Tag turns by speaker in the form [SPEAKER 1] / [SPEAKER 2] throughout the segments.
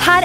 [SPEAKER 1] her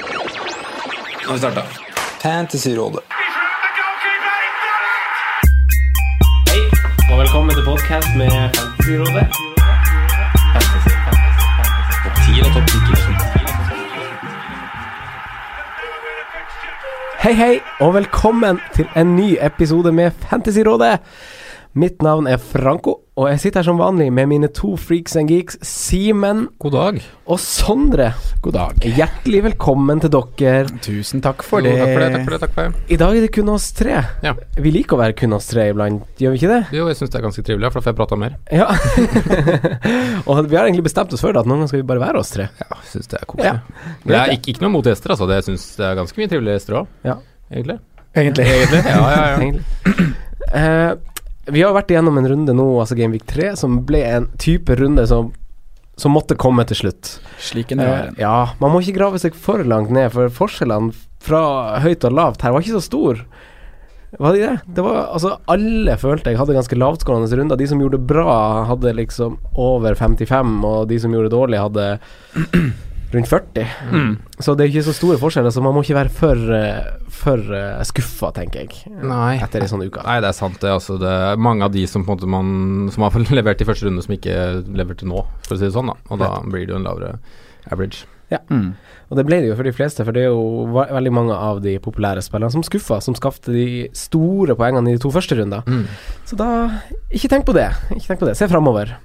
[SPEAKER 2] Nå har vi starta. Fantasyrådet.
[SPEAKER 3] Hei, og velkommen til podcast med Fantasyrådet. Topp 10 og topp 10. Hei, hei, og velkommen til en ny episode med Fantasyrådet. Mitt navn er Franco, og jeg sitter her som vanlig med mine to freaks and geeks, Simen
[SPEAKER 2] God dag.
[SPEAKER 3] og Sondre.
[SPEAKER 2] God dag.
[SPEAKER 3] Hjertelig velkommen til dere.
[SPEAKER 2] Tusen takk
[SPEAKER 3] for det.
[SPEAKER 2] Takk for det, takk for det, takk for det.
[SPEAKER 3] I dag er det kun oss tre.
[SPEAKER 2] Ja.
[SPEAKER 3] Vi liker å være kun oss tre iblant, gjør vi ikke det?
[SPEAKER 2] Jo, jeg syns det er ganske trivelig, for da får jeg prata mer.
[SPEAKER 3] Ja. og vi har egentlig bestemt oss for det, at noen ganger skal vi bare være oss tre.
[SPEAKER 2] Ja, syns det er
[SPEAKER 3] Ja.
[SPEAKER 2] koselig. Men jeg er ikke, ikke noe mot gjester, altså. Det jeg synes det er ganske mye trivelige gjester òg,
[SPEAKER 3] Ja.
[SPEAKER 2] egentlig.
[SPEAKER 3] Egentlig.
[SPEAKER 2] Ja, ja, ja.
[SPEAKER 3] Egentlig. Eh, vi har vært igjennom en runde nå, altså Game Week 3, som ble en type runde som som måtte komme til slutt.
[SPEAKER 4] Slik en
[SPEAKER 3] Eh,
[SPEAKER 4] er.
[SPEAKER 3] ja, Man må ikke grave seg for langt ned, for forskjellene fra høyt og lavt her var ikke så stor. Var de det? Det var altså Alle følte jeg hadde ganske lavtskårende runder. De som gjorde det bra, hadde liksom over 55, og de som gjorde det dårlig, hadde rundt 40. Så det er ikke så store forskjeller, så man må ikke være for, eh, for eh, skuffa, tenker jeg.
[SPEAKER 2] Nei.
[SPEAKER 3] Etter en sånn uke.
[SPEAKER 2] Nei, det er sant, det. Altså, det er mange av de som på en måte man Som har levert i første runde, som ikke leverte nå, for å si det sånn, da. Og da blir det jo en lavere average.
[SPEAKER 3] Og det ble det jo for de fleste, for det er jo va- veldig mange av de populære spillerne som skuffa, som skapte de store poengene i de to første rundene. Så da ikke tenk på det. Ikke tenk på det. Se framover.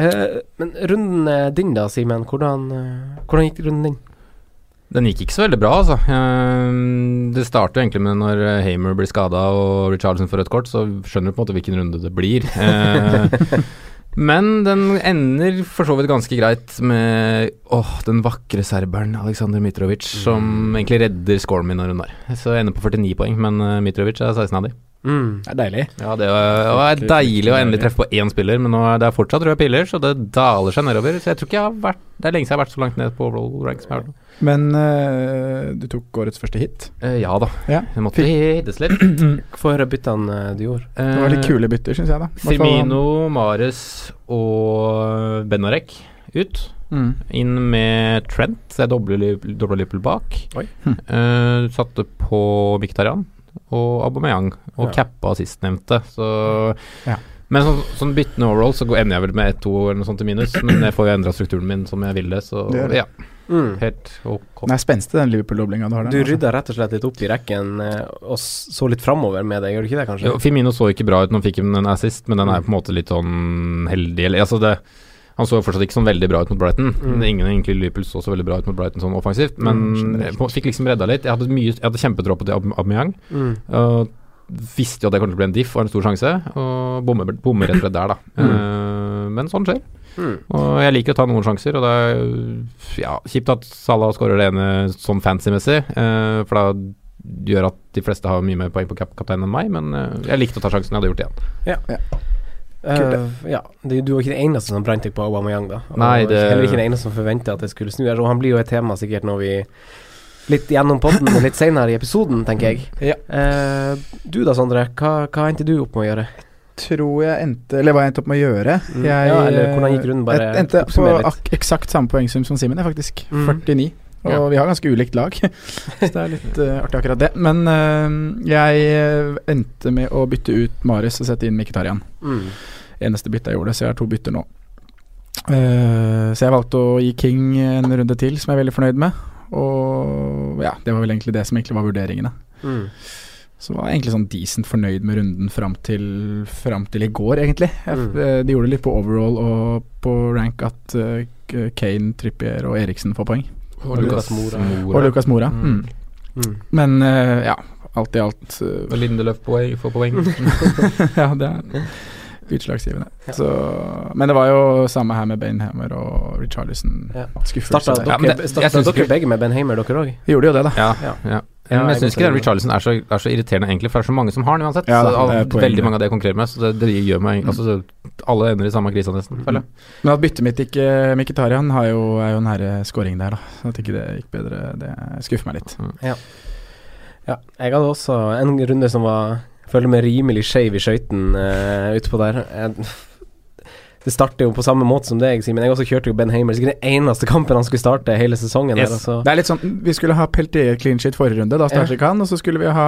[SPEAKER 3] Eh, men runden eh, din da, Simen. Hvordan, eh, hvordan gikk runden din?
[SPEAKER 2] Den gikk ikke så veldig bra, altså. Ehm, Det starter jo egentlig med når eh, Hamer blir skada og Richarlison får rødt kort, så skjønner du på en måte hvilken runde det blir. Eh, Men den ender for så vidt ganske greit med åh, den vakre serberen Aleksandr Mitrovic, som egentlig redder scoren min når hun der. Så jeg ender på 49 poeng, men eh, Mitrovic er 16 av de.
[SPEAKER 3] Mm.
[SPEAKER 4] Det er deilig.
[SPEAKER 2] Ja, det var, det var deilig å endelig treffe på én spiller, men nå er det er fortsatt røde piler, så det daler seg nedover. Så jeg tror ikke jeg har vært Det er lenge siden jeg har vært så langt ned på overall rank som jeg har vært nå.
[SPEAKER 4] Men eh, du tok årets første hit.
[SPEAKER 2] Eh, ja da.
[SPEAKER 4] Ja.
[SPEAKER 2] Jeg måtte hites litt.
[SPEAKER 3] Få høre byttene eh, du gjorde.
[SPEAKER 4] Det var litt kule bytter, syns jeg. da Hvertfall-
[SPEAKER 2] Firmino, Mares og Benarek ut.
[SPEAKER 4] Mm.
[SPEAKER 2] Inn med Trent, så jeg dobler Liv- dobler Liverpool bak.
[SPEAKER 3] Oi.
[SPEAKER 4] Hm.
[SPEAKER 2] Eh, satte på Mkhitaryan og Aubameyang, og
[SPEAKER 3] Ja.
[SPEAKER 2] cappa sistnevnte. Så
[SPEAKER 4] Ja.
[SPEAKER 2] Men sånn, sånn byttende overall så går- ender jeg vel med 1-2 eller noe sånt til minus, men jeg får jo endra strukturen min som jeg ville, så
[SPEAKER 4] Det gjør det.
[SPEAKER 2] ja,
[SPEAKER 3] Mm.
[SPEAKER 2] helt ok.
[SPEAKER 4] Den er spenstig, den Liverpool-doblinga du har der.
[SPEAKER 3] Du
[SPEAKER 4] altså.
[SPEAKER 3] rydda rett og slett litt opp i rekken eh, og s- så litt framover med det, gjør du ikke det, kanskje? Mm.
[SPEAKER 2] Jo, Firmino så ikke bra ut når han fikk en assist, men den er på en måte litt sånn heldig eller, altså det, Han så jo fortsatt ikke sånn veldig bra ut mot Brighton.
[SPEAKER 3] Mm.
[SPEAKER 2] Ingen egentlig i Liverpool så så veldig bra ut mot Brighton sånn offensivt, men
[SPEAKER 4] generelt.
[SPEAKER 2] jeg på- fikk liksom redda litt. Jeg hadde, mye, jeg hadde kjempetro på det Aub- Aubameyang.
[SPEAKER 3] Mm.
[SPEAKER 2] og visste jo at det kom til å bli en diff og en stor sjanse, og bommer bommer rett og slett der, da. Eh, men sånn skjer.
[SPEAKER 3] Mm.
[SPEAKER 2] Og jeg liker å ta noen sjanser, og det er ja, kjipt at Salah skårer det ene sånn fancy-messig, eh, for da gjør at de fleste har mye mer poeng på kap kapteinen enn meg, men eh, jeg likte å ta sjansen, jeg hadde gjort det igjen.
[SPEAKER 3] Eh, ja, det, du var ikke den eneste som brant deg på Aubameyang, da. Og
[SPEAKER 2] Nei, det-
[SPEAKER 3] Heller ikke den eneste som forventa at det skulle snu. her, Og han blir jo et tema sikkert når vi Litt gjennom podden men litt senere i episoden, tenker jeg.
[SPEAKER 4] Ja.
[SPEAKER 3] Eh, du da, Sondre. Hva, hva endte du opp med å gjøre?
[SPEAKER 4] Tror jeg endte Eller hva jeg endte opp med å gjøre.
[SPEAKER 3] Mm. Ja, eller hvordan gikk runden? Bare
[SPEAKER 4] jeg endte på
[SPEAKER 3] oppsummer litt.
[SPEAKER 4] ak eksakt samme poengsum som Simen, jeg, faktisk.
[SPEAKER 3] Mm.
[SPEAKER 4] 49. Og
[SPEAKER 2] Ja.
[SPEAKER 4] vi har ganske ulikt lag, så det er litt eh, artig akkurat det. Men eh, jeg eh, endte med å bytte ut Marius og sette inn Mkhitarian.
[SPEAKER 3] Mm.
[SPEAKER 4] Eneste bytte jeg gjorde, så jeg har to bytter nå. Eh, så jeg valgte å gi King en runde til, som jeg er veldig fornøyd med. Og ja, det var vel egentlig det som egentlig var vurderingene.
[SPEAKER 3] Mm.
[SPEAKER 4] Så var jeg egentlig sånn decent fornøyd med runden fram til, fram til i går, egentlig. Jeg,
[SPEAKER 3] Mm.
[SPEAKER 4] f- eh, De gjorde det litt på overall og på rank at eh, K- Kane, Trippier og Eriksen får poeng.
[SPEAKER 3] Og Lucas Mora.
[SPEAKER 4] Og Lucas Mora. Mm.
[SPEAKER 2] Mm.
[SPEAKER 3] Mm.
[SPEAKER 4] Men eh, ja, alt i alt eh,
[SPEAKER 2] Og Lindeløf poeng, får poeng.
[SPEAKER 4] ja, det er utslagsgivende. Så, men det var jo samme her med Bainhammer og Richarlison.
[SPEAKER 3] Ja.
[SPEAKER 4] Skuffelse
[SPEAKER 3] Starta
[SPEAKER 4] der.
[SPEAKER 3] dere,
[SPEAKER 2] Ja, men det- jeg
[SPEAKER 3] starta
[SPEAKER 2] synes
[SPEAKER 3] dere
[SPEAKER 2] ikke-
[SPEAKER 3] begge med Ben Hamer, dere òg?
[SPEAKER 4] Vi gjorde jo det, da.
[SPEAKER 2] Ja,
[SPEAKER 3] Ja.
[SPEAKER 2] ja.
[SPEAKER 3] Ja,
[SPEAKER 2] Men
[SPEAKER 3] jeg
[SPEAKER 2] jeg syns ikke
[SPEAKER 3] går til-
[SPEAKER 2] det Richarlison er så, er så irriterende, egentlig, for det er så mange som har den uansett.
[SPEAKER 4] Ja, det
[SPEAKER 2] så,
[SPEAKER 4] er
[SPEAKER 2] al-
[SPEAKER 4] poenget.
[SPEAKER 2] veldig mange av det jeg konkurrerer med, så det, det gjør meg altså, så, Alle ender i samme krisa, nesten, føler jeg.
[SPEAKER 4] Men at byttet mitt ikke Mkhitarian har jo, er jo en herre scoring der, da. At ikke det gikk bedre, det skuffer meg litt.
[SPEAKER 3] Ja. Jeg hadde også en runde som var jeg Føler meg rimelig skeiv i skøyten eh, utpå der. Jeg, det starter jo på samme måte som deg, Simen. Jeg også kjørte jo Ben Hamer. Sikkert den eneste kampen han skulle starte hele sesongen.
[SPEAKER 5] Yes.
[SPEAKER 3] Der, altså.
[SPEAKER 4] Det er litt sånn, Vi skulle ha Peltier clean shit forrige runde, da starter ikke han. Og så skulle vi ha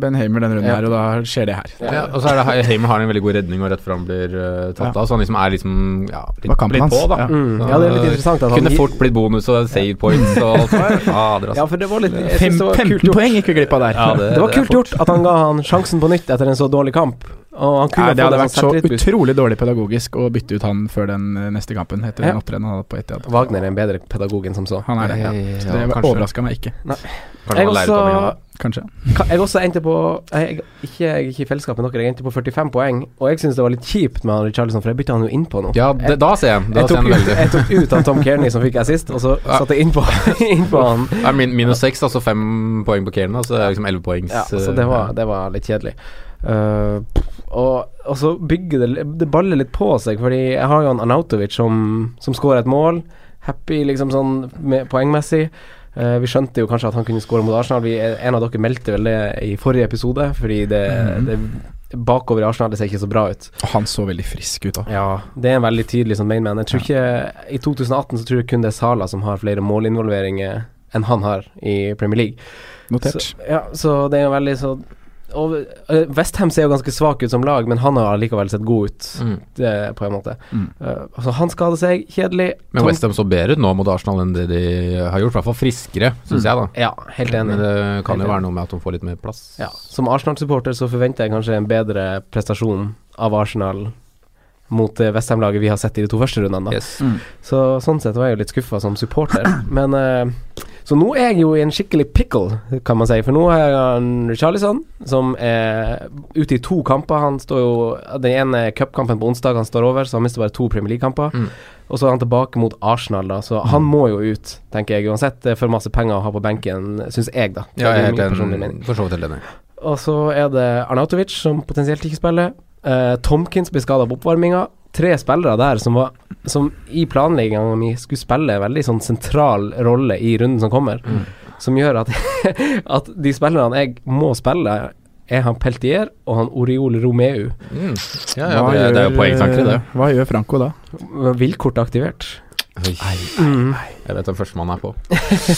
[SPEAKER 4] Ben Hamer denne runden
[SPEAKER 3] Ja.
[SPEAKER 4] her, og da skjer det her.
[SPEAKER 2] Ja, og så er det Hamer har en veldig god redning, og rett fram blir eh, tatt
[SPEAKER 4] Ja.
[SPEAKER 2] av, så han liksom er liksom ja,
[SPEAKER 4] Det var
[SPEAKER 2] litt,
[SPEAKER 4] kampen
[SPEAKER 2] litt
[SPEAKER 4] hans.
[SPEAKER 2] på, da.
[SPEAKER 4] Ja.
[SPEAKER 3] Mm. ja, det er litt interessant at han
[SPEAKER 2] Kunne
[SPEAKER 3] gir-
[SPEAKER 2] fort blitt bonus og save points og alt det der. Fader,
[SPEAKER 3] Ja,
[SPEAKER 2] altså.
[SPEAKER 3] for det var litt jeg
[SPEAKER 4] Fem,
[SPEAKER 3] synes det var kult
[SPEAKER 4] 15
[SPEAKER 3] gjort.
[SPEAKER 4] poeng gikk vi glipp av der.
[SPEAKER 2] Ja,
[SPEAKER 3] Det var
[SPEAKER 2] er
[SPEAKER 3] kult
[SPEAKER 2] fort.
[SPEAKER 3] gjort at han ga han sjansen på nytt etter en så dårlig kamp. Og han kunne
[SPEAKER 4] Nei, det
[SPEAKER 3] fått
[SPEAKER 4] hadde
[SPEAKER 3] en
[SPEAKER 4] vært så
[SPEAKER 3] sånn selvtillitsboost.
[SPEAKER 4] utrolig dårlig pedagogisk å bytte ut han før den eh, neste kampen, etter
[SPEAKER 3] Ja.
[SPEAKER 4] den opptredenen han hadde på Etiad.
[SPEAKER 3] Wagner er en bedre pedagog enn som så.
[SPEAKER 4] Han er det.
[SPEAKER 2] Ja,
[SPEAKER 4] Så Eh, det
[SPEAKER 2] kanskje.
[SPEAKER 4] overraska meg ikke,
[SPEAKER 2] Kanskje
[SPEAKER 3] Jeg
[SPEAKER 2] han lærer ut av det, ja.
[SPEAKER 3] også
[SPEAKER 4] kanskje.
[SPEAKER 3] Ka- Jeg også endte på jeg, ikke, jeg er ikke i fellesskap med dere, jeg endte på 45 poeng. Og jeg syns det var litt kjipt med han Richarlison, for jeg bytta han jo innpå nå.
[SPEAKER 2] Ja, det, da ser jeg. Da
[SPEAKER 3] Jeg
[SPEAKER 2] ser
[SPEAKER 3] tok,
[SPEAKER 2] jeg den
[SPEAKER 3] ut,
[SPEAKER 2] veldig.
[SPEAKER 3] jeg tok ut han Tom Kearney som fikk assist, og så
[SPEAKER 2] Ja.
[SPEAKER 3] satte jeg innpå inn på han.
[SPEAKER 2] Det er min, minus seks, altså fem poeng på Kane, da, så det er liksom elleve poengs
[SPEAKER 3] eh, Ja, så det var, det var litt kjedelig. Eh, og, og så bygger det Det baller litt på seg, fordi jeg har jo han Arnautovic som, som skårer et mål. Happy liksom sånn med, poengmessig. Eh, vi skjønte jo kanskje at han kunne skåre mot Arsenal. Vi, eh, en av dere meldte vel det i forrige episode, fordi det, det bakover i Arsenal det ser ikke så bra ut.
[SPEAKER 4] Og han så veldig frisk ut da.
[SPEAKER 3] Ja, det er en veldig tydelig sånn mainman. Jeg tror ikke I 2018 så tror jeg kun det er Sala som har flere målinvolveringer enn han har i Premier League.
[SPEAKER 4] Notert.
[SPEAKER 3] Så, ja, så det er jo veldig så Og eh, Westham ser jo ganske svak ut som lag, men han har likevel sett god ut,
[SPEAKER 2] Mm.
[SPEAKER 3] det, på en måte.
[SPEAKER 4] Mm.
[SPEAKER 3] Eh, altså, han skader seg, kjedelig.
[SPEAKER 2] Men
[SPEAKER 3] Tom-
[SPEAKER 2] Westham så bedre ut nå mot Arsenal enn det de har gjort. I hvert fall friskere, syns jeg, da.
[SPEAKER 3] Ja, helt
[SPEAKER 2] Men
[SPEAKER 3] Mm. enig.
[SPEAKER 2] det kan
[SPEAKER 3] Helt
[SPEAKER 2] jo
[SPEAKER 3] enig.
[SPEAKER 2] være noe med at de får litt mer plass.
[SPEAKER 3] Ja. Som Arsenal-supporter så forventer jeg kanskje en bedre prestasjon av Arsenal mot det Westham-laget vi har sett i de to første rundene, da.
[SPEAKER 2] Yes.
[SPEAKER 3] Så sånn sett var jeg jo litt skuffa som supporter. Men eh, Så nå er jeg jo i en skikkelig pickle, kan man si. For nå har jeg han Charlison, som er ute i to kamper. Han står jo Den ene cupkampen på onsdag han står over, så han mister bare to Premier League-kamper.
[SPEAKER 2] Mm.
[SPEAKER 3] Og så er han tilbake mot Arsenal, da, så han må jo ut, tenker jeg. Uansett, det er for masse penger å ha på benken, syns jeg, da.
[SPEAKER 2] Ja, jeg er
[SPEAKER 3] Det er min
[SPEAKER 2] helt
[SPEAKER 3] personlige mening.
[SPEAKER 2] enig. For så vidt helt enig.
[SPEAKER 3] Og så er det Arnautovic som potensielt ikke spiller. Eh, Tomkins blir skada på oppvarminga. Tre spillere der som, var, som i planlegginga mi skulle spille en veldig sånn sentral rolle i runden som kommer, som gjør at, at de spillerne jeg må spille, er han Peltier og han Oriol Romeu.
[SPEAKER 2] Mm. Ja, ja, det, det er jo poengtanker i det.
[SPEAKER 4] Hva gjør Franco da?
[SPEAKER 3] Vilkort aktivert. Mm.
[SPEAKER 2] Oi. Jeg vet hvem førstemann er på.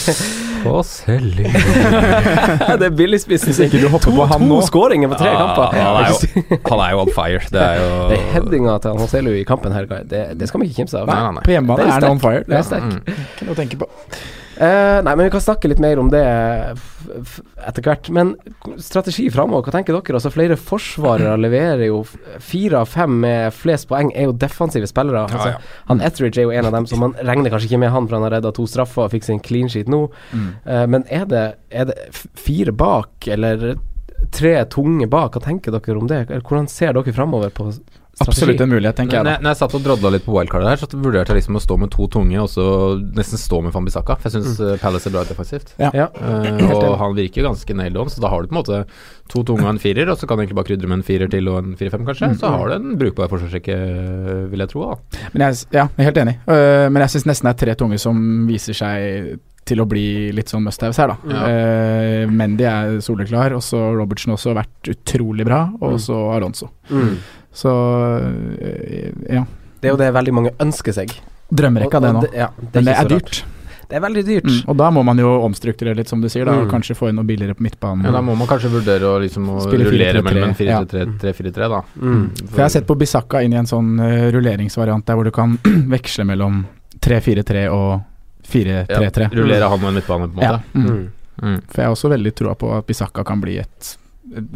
[SPEAKER 2] På Selling.
[SPEAKER 3] det er billigspissen som ikke du hopper på
[SPEAKER 4] han
[SPEAKER 3] to
[SPEAKER 4] nå.
[SPEAKER 3] skåringer på tre
[SPEAKER 2] Ah,
[SPEAKER 3] kamper.
[SPEAKER 2] han, er jo, han er jo on fire. Det er jo
[SPEAKER 3] Det er headinga til han Hoselu i kampen her, guy. det, det skal man ikke kimse av.
[SPEAKER 2] Nei, nei, nei.
[SPEAKER 4] På
[SPEAKER 3] Den er
[SPEAKER 4] hjemmebane er
[SPEAKER 3] sterk.
[SPEAKER 4] det on fire.
[SPEAKER 3] Den er sterk.
[SPEAKER 4] Ikke noe å tenke på.
[SPEAKER 3] Eh, nei, men vi kan snakke litt mer om det f- f- etter hvert. Men k- strategi framover, hva tenker dere? Altså Flere forsvarere leverer jo f- fire av fem med flest poeng, er jo defensive spillere. Altså,
[SPEAKER 2] ja.
[SPEAKER 3] Han Etheridge er jo en av dem, så man regner kanskje ikke med han, for han har redda to straffer og fikk sin clean sheet nå.
[SPEAKER 4] Mm.
[SPEAKER 3] Eh, men er det, er det f- fire bak, eller tre tunge bak? Hva tenker dere om det? Eller Hvordan ser dere framover på s- strategi?
[SPEAKER 4] Absolutt en mulighet, tenker jeg
[SPEAKER 2] Når
[SPEAKER 4] da.
[SPEAKER 2] jeg, når jeg satt og drodla litt på wildcardet her, så vurderte jeg liksom å stå med to tunge, og så nesten stå med Fambisaka. For jeg syns Palace er bra defensivt.
[SPEAKER 3] Ja.
[SPEAKER 2] Eh, og han virker ganske nailed on, så da har du på en måte to tunge og en firer, og så kan du egentlig bare krydre med en firer til og en fire-fem, kanskje. Så har du en brukbar forsvarsrekke, vil jeg tro. da
[SPEAKER 4] Men jeg, s- ja, jeg er helt enig. Øh, men jeg syns nesten det er tre tunge som viser seg til å bli litt sånn must-haves her, da.
[SPEAKER 2] Ja.
[SPEAKER 4] Eh, Mendy er soleklar, og så Robertsen også har vært utrolig bra, og så Alonso.
[SPEAKER 3] Mm.
[SPEAKER 4] Så øh, ja.
[SPEAKER 3] Det er jo det veldig mange ønsker seg.
[SPEAKER 4] Drømmerekka,
[SPEAKER 3] Og-
[SPEAKER 4] det
[SPEAKER 3] og
[SPEAKER 4] nå.
[SPEAKER 3] ja, det er
[SPEAKER 4] Men det
[SPEAKER 3] ikke
[SPEAKER 4] er
[SPEAKER 3] så rart.
[SPEAKER 4] dyrt.
[SPEAKER 3] Det er veldig dyrt.
[SPEAKER 4] Mm, og da må man jo omstrukturere litt, som du sier, da, og
[SPEAKER 3] Mm.
[SPEAKER 4] kanskje få inn noe billigere på midtbanen.
[SPEAKER 2] Ja, Da må man kanskje vurdere å liksom å
[SPEAKER 4] Mm. Spille
[SPEAKER 2] rullere
[SPEAKER 4] 4-3-3,
[SPEAKER 2] mellom en
[SPEAKER 4] ja.
[SPEAKER 2] 4-3-3-4-3, da.
[SPEAKER 3] Mm.
[SPEAKER 4] For jeg har sett på Bisakka inn i en sånn eh, rulleringsvariant der hvor du kan veksle mellom 3-4-3 og 4-3-3.
[SPEAKER 2] Ja, rullere han og en midtbane, på en
[SPEAKER 4] Ja,
[SPEAKER 2] måte.
[SPEAKER 4] mm.
[SPEAKER 3] Mm.
[SPEAKER 2] Mm.
[SPEAKER 4] For jeg har også veldig troa på at Bisakka kan bli et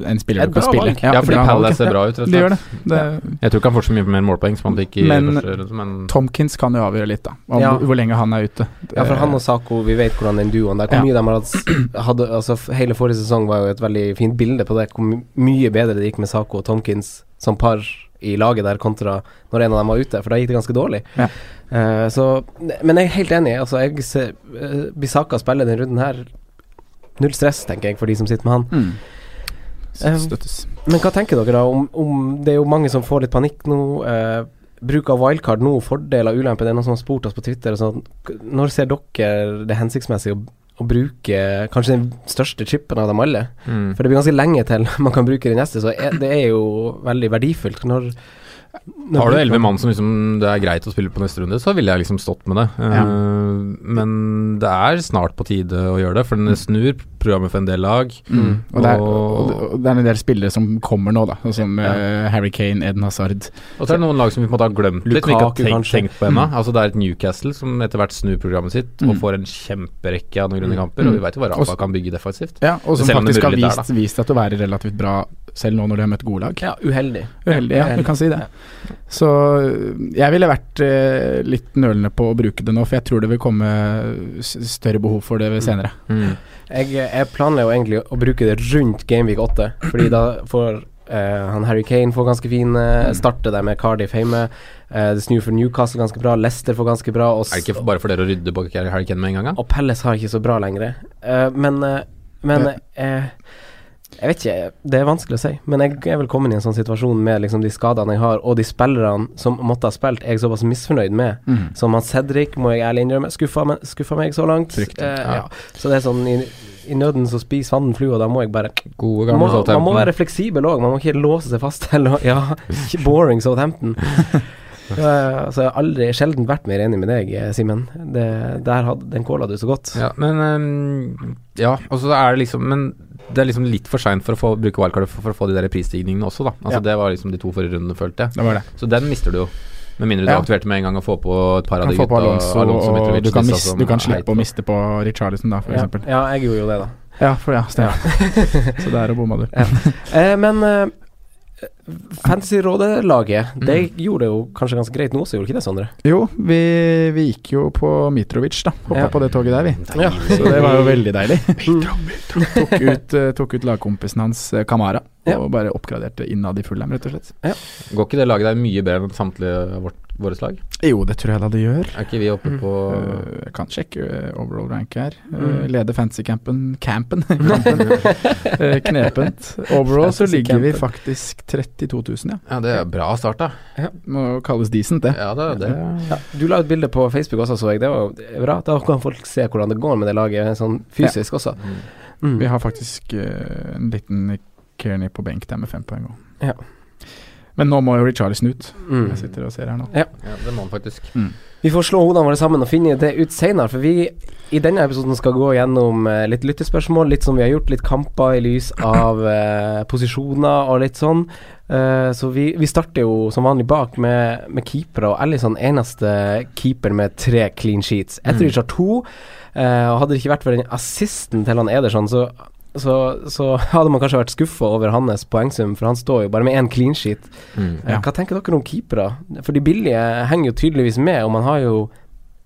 [SPEAKER 4] en spiller
[SPEAKER 3] Et
[SPEAKER 4] du kan
[SPEAKER 3] bra
[SPEAKER 4] spille.
[SPEAKER 3] valg.
[SPEAKER 2] Ja, fordi
[SPEAKER 4] bra valg,
[SPEAKER 2] Palace
[SPEAKER 4] ja.
[SPEAKER 2] ser bra ut, rett og
[SPEAKER 4] Det gjør det.
[SPEAKER 2] slett.
[SPEAKER 4] det
[SPEAKER 2] Jeg tror ikke han får så mye mer målpoeng som han fikk i
[SPEAKER 4] Men-
[SPEAKER 2] første runde, men
[SPEAKER 4] Tomkins kan jo avgjøre litt, da. Om
[SPEAKER 3] Ja.
[SPEAKER 4] hvor- hvor lenge han er ute. Eh,
[SPEAKER 3] Ja, for han og Sako, vi vet hvordan den duoen der Hvor
[SPEAKER 4] Ja.
[SPEAKER 3] mye de har hatt s- hadde, altså, f- Hele forrige sesong var jo et veldig fint bilde på det, hvor my- mye bedre det gikk med Sako og Tomkins som par i laget der, kontra når en av dem var ute, for da gikk det ganske dårlig.
[SPEAKER 4] Ja.
[SPEAKER 3] Eh, så, men jeg er helt enig. Altså, jeg ser, eh, Bisaka spiller den runden her. Null stress, tenker jeg, for de som sitter med han.
[SPEAKER 4] Mm.
[SPEAKER 3] Eh,
[SPEAKER 4] Støttes.
[SPEAKER 3] Men hva tenker dere da om, om Det er jo mange som får litt panikk nå. Eh, bruk av wildcard nå, fordeler, ulemper. Det er noen som har spurt oss på Twitter. og Sånn, k- når ser dere det hensiktsmessig å, å bruke kanskje den største chipen av dem alle?
[SPEAKER 2] mm.
[SPEAKER 3] For det blir ganske lenge til man kan bruke de neste, så er, det er jo veldig verdifullt. Når, når
[SPEAKER 2] Har du
[SPEAKER 3] bruker
[SPEAKER 2] elleve
[SPEAKER 3] man-
[SPEAKER 2] mann som liksom det er greit å spille på neste runde, så ville jeg liksom stått med det. Eh,
[SPEAKER 4] Ja.
[SPEAKER 2] Men det er snart på tide å gjøre det, for det snur programmet for en del lag.
[SPEAKER 4] Mm. Og, det er,
[SPEAKER 2] Og-
[SPEAKER 4] og det- og det er en del spillere som kommer nå, da. sånn Som
[SPEAKER 2] Ja.
[SPEAKER 4] eh, Harry Kane, Eden Hazard.
[SPEAKER 2] Og så er det noen lag som vi på en måte har glemt litt, som vi ikke har
[SPEAKER 3] Lukaku,
[SPEAKER 2] tenkt,
[SPEAKER 3] kanskje.
[SPEAKER 2] tenkt på ennå. Altså det er et Newcastle som etter hvert snur programmet sitt og
[SPEAKER 4] Mm.
[SPEAKER 2] får en kjemperekke av noen grønne kamper,
[SPEAKER 4] Mm.
[SPEAKER 2] og vi veit jo hva
[SPEAKER 4] Og s-
[SPEAKER 2] Rafa kan bygge defensivt.
[SPEAKER 4] Ja, og som
[SPEAKER 2] Selv om det
[SPEAKER 4] faktisk har
[SPEAKER 2] murrer litt der,
[SPEAKER 4] vist, vist at å være relativt bra selv nå når de har møtt gode lag.
[SPEAKER 3] Ja, uheldig.
[SPEAKER 4] Uheldig, ja, du kan si det. Så øh, jeg ville vært eh, litt nølende på å bruke det nå, for jeg tror det vil komme s- større behov for det ved senere.
[SPEAKER 3] Jeg, jeg planla jo egentlig å bruke det rundt Gameweek 8, fordi da får eh, han Harry Kane får ganske fin eh,
[SPEAKER 2] Mm.
[SPEAKER 3] Starter der med Cardiff hjemme. Eh, det snur for Newcastle ganske bra, Leicester får ganske bra. Og, s-
[SPEAKER 2] Er det ikke for- bare for dere å rydde bak Harry Kane med en gang, da?
[SPEAKER 3] og Palace har ikke så bra lenger. Eh, men eh, men eh, Jeg vet ikke, det er vanskelig å si. Men jeg er vel kommet i en sånn situasjon med liksom, de skadene jeg har, og de spillerne som måtte ha spilt, er jeg såpass misfornøyd med. Som han Cedric, må jeg ærlig innrømme, skuffa, me- skuffa meg så langt.
[SPEAKER 4] Fryktelig,
[SPEAKER 3] Eh,
[SPEAKER 2] ja.
[SPEAKER 3] ja. Så det er sånn i, i nøden så spiser fanden flua, da må jeg bare
[SPEAKER 2] Gode
[SPEAKER 3] man
[SPEAKER 2] gamle
[SPEAKER 3] må, man må
[SPEAKER 2] Southampton.
[SPEAKER 3] være fleksibel òg, man må ikke låse seg fast til å- Ja, boring Southampton. Eh, så jeg har aldri sjelden vært mer enig med deg, eh, Simen. Det- Der hadde den kåla du så godt.
[SPEAKER 2] Ja, men ehm, Ja, og så er det liksom Men det er liksom litt for seint for å få, bruke wildcardet for, for å få de der prisstigningene også, da. Altså
[SPEAKER 4] Ja.
[SPEAKER 2] Det var liksom de to forrige rundene, følte jeg.
[SPEAKER 4] Det var det.
[SPEAKER 2] Så den mister du jo. Med mindre du
[SPEAKER 4] Ja.
[SPEAKER 2] aktiverte med en gang og får på et par av
[SPEAKER 4] Kan
[SPEAKER 2] de
[SPEAKER 4] få på
[SPEAKER 2] gutta.
[SPEAKER 4] Alonso, og
[SPEAKER 2] Mitrovic,
[SPEAKER 4] du kan,
[SPEAKER 2] disse
[SPEAKER 4] mis-
[SPEAKER 2] som
[SPEAKER 4] du kan
[SPEAKER 2] er
[SPEAKER 4] slippe å
[SPEAKER 2] heit.
[SPEAKER 4] miste på Richarlison, da, for
[SPEAKER 3] ja,
[SPEAKER 4] eksempel.
[SPEAKER 3] ja, jeg gjorde jo det, da.
[SPEAKER 4] Ja, for ja, stemmer. Så der og bomma du.
[SPEAKER 3] Eh, men eh, Fantasy-rådelaget,
[SPEAKER 4] Mm.
[SPEAKER 3] det gjorde jo kanskje ganske greit nå, så gjorde ikke det, Sondre?
[SPEAKER 4] Jo, vi, vi gikk jo på Mitrovic, da. Hoppa
[SPEAKER 3] Ja.
[SPEAKER 4] på det toget der, vi.
[SPEAKER 3] Ja.
[SPEAKER 4] Så det var jo veldig deilig. tok, ut, eh, tok ut lagkompisen hans, eh, Kamara,
[SPEAKER 3] Ja.
[SPEAKER 4] og bare oppgraderte innad i Fulham, rett og slett.
[SPEAKER 2] Går ikke det laget der mye bedre enn samtlige av vårt, våre slag?
[SPEAKER 4] Jo, det tror jeg da det gjør.
[SPEAKER 2] Er ikke vi oppe på
[SPEAKER 4] Øh, Jeg kan sjekke øh, overall rank her. Øh,
[SPEAKER 3] Mm.
[SPEAKER 4] Leder fantasycampen Campen! Kampen. Øh, Knepent. Overall så ligger vi
[SPEAKER 3] Fantasycampen.
[SPEAKER 4] faktisk 32 000, ja.
[SPEAKER 2] Ja, det er bra start, da.
[SPEAKER 4] Må kalles decent, det.
[SPEAKER 2] Ja, det er det.
[SPEAKER 4] Ja.
[SPEAKER 3] Du la ut bilde på Facebook også, så jeg. Det var jo bra. Da kan folk se hvordan det går med det laget, sånn fysisk også. Mm.
[SPEAKER 4] Vi har faktisk øh, en liten Kearney på benk der med fem poeng òg.
[SPEAKER 3] Ja.
[SPEAKER 4] Men nå må jo Richarlison ut.
[SPEAKER 3] Mm.
[SPEAKER 4] Jeg sitter og ser her nå.
[SPEAKER 2] Ja, det må han faktisk.
[SPEAKER 3] Vi får slå hodene våre sammen og finne det ut senere, for vi i denne episoden skal gå gjennom eh, litt lyttespørsmål, litt som vi har gjort, litt kamper i lys av eh, posisjoner og litt sånn. Eh, så vi, vi starter jo som vanlig bak med, med keepere, og Ellison eneste keeper med tre clean sheets. Etheridge har to, eh, og hadde det ikke vært for den assisten til han Ederson, så så, så hadde man kanskje vært skuffa over hans poengsum, for han står jo bare med én clean sheet. Eh,
[SPEAKER 4] Ja.
[SPEAKER 3] Hva tenker dere om keepere? For de billige henger jo tydeligvis med, og man har jo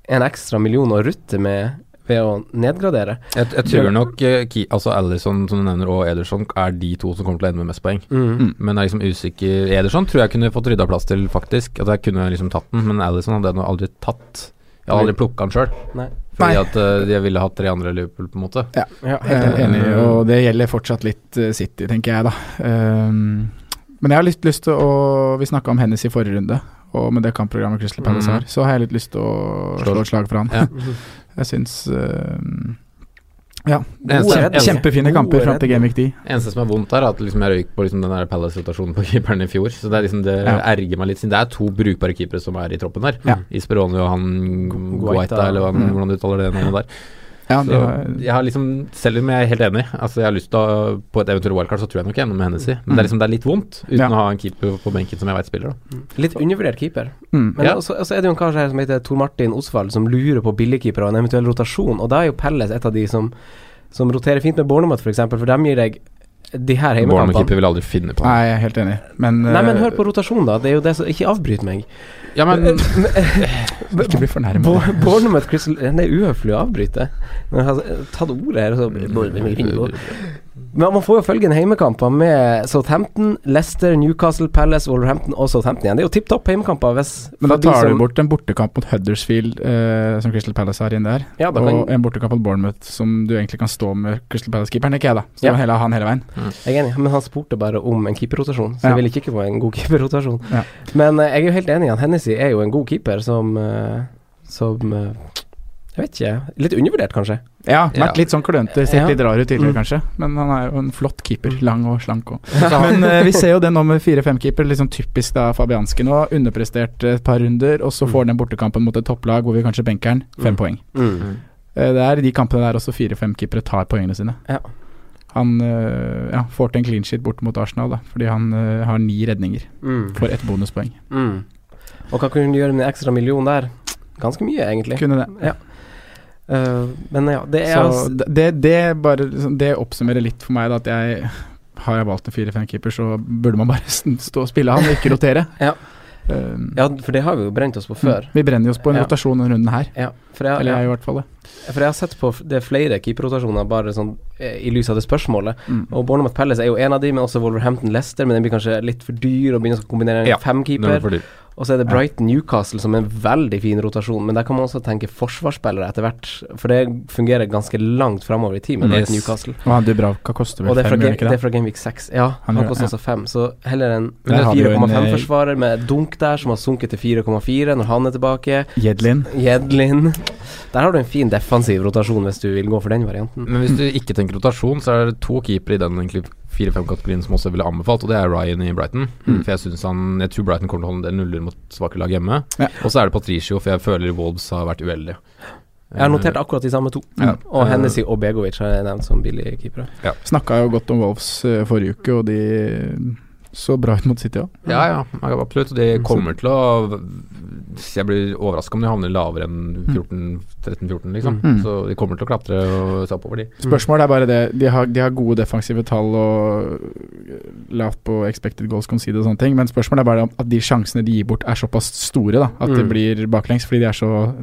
[SPEAKER 3] en ekstra million å rutte med ved å nedgradere.
[SPEAKER 2] Jeg, jeg tror nok eh, Ki, altså Alisson som du nevner, og Ederson er de to som kommer til å ende med mest poeng.
[SPEAKER 4] Mm.
[SPEAKER 2] Men jeg er liksom usikker Ederson tror jeg kunne fått rydda plass til, faktisk. At jeg kunne liksom tatt den, men Alisson hadde jeg nå aldri tatt. Jeg hadde aldri plukka den sjøl,
[SPEAKER 3] Nei.
[SPEAKER 4] Nei.
[SPEAKER 2] fordi at eh, jeg ville hatt tre andre i Liverpool, på en måte. Eh,
[SPEAKER 3] Ja,
[SPEAKER 4] Jeg er enig, og det gjelder fortsatt litt eh, City, tenker jeg, da. Ehm, men jeg har litt lyst til å Vi snakka om Hennes i forrige runde, og med det kampprogrammet Crystal Palace
[SPEAKER 3] Mm.
[SPEAKER 2] Mhm.
[SPEAKER 4] har, så har jeg litt lyst til å
[SPEAKER 2] Slå-
[SPEAKER 4] slå et slag for han.
[SPEAKER 2] Ja.
[SPEAKER 4] Jeg syns ehm, Ja.
[SPEAKER 2] Det eneste-
[SPEAKER 4] Kjempe,
[SPEAKER 2] eneste-
[SPEAKER 4] kjempefine
[SPEAKER 3] gode
[SPEAKER 4] kamper fram til
[SPEAKER 3] redning.
[SPEAKER 4] Gamevik 10.
[SPEAKER 2] Eneste som er vondt her, er at liksom jeg røyk på liksom den der Palace-rotasjonen på keeperen i fjor. Så det er liksom det
[SPEAKER 4] Ja.
[SPEAKER 2] erger meg litt, siden det er to brukbare keepere som er i troppen her.
[SPEAKER 4] Ja.
[SPEAKER 2] Isperoni og han
[SPEAKER 3] Gu- Guaita.
[SPEAKER 2] Guaita, eller hva,
[SPEAKER 4] Mm.
[SPEAKER 2] hvordan du uttaler det navnet der.
[SPEAKER 4] Ja,
[SPEAKER 2] Så
[SPEAKER 4] de har-
[SPEAKER 2] jeg har liksom, selv om jeg er helt enig, altså jeg har lyst til å på et eventuelt wildcard, så tror jeg nok jeg er enig med Hennessy. Men det er liksom det er litt vondt, uten
[SPEAKER 4] Mm. Ja.
[SPEAKER 2] å ha en keeper på benken som jeg veit spiller, da.
[SPEAKER 3] Litt undervurdert keeper.
[SPEAKER 4] mm.
[SPEAKER 3] Men
[SPEAKER 2] Ja.
[SPEAKER 3] også, også er det jo en kar her som heter Tor Martin Osvald, som lurer på billigkeepere og en eventuell rotasjon, og da er jo Pelles et av de som, som roterer fint med Bornermoth, f.eks., for dem gir deg de her heimekampene
[SPEAKER 2] Bournemouth-keeper vil aldri finne på det.
[SPEAKER 4] Nei, jeg er helt enig, men
[SPEAKER 3] Nei, men
[SPEAKER 4] eh,
[SPEAKER 3] hør på Eh, rotasjon, da. Det er jo det som Ikke avbryt meg.
[SPEAKER 2] Ja, men
[SPEAKER 4] Ikke bli fornærmet.
[SPEAKER 3] Bo- Bournemouth Crystal Det er uhøflig å avbryte. Men jeg har tatt ordet her, og så Men man får jo følge en heimekamper med Southampton, Leicester, Newcastle, Palace, Wolverhampton og Southampton igjen. Det er jo tipp topp heimekamper hvis
[SPEAKER 4] Men da
[SPEAKER 3] for de
[SPEAKER 4] tar du
[SPEAKER 3] som-
[SPEAKER 4] bort en bortekamp mot Huddersfield, eh, som Crystal Palace har inne der,
[SPEAKER 3] Ja, da
[SPEAKER 4] og
[SPEAKER 3] kan
[SPEAKER 4] en bortekamp mot Bournemouth, som du egentlig kan stå med Crystal Palace-keeperen, ikke jeg, da. Så
[SPEAKER 3] Ja.
[SPEAKER 4] det var hele, han hele veien.
[SPEAKER 3] Jeg er enig, men han spurte bare om en keeperrotasjon, så
[SPEAKER 4] Ja.
[SPEAKER 3] jeg ville ikke få en god keeperrotasjon.
[SPEAKER 4] Ja.
[SPEAKER 3] Men eh, jeg er jo helt enig i han. Hennessy er jo en god keeper som eh, Som eh, Jeg vet ikke. Litt undervurdert, kanskje.
[SPEAKER 2] Ja.
[SPEAKER 4] Ja, vært litt sånn klønete, sett
[SPEAKER 3] Ja.
[SPEAKER 4] litt rar ut
[SPEAKER 3] Mm.
[SPEAKER 4] tidligere, kanskje, men han er jo en flott keeper. Lang og slank òg. Men eh, vi ser jo det nå med fire-fem-keeper, liksom typisk da Fabianski nå. Underprestert eh, et par runder, og så får han den bortekampen mot et topplag hvor vi kanskje benker han. Fem
[SPEAKER 3] Mm.
[SPEAKER 4] poeng. Eh, Det er i de kampene der også fire-fem keepere tar poengene sine.
[SPEAKER 3] Ja.
[SPEAKER 4] Han eh, ja, får til en clean sheet bort mot Arsenal, da, fordi han eh, har ni redninger
[SPEAKER 3] Mm.
[SPEAKER 4] for ett bonuspoeng.
[SPEAKER 3] Mm. Og hva kunne du gjøre med en ekstra million der? Ganske mye, egentlig.
[SPEAKER 4] Kunne det.
[SPEAKER 3] Ja. Eh, men ja, det er
[SPEAKER 4] Så
[SPEAKER 3] altså-
[SPEAKER 4] d- det, det, bare, liksom, det oppsummerer litt for meg da, at jeg har jeg valgt en fire-fem-keeper, så burde man bare s- stå og spille han, og ikke rotere.
[SPEAKER 3] Ja.
[SPEAKER 4] Um,
[SPEAKER 3] Ja, for det har vi jo brent oss på før.
[SPEAKER 4] Vi brenner jo oss på en
[SPEAKER 3] Ja.
[SPEAKER 4] rotasjon denne runden her.
[SPEAKER 3] Ja, for jeg,
[SPEAKER 4] Mm. Eller jeg i hvert fall det.
[SPEAKER 3] For jeg har sett på f- det er flere keeperrotasjoner bare sånn eh, i lys av det spørsmålet.
[SPEAKER 4] Mm.
[SPEAKER 3] Og Bournemouth Palace er jo en av de, men også Wolverhampton Leicester. Men den blir kanskje litt for dyr å begynne å kombinere en
[SPEAKER 2] Ja, den er
[SPEAKER 3] femkeeper.
[SPEAKER 2] for dyr.
[SPEAKER 3] Og så er det Brighton Newcastle som er en veldig fin rotasjon, men der kan man også tenke forsvarsspillere etter hvert. For det fungerer ganske langt framover i tid med Brighton
[SPEAKER 2] Yes.
[SPEAKER 3] Newcastle.
[SPEAKER 4] Og han Dubravka koster
[SPEAKER 3] Og
[SPEAKER 4] vel
[SPEAKER 3] det er fra,
[SPEAKER 4] fem,
[SPEAKER 3] game,
[SPEAKER 4] gjør han ikke
[SPEAKER 3] det
[SPEAKER 4] det?
[SPEAKER 3] er fra Gameweek 6. Ja,
[SPEAKER 4] Han
[SPEAKER 3] han
[SPEAKER 4] gjør-
[SPEAKER 3] koster også 5, så heller en
[SPEAKER 4] Der har vi jo en, eh,
[SPEAKER 3] 4,5-forsvarer med dunk der, som har sunket til 4,4 når han er tilbake.
[SPEAKER 4] Jedlin.
[SPEAKER 3] Jedlin Der har du en fin defensiv rotasjon hvis du vil gå for den varianten.
[SPEAKER 2] Men hvis du ikke tenker rotasjon, så er det to keepere i den egentlig fire-fem-kategorien som også ville anbefalt, og det er Ryan i Brighton. For jeg synes han Jeg tror Brighton kommer til å holde en del nuller mot svake lag hjemme.
[SPEAKER 4] Ja.
[SPEAKER 2] Og så er det Patricio, for jeg føler Wolves har vært uheldige.
[SPEAKER 3] Jeg har notert akkurat de samme to.
[SPEAKER 4] Ja.
[SPEAKER 3] Og Hennessy og Begovic har jeg nevnt som billige keepere.
[SPEAKER 4] Snakka jo godt om Wolves eh, forrige uke, og de så bra ut mot City òg.
[SPEAKER 2] Eh, Ja, ja, ja, absolutt. De kommer til å Jeg blir overraska om de havner lavere enn 14-13-14, liksom.
[SPEAKER 4] Mm.
[SPEAKER 2] Så de kommer til å klatre og se oppover, de.
[SPEAKER 4] Spørsmålet er bare det de har, de har gode defensive tall og eh, lavt på expected goals conceded og sånne ting, men spørsmålet er bare om at de sjansene de gir bort er såpass store da at det
[SPEAKER 3] Mm.
[SPEAKER 4] blir baklengs, fordi de er så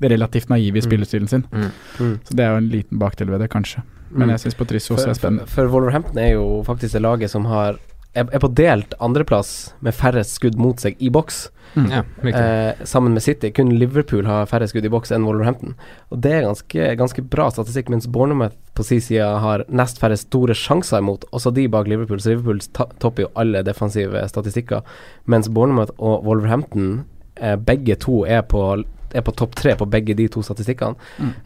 [SPEAKER 4] relativt naive i spillestilen sin.
[SPEAKER 2] Mm.
[SPEAKER 3] Mm.
[SPEAKER 4] Så det er jo en liten bakdel ved det, kanskje.
[SPEAKER 3] Mm.
[SPEAKER 4] Men jeg syns Patricio også
[SPEAKER 3] For,
[SPEAKER 4] er spennende.
[SPEAKER 3] for, for Wolverhampton er jo faktisk det laget som har er er på delt andreplass med færrest skudd mot seg i boks,
[SPEAKER 2] Ja, riktig.
[SPEAKER 3] eh, sammen med City. Kun Liverpool har færre skudd i boks enn Wolverhampton. Og det er ganske, ganske bra statistikk, mens Bournemouth på sin side har nest færre store sjanser imot, også de bak Liverpool. Så Liverpool ta topper jo alle defensive statistikker, mens Bournemouth og Wolverhampton eh, begge to er på er på topp tre på begge de to statistikkene,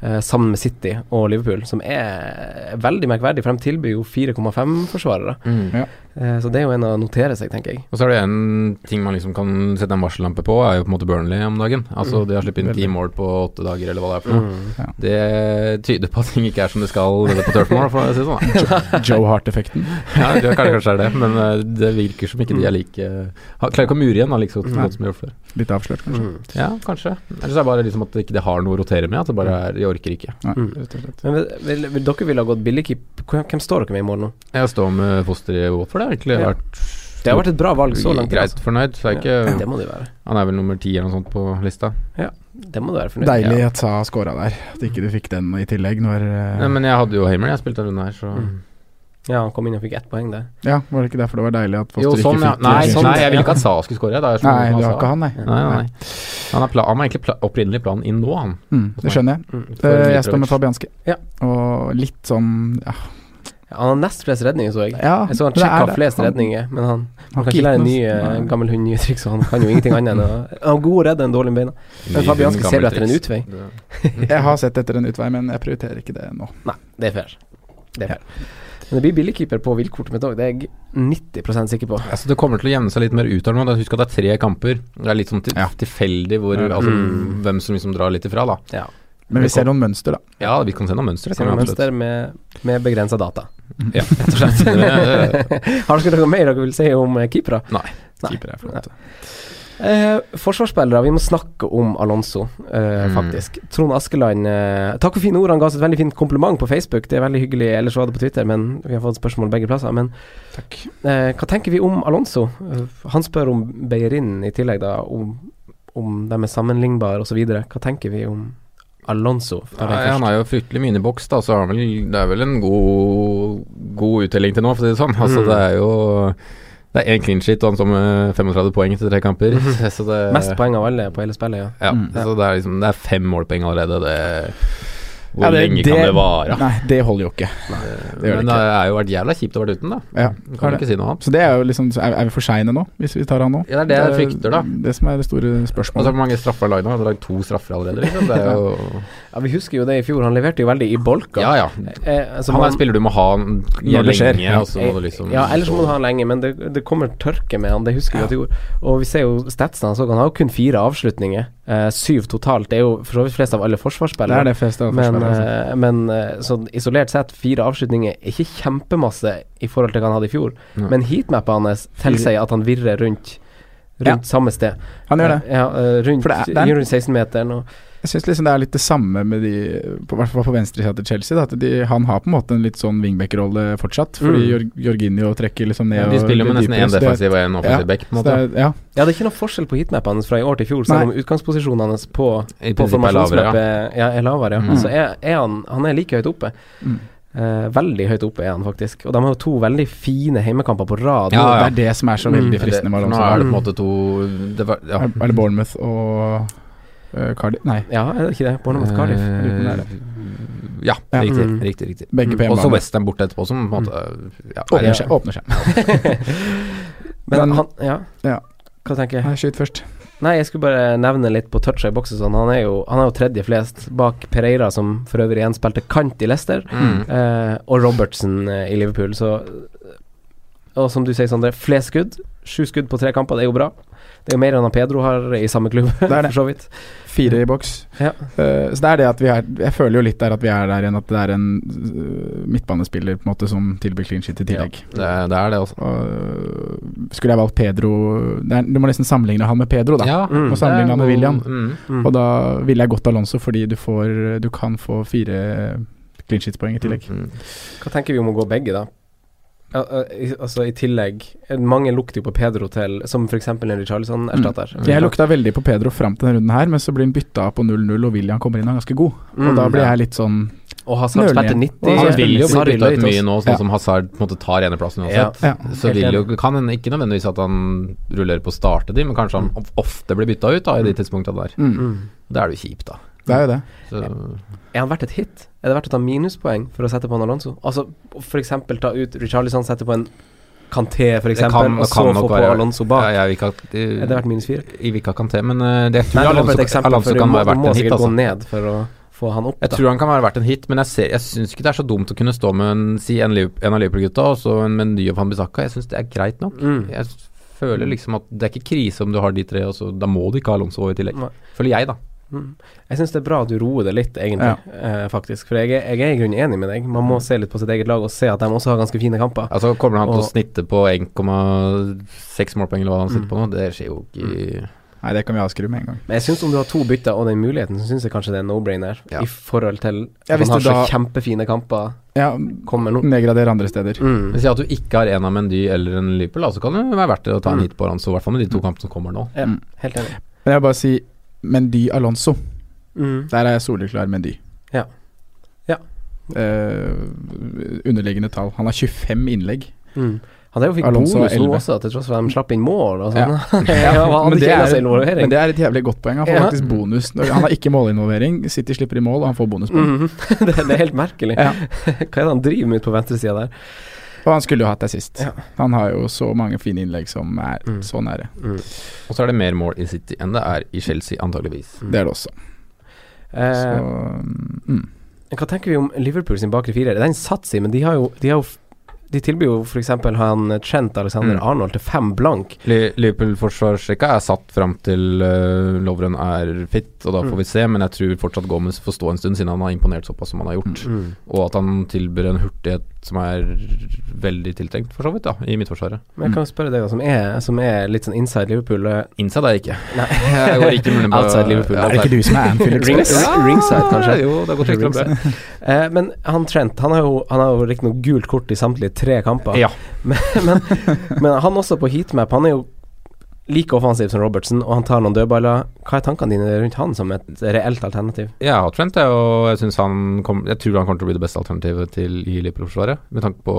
[SPEAKER 3] eh, sammen med City og Liverpool, som er veldig merkverdig, for de tilbyr jo 4,5-forsvarere.
[SPEAKER 2] Mm.
[SPEAKER 3] Eh, så det er jo en å notere seg, tenker jeg.
[SPEAKER 2] Og så er det en ting man liksom kan sette en varsellampe på, er jo på en måte Burnley om dagen. Altså de har sluppet inn ti
[SPEAKER 4] Veldig.
[SPEAKER 2] mål på åtte dager, eller hva det er for noe.
[SPEAKER 3] Mm.
[SPEAKER 2] Det tyder på at ting ikke er som det skal nede på Turfmore, for å si det sånn. da.
[SPEAKER 4] Joe Hart-effekten.
[SPEAKER 2] Ja, det kanskje, kanskje er det, men eh, det virker som ikke de er like har- Klarer ikke å mure igjen da, like så
[SPEAKER 4] Nei.
[SPEAKER 2] godt som de har gjort før.
[SPEAKER 4] Litt avslørt, kanskje.
[SPEAKER 2] Ja, kanskje. Eller så er det bare liksom at de ikke har noe å rotere med, at det bare er De orker ikke.
[SPEAKER 4] Nei,
[SPEAKER 3] Mm.
[SPEAKER 4] rett og slett.
[SPEAKER 3] Men vil, vil, vil dere ville ha gått billigkeep? Hvem hvem står dere med i mål nå?
[SPEAKER 2] Jeg står med foster i Watford, det har egentlig
[SPEAKER 3] Ja.
[SPEAKER 2] vært
[SPEAKER 3] Det har vært et bra valg så langt.
[SPEAKER 2] greit
[SPEAKER 3] altså.
[SPEAKER 2] fornøyd. Så jeg er
[SPEAKER 3] Ja,
[SPEAKER 2] ikke
[SPEAKER 3] det må det være.
[SPEAKER 2] Han er vel nummer ti eller noe sånt på lista.
[SPEAKER 3] Det må du være fornøyd med.
[SPEAKER 4] Deilig at Sa scora der. At ikke du fikk den i tillegg når eh,
[SPEAKER 2] Nei, men jeg hadde jo Hamer, jeg spilte en runde her, så
[SPEAKER 3] Ja, han kom inn og fikk ett poeng, det.
[SPEAKER 4] Ja, var det ikke derfor det var deilig at Foster
[SPEAKER 2] Jo, sånn,
[SPEAKER 4] ikke
[SPEAKER 2] ja.
[SPEAKER 4] fikk
[SPEAKER 2] Nei,
[SPEAKER 4] eh,
[SPEAKER 2] sånn, nei, jeg vil ikke at Sa skulle score. Da. Jeg skjønner
[SPEAKER 4] Nei,
[SPEAKER 2] hva
[SPEAKER 4] det var
[SPEAKER 2] sa.
[SPEAKER 4] ikke han, nei.
[SPEAKER 2] Nei, nei, nei. Han, er pla han var egentlig pla opprinnelig planen inn nå, han.
[SPEAKER 4] Mm, det skjønner jeg.
[SPEAKER 3] Mm.
[SPEAKER 4] Eh,
[SPEAKER 2] Mitrovic.
[SPEAKER 4] jeg står med Fabianski.
[SPEAKER 3] Ja.
[SPEAKER 4] Og litt sånn Ja,
[SPEAKER 3] Ja, Han har nest flest redninger, så jeg.
[SPEAKER 4] ja
[SPEAKER 3] Jeg så han
[SPEAKER 4] det
[SPEAKER 3] Check
[SPEAKER 4] er
[SPEAKER 3] har
[SPEAKER 4] det.
[SPEAKER 3] flest
[SPEAKER 4] Han-
[SPEAKER 3] redninger, men han, han
[SPEAKER 4] han
[SPEAKER 3] kan ikke
[SPEAKER 4] gitt
[SPEAKER 3] lære
[SPEAKER 4] noe-
[SPEAKER 3] nye eh,
[SPEAKER 4] Nei.
[SPEAKER 3] gammel hund nye triks, og han kan jo ingenting annet enn å Han er god å redde enn dårlig med beina. Men Fabianski ser du etter en utvei?
[SPEAKER 2] Det-
[SPEAKER 4] Jeg har sett etter en utvei, men jeg prioriterer ikke det nå.
[SPEAKER 3] Nei, det er fair. Det er fair. Men det blir billigkeeper på villkortet mitt òg, det er jeg 90 sikker på.
[SPEAKER 2] Altså, det kommer til å jevne seg litt mer ut her nå. da. Husk at det er tre kamper. Det er litt sånn til
[SPEAKER 4] Ja.
[SPEAKER 2] tilfeldig hvor, altså,
[SPEAKER 3] Mm.
[SPEAKER 2] hvem som liksom drar litt ifra, da.
[SPEAKER 4] Men vi ser noen mønster, da.
[SPEAKER 2] Ja, vi kan se noen mønstre.
[SPEAKER 3] Ser du mønster med, med begrensa data.
[SPEAKER 2] Ja, rett og slett. Det-
[SPEAKER 3] Har dere noe mer dere vil si om eh, keepere?
[SPEAKER 2] Nei.
[SPEAKER 3] Nei.
[SPEAKER 4] Keepere er flotte.
[SPEAKER 3] Eh, forsvarsspillere, vi må snakke om Alonso, eh,
[SPEAKER 2] Mm.
[SPEAKER 3] faktisk. Trond Askeland, eh, takk for fine ord. Han ga oss et veldig fint kompliment på Facebook. Det er veldig hyggelig. Ellers var det på Twitter, men vi har fått spørsmål begge plasser. Men eh, hva tenker vi om Alonso? Eh, han spør om Beirin i tillegg, da. Om, om de er sammenlignbare osv. Hva tenker vi om Alonso? Da tar jeg
[SPEAKER 2] Nei, han
[SPEAKER 3] først.
[SPEAKER 2] har jo fryktelig mye inni boks, da, så har han vel, det er vel en god, god uttelling til nå, for å si det sånn. Altså, det er jo Det er én clean sheet og han står med 35 poeng etter tre kamper. Så det,
[SPEAKER 3] Mest poeng av alle på hele spillet, ja.
[SPEAKER 2] Ja,
[SPEAKER 4] Mm.
[SPEAKER 2] så det er liksom Det er fem målpoeng allerede. Det, hvor
[SPEAKER 4] Ja,
[SPEAKER 2] lenge kan det vare?
[SPEAKER 4] Nei, det holder jo ikke. det gjør det
[SPEAKER 2] Men det har jo vært jævla kjipt å være uten, da.
[SPEAKER 4] Ja,
[SPEAKER 2] Kan du ikke si noe annet.
[SPEAKER 4] Så det er jo liksom så Er, er vi for seine nå, hvis vi tar han nå?
[SPEAKER 2] Ja, det er det jeg frykter, da.
[SPEAKER 4] Det som er det store
[SPEAKER 2] Altså,
[SPEAKER 4] spørsmålet.
[SPEAKER 2] hvor mange straffer har han lagd nå? Han har lagd to straffer allerede, liksom. Det er jo
[SPEAKER 3] ja. Vi husker jo det i fjor. Han leverte jo veldig i bolka.
[SPEAKER 2] Ja, ja.
[SPEAKER 3] Eh, altså,
[SPEAKER 2] Han er
[SPEAKER 3] man-
[SPEAKER 2] en spiller du må ha
[SPEAKER 4] Når det skjer.
[SPEAKER 2] lenge, og så må du liksom
[SPEAKER 3] Eh, ja, ellers må du ha han lenge, men det, det kommer tørke med han. Det husker vi at det gjorde. Og vi ser jo statsene hans òg. Han har jo kun fire avslutninger. Eh, syv totalt. Det er jo for så vidt flest av alle
[SPEAKER 4] Det
[SPEAKER 3] forsvarsspillere.
[SPEAKER 4] er det fleste av
[SPEAKER 3] Men,
[SPEAKER 4] forsvaret. altså.
[SPEAKER 3] eh, men eh, sånn isolert sett, fire avslutninger er ikke kjempemasse i forhold til hva han hadde i fjor.
[SPEAKER 2] Nei.
[SPEAKER 3] Men heatmappa hans tilsier at han virrer rundt Rundt
[SPEAKER 4] Ja.
[SPEAKER 3] samme sted.
[SPEAKER 4] Han gjør det.
[SPEAKER 3] Ja, eh, rundt,
[SPEAKER 4] For det er- det er-
[SPEAKER 3] rundt 16-meteren og
[SPEAKER 4] Jeg syns liksom det er litt det samme med de på- I hvert fall på venstresida til Chelsea. Da, at de, han har på en måte en litt sånn wingback-rolle fortsatt. Fordi
[SPEAKER 3] Mm.
[SPEAKER 4] Jor- Jorginho trekker liksom ned.
[SPEAKER 2] Ja, de
[SPEAKER 4] og
[SPEAKER 2] spiller
[SPEAKER 4] det
[SPEAKER 2] med nesten
[SPEAKER 4] dypere,
[SPEAKER 2] én
[SPEAKER 4] så det-
[SPEAKER 2] defensiv og én offensiv back, på en
[SPEAKER 4] så
[SPEAKER 2] måte.
[SPEAKER 4] det er- Ja,
[SPEAKER 3] Ja, det er ikke noe forskjell på heatmappene hans fra i år til fjor,
[SPEAKER 4] Nei.
[SPEAKER 3] selv om utgangsposisjonen hans på,
[SPEAKER 2] I
[SPEAKER 3] på
[SPEAKER 2] prinsippet er lavere, ja.
[SPEAKER 3] formasjonsmappet ja, er lavere. Ja.
[SPEAKER 4] Mm.
[SPEAKER 3] Så er, er han, han er like høyt oppe.
[SPEAKER 4] Mm.
[SPEAKER 3] Eh, veldig høyt oppe er han faktisk. Og de har jo to veldig fine heimekamper på rad.
[SPEAKER 2] Ja,
[SPEAKER 4] det
[SPEAKER 2] ja.
[SPEAKER 4] er det som er så
[SPEAKER 3] Mm.
[SPEAKER 4] veldig
[SPEAKER 2] Det-
[SPEAKER 4] fristende med
[SPEAKER 2] for
[SPEAKER 4] Alonso.
[SPEAKER 2] Nå er det på en måte to det var, ja.
[SPEAKER 4] Er- Er det Bournemouth og uh, Cardi... Nei,
[SPEAKER 3] Ja, er det ikke det? Bournemouth Cardiff.
[SPEAKER 2] Eh,
[SPEAKER 4] lurer på om det er
[SPEAKER 2] Ja,
[SPEAKER 4] Ja.
[SPEAKER 2] riktig.
[SPEAKER 3] Mm.
[SPEAKER 2] riktig, riktig.
[SPEAKER 4] begge på Mm.
[SPEAKER 2] Og så
[SPEAKER 4] hjemmebane.
[SPEAKER 2] Western borte etterpå, som på en måte ja, er
[SPEAKER 4] Åpner
[SPEAKER 2] en-
[SPEAKER 4] seg. Åpner seg.
[SPEAKER 3] Men
[SPEAKER 4] men-
[SPEAKER 3] han Ja.
[SPEAKER 4] Ja.
[SPEAKER 3] Hva tenker jeg?
[SPEAKER 4] Nei, Skyt først.
[SPEAKER 3] Nei, jeg skulle bare nevne litt på toucha i boks og sånn. Han er jo, han er jo tredje flest bak Pereira, som for øvrig igjen spilte kant i Leicester.
[SPEAKER 2] Mm.
[SPEAKER 3] Eh, og Robertson eh, i Liverpool. Så, eh, og som du sier, Sondre, flest skudd. Sju skudd på tre kamper, det er jo bra. Det er jo mer enn han Pedro har i samme klubb,
[SPEAKER 4] Det er det.
[SPEAKER 3] for så vidt.
[SPEAKER 4] Fire i boks.
[SPEAKER 3] Ja.
[SPEAKER 4] Eh, så det er det at vi er Jeg føler jo litt der at vi er der igjen, at det er en eh, midtbanespiller på en måte som tilbyr clean shit i tillegg.
[SPEAKER 2] Det, er- det er det, altså.
[SPEAKER 4] Og, eh, skulle jeg valgt Pedro det er, Du må nesten sammenligne han med Pedro, da.
[SPEAKER 2] Ja,
[SPEAKER 3] Mm.
[SPEAKER 4] Og sammenligne han med William.
[SPEAKER 2] Mm.
[SPEAKER 4] Og da ville jeg gått Alonso, fordi du får Du kan få fire clean shit-poeng i tillegg.
[SPEAKER 2] Mm.
[SPEAKER 3] Hva tenker vi om å gå begge, da? Ja, eh, i- Altså i tillegg eh, Mange lukter jo på Pedro til Som f.eks. en Richarlison-erstatter.
[SPEAKER 2] Mm.
[SPEAKER 4] Jeg lukta veldig på Pedro fram til denne runden her, men så blir han bytta av på 0-0, og William kommer inn og er ganske god.
[SPEAKER 3] Mm.
[SPEAKER 4] Og da blir
[SPEAKER 3] Ja.
[SPEAKER 4] jeg litt sånn
[SPEAKER 3] Og Hazard
[SPEAKER 4] nølen
[SPEAKER 3] spilte
[SPEAKER 4] igjen.
[SPEAKER 3] 90.
[SPEAKER 4] Og
[SPEAKER 2] Han
[SPEAKER 4] Hazard
[SPEAKER 2] vil jo bli
[SPEAKER 3] Hazard
[SPEAKER 2] bytta ut
[SPEAKER 3] ville
[SPEAKER 2] mye
[SPEAKER 3] ut
[SPEAKER 2] nå,
[SPEAKER 4] Ja.
[SPEAKER 2] sånn som Hazard på en måte tar eneplassen
[SPEAKER 3] oss.
[SPEAKER 2] uansett.
[SPEAKER 4] Ja.
[SPEAKER 2] Så vil jo, kan en ikke nødvendigvis at han rullerer på å starte de, men kanskje han of- ofte blir bytta ut da, i de tidspunktene der.
[SPEAKER 4] mm,
[SPEAKER 3] Mm.
[SPEAKER 2] Det er jo kjipt, da.
[SPEAKER 4] Det er jo det.
[SPEAKER 2] Så,
[SPEAKER 3] Er han verdt et hit? Er det verdt å ta minuspoeng for å sette på en Alonso? Altså f.eks. ta ut Richarlison, sette på en Kanté f.eks.,
[SPEAKER 2] Det kan-
[SPEAKER 3] og så
[SPEAKER 2] kan nok
[SPEAKER 3] få på
[SPEAKER 2] være-
[SPEAKER 3] Alonso
[SPEAKER 2] ja,
[SPEAKER 3] bak.
[SPEAKER 2] jeg vil ikke at
[SPEAKER 3] Er det verdt minus fire?
[SPEAKER 2] Jeg vil ikke at Kanté, men eh, det, jeg tror
[SPEAKER 3] Nei, det var bare et
[SPEAKER 2] Alonso,
[SPEAKER 3] eksempel,
[SPEAKER 2] Alonso
[SPEAKER 3] for du
[SPEAKER 2] kan
[SPEAKER 3] må,
[SPEAKER 2] være
[SPEAKER 3] du
[SPEAKER 2] verdt
[SPEAKER 3] må
[SPEAKER 2] en hit,
[SPEAKER 3] sikkert
[SPEAKER 2] altså.
[SPEAKER 3] gå ned for å få han opp.
[SPEAKER 2] Jeg tror han kan være verdt en hit, men jeg, ser- jeg syns ikke det er så dumt å kunne stå med en, si en, Liverp- en av Liverpool-gutta og så en Mendy og Van Bissaka. Jeg syns det er greit nok.
[SPEAKER 3] Mm.
[SPEAKER 2] Jeg s- føler liksom at det er ikke krise om du har de tre, og så da må du ikke ha Alonso i tillegg.
[SPEAKER 3] Nei.
[SPEAKER 2] Føler jeg, da.
[SPEAKER 3] Jeg syns det er bra at du roer det litt, egentlig, eh, faktisk. For jeg, er- jeg er i grunnen enig med deg. Man
[SPEAKER 4] Mm.
[SPEAKER 3] må se litt på sitt eget lag og se at de også har ganske fine kamper.
[SPEAKER 2] Altså Kommer han til å
[SPEAKER 3] Og-
[SPEAKER 2] snitte på 1,6 målpoeng eller hva han sitter på nå? Det skjer jo ikke
[SPEAKER 4] Nei, det kan vi avskrive med en gang.
[SPEAKER 3] Men jeg syns om du har to bytter og den muligheten, så syns jeg kanskje det er no-brainer.
[SPEAKER 2] Ja.
[SPEAKER 3] I forhold til
[SPEAKER 4] Ja,
[SPEAKER 3] at
[SPEAKER 4] hvis
[SPEAKER 3] han har
[SPEAKER 4] du da-
[SPEAKER 3] så kjempefine kamper
[SPEAKER 4] Ja,
[SPEAKER 3] kommer nå.
[SPEAKER 4] nedgradere andre steder.
[SPEAKER 3] Mm.
[SPEAKER 2] Men Si at du ikke har en av Mendy eller en Liverpool, da, så kan det være verdt det å ta en
[SPEAKER 3] Mm.
[SPEAKER 2] hit på Alonso, i hvert fall med de to kampene som kommer nå.
[SPEAKER 3] Ja,
[SPEAKER 4] Mm.
[SPEAKER 3] helt enig.
[SPEAKER 4] Men jeg vil bare si Mendy Alonso.
[SPEAKER 3] Mm.
[SPEAKER 4] Der er jeg soleklar Mendy.
[SPEAKER 3] Ja. Ja.
[SPEAKER 4] Eh, underliggende tall. Han har 25 innlegg.
[SPEAKER 3] Mm. Han der jo fikk
[SPEAKER 4] Alonso
[SPEAKER 3] bonus nå
[SPEAKER 4] 11.
[SPEAKER 3] også, til tross for at de slapp inn mål og
[SPEAKER 4] Ja.
[SPEAKER 3] sånn. Ja, han hadde
[SPEAKER 4] men, det
[SPEAKER 3] ikke
[SPEAKER 4] er,
[SPEAKER 3] eneste involvering.
[SPEAKER 4] men det er et jævlig godt poeng. Han får
[SPEAKER 3] Ja.
[SPEAKER 4] faktisk bonus. når- Han har ikke målinvolvering. City slipper i mål, og han får bonuspoeng.
[SPEAKER 3] Mhm. det, det er helt merkelig.
[SPEAKER 4] Ja.
[SPEAKER 3] Hva er det han driver med ute på venstresida der?
[SPEAKER 4] Og han skulle jo hatt det sist.
[SPEAKER 3] Ja.
[SPEAKER 4] Han har jo så mange fine innlegg som er
[SPEAKER 3] Mm.
[SPEAKER 4] så nære.
[SPEAKER 2] Og så er det mer mål i City enn det er i Chelsea, antageligvis.
[SPEAKER 4] Det er det også. Så,
[SPEAKER 3] Eh,
[SPEAKER 4] mm.
[SPEAKER 3] hva tenker vi om Liverpool sin bakre firer? Den satser i, men de har jo De, har jo, f- de tilbyr jo f.eks. han eh, Trent Alexander
[SPEAKER 2] Mm.
[SPEAKER 3] Arnold til fem blank.
[SPEAKER 2] Li- Liverpool-forsvarsrekka er satt fram til uh, Lovren er fit, og da får vi se. Mm. Men jeg tror fortsatt Gomez får stå en stund, siden han har imponert såpass som han har gjort. Og at han tilbyr en hurtighet som er veldig tiltrengt, for så vidt, da, i midtforsvaret.
[SPEAKER 3] Men jeg kan jo spørre deg, da, som er, som er litt sånn inside Liverpool eh,
[SPEAKER 2] Inside er jeg ikke.
[SPEAKER 3] Nei.
[SPEAKER 2] Jeg går ikke mulig på
[SPEAKER 3] Outside Liverpool.
[SPEAKER 2] Ja,
[SPEAKER 4] Er det ikke du som er Anfield Express?
[SPEAKER 3] Rings- ringside, kanskje?
[SPEAKER 2] Jo, det er godt rykter om det.
[SPEAKER 3] Eh, men han Trent, han har jo, han har jo riktignok gult kort i samtlige tre kamper.
[SPEAKER 2] Ja.
[SPEAKER 3] Men, men, men han også på heatmap, han er jo like offensiv som Robertson, og han tar noen dødballer. Hva er tankene dine rundt han som et reelt alternativ?
[SPEAKER 2] Ja, og Trent er jo Jeg, synes han kom, jeg tror han kommer til å bli det beste alternativet til i Liverpool-forsvaret. Med tanke på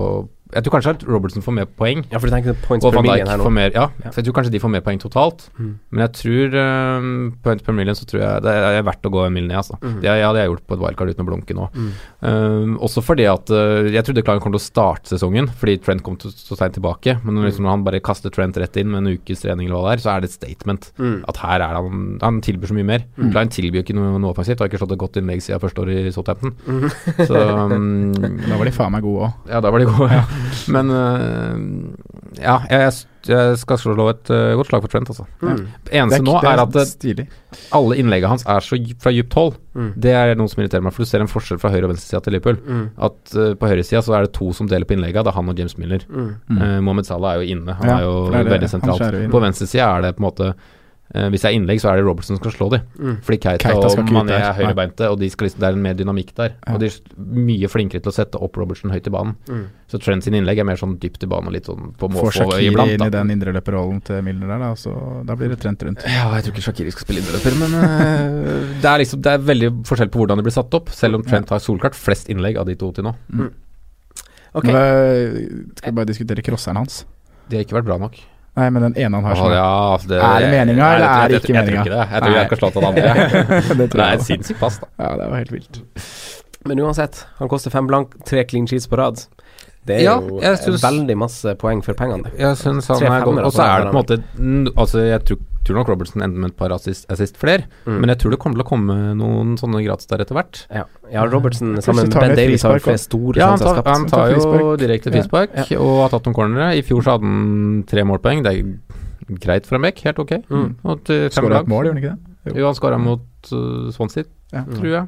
[SPEAKER 2] Jeg tror kanskje at Robertson får mer poeng.
[SPEAKER 3] Ja, for du tenker points
[SPEAKER 2] Og
[SPEAKER 3] per
[SPEAKER 2] Van
[SPEAKER 3] million
[SPEAKER 2] Dijk
[SPEAKER 3] her
[SPEAKER 2] får
[SPEAKER 3] nå.
[SPEAKER 2] mer Ja,
[SPEAKER 3] Ja.
[SPEAKER 2] for jeg tror kanskje de får mer poeng totalt.
[SPEAKER 3] Mm.
[SPEAKER 2] Men jeg tror eh, points per million så tror jeg det er verdt å gå en mil ned, altså.
[SPEAKER 3] Mm.
[SPEAKER 2] Det hadde jeg gjort på et wildcard uten å blunke nå.
[SPEAKER 3] Mm.
[SPEAKER 2] Um, også fordi at eh, jeg trodde Klein kom til å starte sesongen fordi Trent kom til, så seint tilbake. Men
[SPEAKER 3] Mm.
[SPEAKER 2] når, liksom, når han bare kaster Trent rett inn med en ukes trening eller hva det er, så er det et statement.
[SPEAKER 3] Mm.
[SPEAKER 2] At her er han Han tilbyr så mye mer. Klein tilbyr jo ikke noe, noe offensivt. Har ikke slått et godt innlegg siden første år i Southampton.
[SPEAKER 3] Mm.
[SPEAKER 2] så um,
[SPEAKER 4] Da var de faen meg gode òg.
[SPEAKER 2] ja, da var de gode. Ja. Men eh, ja, jeg, jeg, jeg skal slå et eh, godt slag for Trent, altså.
[SPEAKER 3] Mm.
[SPEAKER 2] Eneste nå er at eh,
[SPEAKER 4] Stilig.
[SPEAKER 2] alle innleggene hans er så dy- fra dypt hold.
[SPEAKER 3] Mm.
[SPEAKER 2] Det er noe som irriterer meg, for du ser en forskjell fra høyre- og venstresida til Liverpool.
[SPEAKER 3] Mm.
[SPEAKER 2] At eh, på høyresida så er det to som deler på innlegga, det er han og James Miller.
[SPEAKER 3] Mm.
[SPEAKER 4] Mm.
[SPEAKER 2] Eh, Mohamed Salah er jo inne, han
[SPEAKER 4] Ja,
[SPEAKER 2] er
[SPEAKER 4] for
[SPEAKER 2] jo
[SPEAKER 4] det er det,
[SPEAKER 2] veldig
[SPEAKER 4] han
[SPEAKER 2] sentralt.
[SPEAKER 4] skjærer jo inn.
[SPEAKER 2] På venstresida er det på en måte eh, Hvis det er innlegg, så er det Robertson som skal slå dem.
[SPEAKER 3] Mm.
[SPEAKER 2] Fordi Keita,
[SPEAKER 4] Keita skal
[SPEAKER 2] og
[SPEAKER 4] ikke ut
[SPEAKER 2] Mané
[SPEAKER 4] der.
[SPEAKER 2] er høyrebeinte, og de skal liksom, det er en mer dynamikk der.
[SPEAKER 4] Ja.
[SPEAKER 2] Og de er mye flinkere til å sette opp Robertson høyt i banen.
[SPEAKER 3] Mm.
[SPEAKER 2] Så Trent sin innlegg er mer sånn dypt i banen og litt sånn på
[SPEAKER 4] Får
[SPEAKER 2] måfå
[SPEAKER 4] Shakiri
[SPEAKER 2] iblant.
[SPEAKER 4] inn i
[SPEAKER 2] Da.
[SPEAKER 4] den indreløperrollen til Milner der, da, så da blir det trent rundt.
[SPEAKER 2] Ja, jeg tror ikke Shakiri skal spille indreløper, men eh, det, er liksom, det er veldig forskjell på hvordan det blir satt opp, selv om Trent har solklart flest innlegg av de to til nå.
[SPEAKER 3] Ok.
[SPEAKER 4] Men, eh, skal vi bare diskutere crosseren hans?
[SPEAKER 2] De har ikke vært bra nok.
[SPEAKER 4] Nei, men den ene han har
[SPEAKER 2] Åh,
[SPEAKER 4] sånn
[SPEAKER 2] ja, altså,
[SPEAKER 4] Er det meningen, eller er
[SPEAKER 2] jeg- jeg-
[SPEAKER 4] det ikke
[SPEAKER 2] Jeg tror
[SPEAKER 4] meningen?
[SPEAKER 2] ikke det. Jeg tror
[SPEAKER 4] Nei.
[SPEAKER 2] jeg skal slå til det andre.
[SPEAKER 4] det
[SPEAKER 2] Det
[SPEAKER 4] tror
[SPEAKER 2] er et
[SPEAKER 4] jeg.
[SPEAKER 2] sinnssykt pass, da.
[SPEAKER 4] da. Ja, det var helt vilt.
[SPEAKER 3] Men uansett, han koster fem blank, tre clean sheets på rad. Det er
[SPEAKER 2] Ja,
[SPEAKER 3] jo
[SPEAKER 2] jeg
[SPEAKER 3] eh,
[SPEAKER 2] synes-
[SPEAKER 3] veldig masse poeng for pengene. det.
[SPEAKER 2] Jeg syns han
[SPEAKER 3] Tre
[SPEAKER 2] er god.
[SPEAKER 3] femmere
[SPEAKER 2] Og så
[SPEAKER 3] på
[SPEAKER 2] er
[SPEAKER 4] altså.
[SPEAKER 3] den
[SPEAKER 2] det på en måte n- Altså, jeg tror, tror nok Robertson ender med et par assist, assist flere,
[SPEAKER 3] Mm.
[SPEAKER 2] men jeg tror det kommer til å komme noen sånne gratis der etter hvert.
[SPEAKER 3] Ja. ja, Robertson
[SPEAKER 4] Plutselig
[SPEAKER 3] sammen med Ben
[SPEAKER 4] tar han et
[SPEAKER 3] Davies har jo
[SPEAKER 4] frispark
[SPEAKER 3] flere store
[SPEAKER 4] Sånn
[SPEAKER 2] Ja, han
[SPEAKER 3] sjanser
[SPEAKER 2] tar,
[SPEAKER 3] skapt.
[SPEAKER 2] han tar jo direkte frispark
[SPEAKER 3] Ja,
[SPEAKER 2] og har tatt noen cornere. I fjor så hadde han tre målpoeng. Det er greit for en bekk, helt ok.
[SPEAKER 3] Mm.
[SPEAKER 2] Og til fem
[SPEAKER 4] Skåra
[SPEAKER 2] lag.
[SPEAKER 4] et mål, gjorde han ikke det?
[SPEAKER 2] Jo, han skåra mot uh, Swansea,
[SPEAKER 4] Ja.
[SPEAKER 2] tror jeg.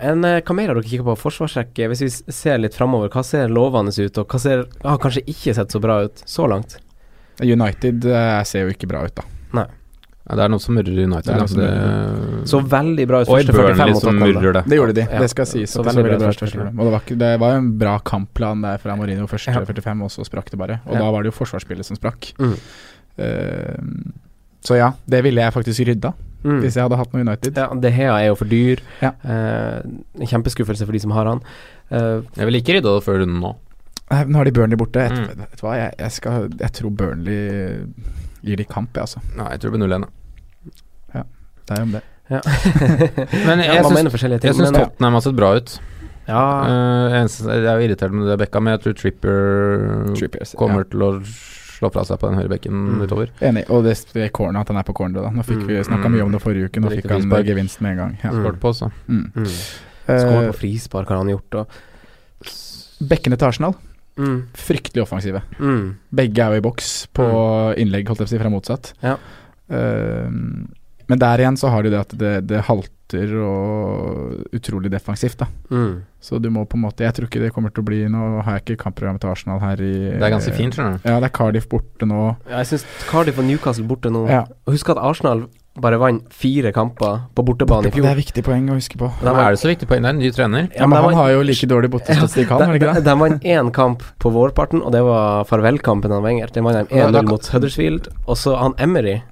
[SPEAKER 3] En, eh, hva mer har dere kikket på? Forsvarssjekk, eh, hvis vi s- ser litt framover, hva ser lovende ut, og hva ser har kanskje ikke sett så bra ut så langt?
[SPEAKER 4] United eh, ser jo ikke bra ut, da.
[SPEAKER 2] Ja, det er noe som murrer i United. altså
[SPEAKER 4] Det er noe
[SPEAKER 3] Så
[SPEAKER 2] det-
[SPEAKER 4] som
[SPEAKER 3] veldig bra ut
[SPEAKER 2] og i
[SPEAKER 3] første 45
[SPEAKER 2] Burnley
[SPEAKER 3] mot
[SPEAKER 2] som
[SPEAKER 3] Tottenham. da.
[SPEAKER 2] murrer det.
[SPEAKER 4] Det gjorde de,
[SPEAKER 3] Ja.
[SPEAKER 4] det skal sies.
[SPEAKER 3] Så veldig
[SPEAKER 4] at de så veldig
[SPEAKER 3] bra
[SPEAKER 4] bra
[SPEAKER 3] første
[SPEAKER 4] første
[SPEAKER 3] gang.
[SPEAKER 4] gang. Og det, var ikke, det var jo en bra kampplan der fra Marino første
[SPEAKER 3] Ja.
[SPEAKER 4] 45, og så sprakk det bare. Og
[SPEAKER 3] Ja.
[SPEAKER 4] da var det jo forsvarsspillet som sprakk.
[SPEAKER 3] Mm.
[SPEAKER 4] Eh, så ja, det ville jeg faktisk rydda
[SPEAKER 3] Mm.
[SPEAKER 4] hvis jeg hadde hatt noe United.
[SPEAKER 3] Ja, De Hea er jo for dyr.
[SPEAKER 4] Ja.
[SPEAKER 3] Eh, en kjempeskuffelse for de som har han. Eh,
[SPEAKER 2] Jeg ville ikke rydda det før runden nå.
[SPEAKER 4] Nei, nå har de Burnley borte. Jeg,
[SPEAKER 2] Mm.
[SPEAKER 4] vet du hva, jeg, jeg, skal, jeg tror Burnley gir de kamp, jeg, altså.
[SPEAKER 2] Nei, jeg tror det blir 0-1.
[SPEAKER 4] Det er jo om det.
[SPEAKER 2] Men
[SPEAKER 3] ja,
[SPEAKER 2] jeg
[SPEAKER 3] man
[SPEAKER 2] syns
[SPEAKER 3] mener forskjellige ting,
[SPEAKER 2] jeg syns
[SPEAKER 3] men ja.
[SPEAKER 2] Tottenham har sett bra ut.
[SPEAKER 3] ja.
[SPEAKER 2] Eh, eneste, jeg er jo irritert med det Bekka, men jeg tror Tripper
[SPEAKER 4] Trippier, ja.
[SPEAKER 2] kommer til å slå fra seg på den høyre bekken
[SPEAKER 3] Mm.
[SPEAKER 2] utover.
[SPEAKER 4] Enig. Og det, det corner, at han er på corner, da. Nå fikk vi snakka mye om det forrige uke, nå
[SPEAKER 2] Riktig
[SPEAKER 4] fikk han
[SPEAKER 2] frispark.
[SPEAKER 4] gevinst med en gang. Ja.
[SPEAKER 3] Mm.
[SPEAKER 2] Skåret på, altså. så.
[SPEAKER 4] Mm.
[SPEAKER 3] Mm. Skår
[SPEAKER 4] Eh,
[SPEAKER 3] på frispark har han gjort, og
[SPEAKER 4] bekkene til Arsenal,
[SPEAKER 3] mm.
[SPEAKER 4] fryktelig offensive.
[SPEAKER 3] Mm.
[SPEAKER 4] Begge er jo i boks på
[SPEAKER 2] Mm.
[SPEAKER 4] innlegg, holdt jeg på å si, fra motsatt.
[SPEAKER 3] Ja.
[SPEAKER 4] Eh, men der igjen så har de det at det, det halter og utrolig defensivt, da.
[SPEAKER 3] Mm.
[SPEAKER 4] Så du må på en måte Jeg tror ikke det kommer til å bli Nå har jeg ikke kampprogrammet til Arsenal her i
[SPEAKER 2] Det er ganske fint, skjønner du.
[SPEAKER 4] Ja, det er Cardiff borte nå.
[SPEAKER 3] Ja, Jeg syns Cardiff og Newcastle borte nå
[SPEAKER 4] Ja.
[SPEAKER 3] Og Husk at Arsenal bare vant fire kamper på bortebane i
[SPEAKER 4] Det
[SPEAKER 3] fjor.
[SPEAKER 4] er viktig poeng å huske på.
[SPEAKER 3] De
[SPEAKER 2] Men
[SPEAKER 3] var-
[SPEAKER 2] er det så viktig poeng? Det er en ny trener.
[SPEAKER 4] Ja,
[SPEAKER 3] de
[SPEAKER 4] men han
[SPEAKER 3] var-
[SPEAKER 4] har jo like dårlig bortestatistikk, han, har han ikke
[SPEAKER 3] De-
[SPEAKER 4] det?
[SPEAKER 3] De vant én kamp på vårparten, og det var farvelkampen han Wenger. Den vant de
[SPEAKER 2] Ja, da
[SPEAKER 3] 1-0
[SPEAKER 2] kan-
[SPEAKER 3] mot Huddersfield. Og så han Emery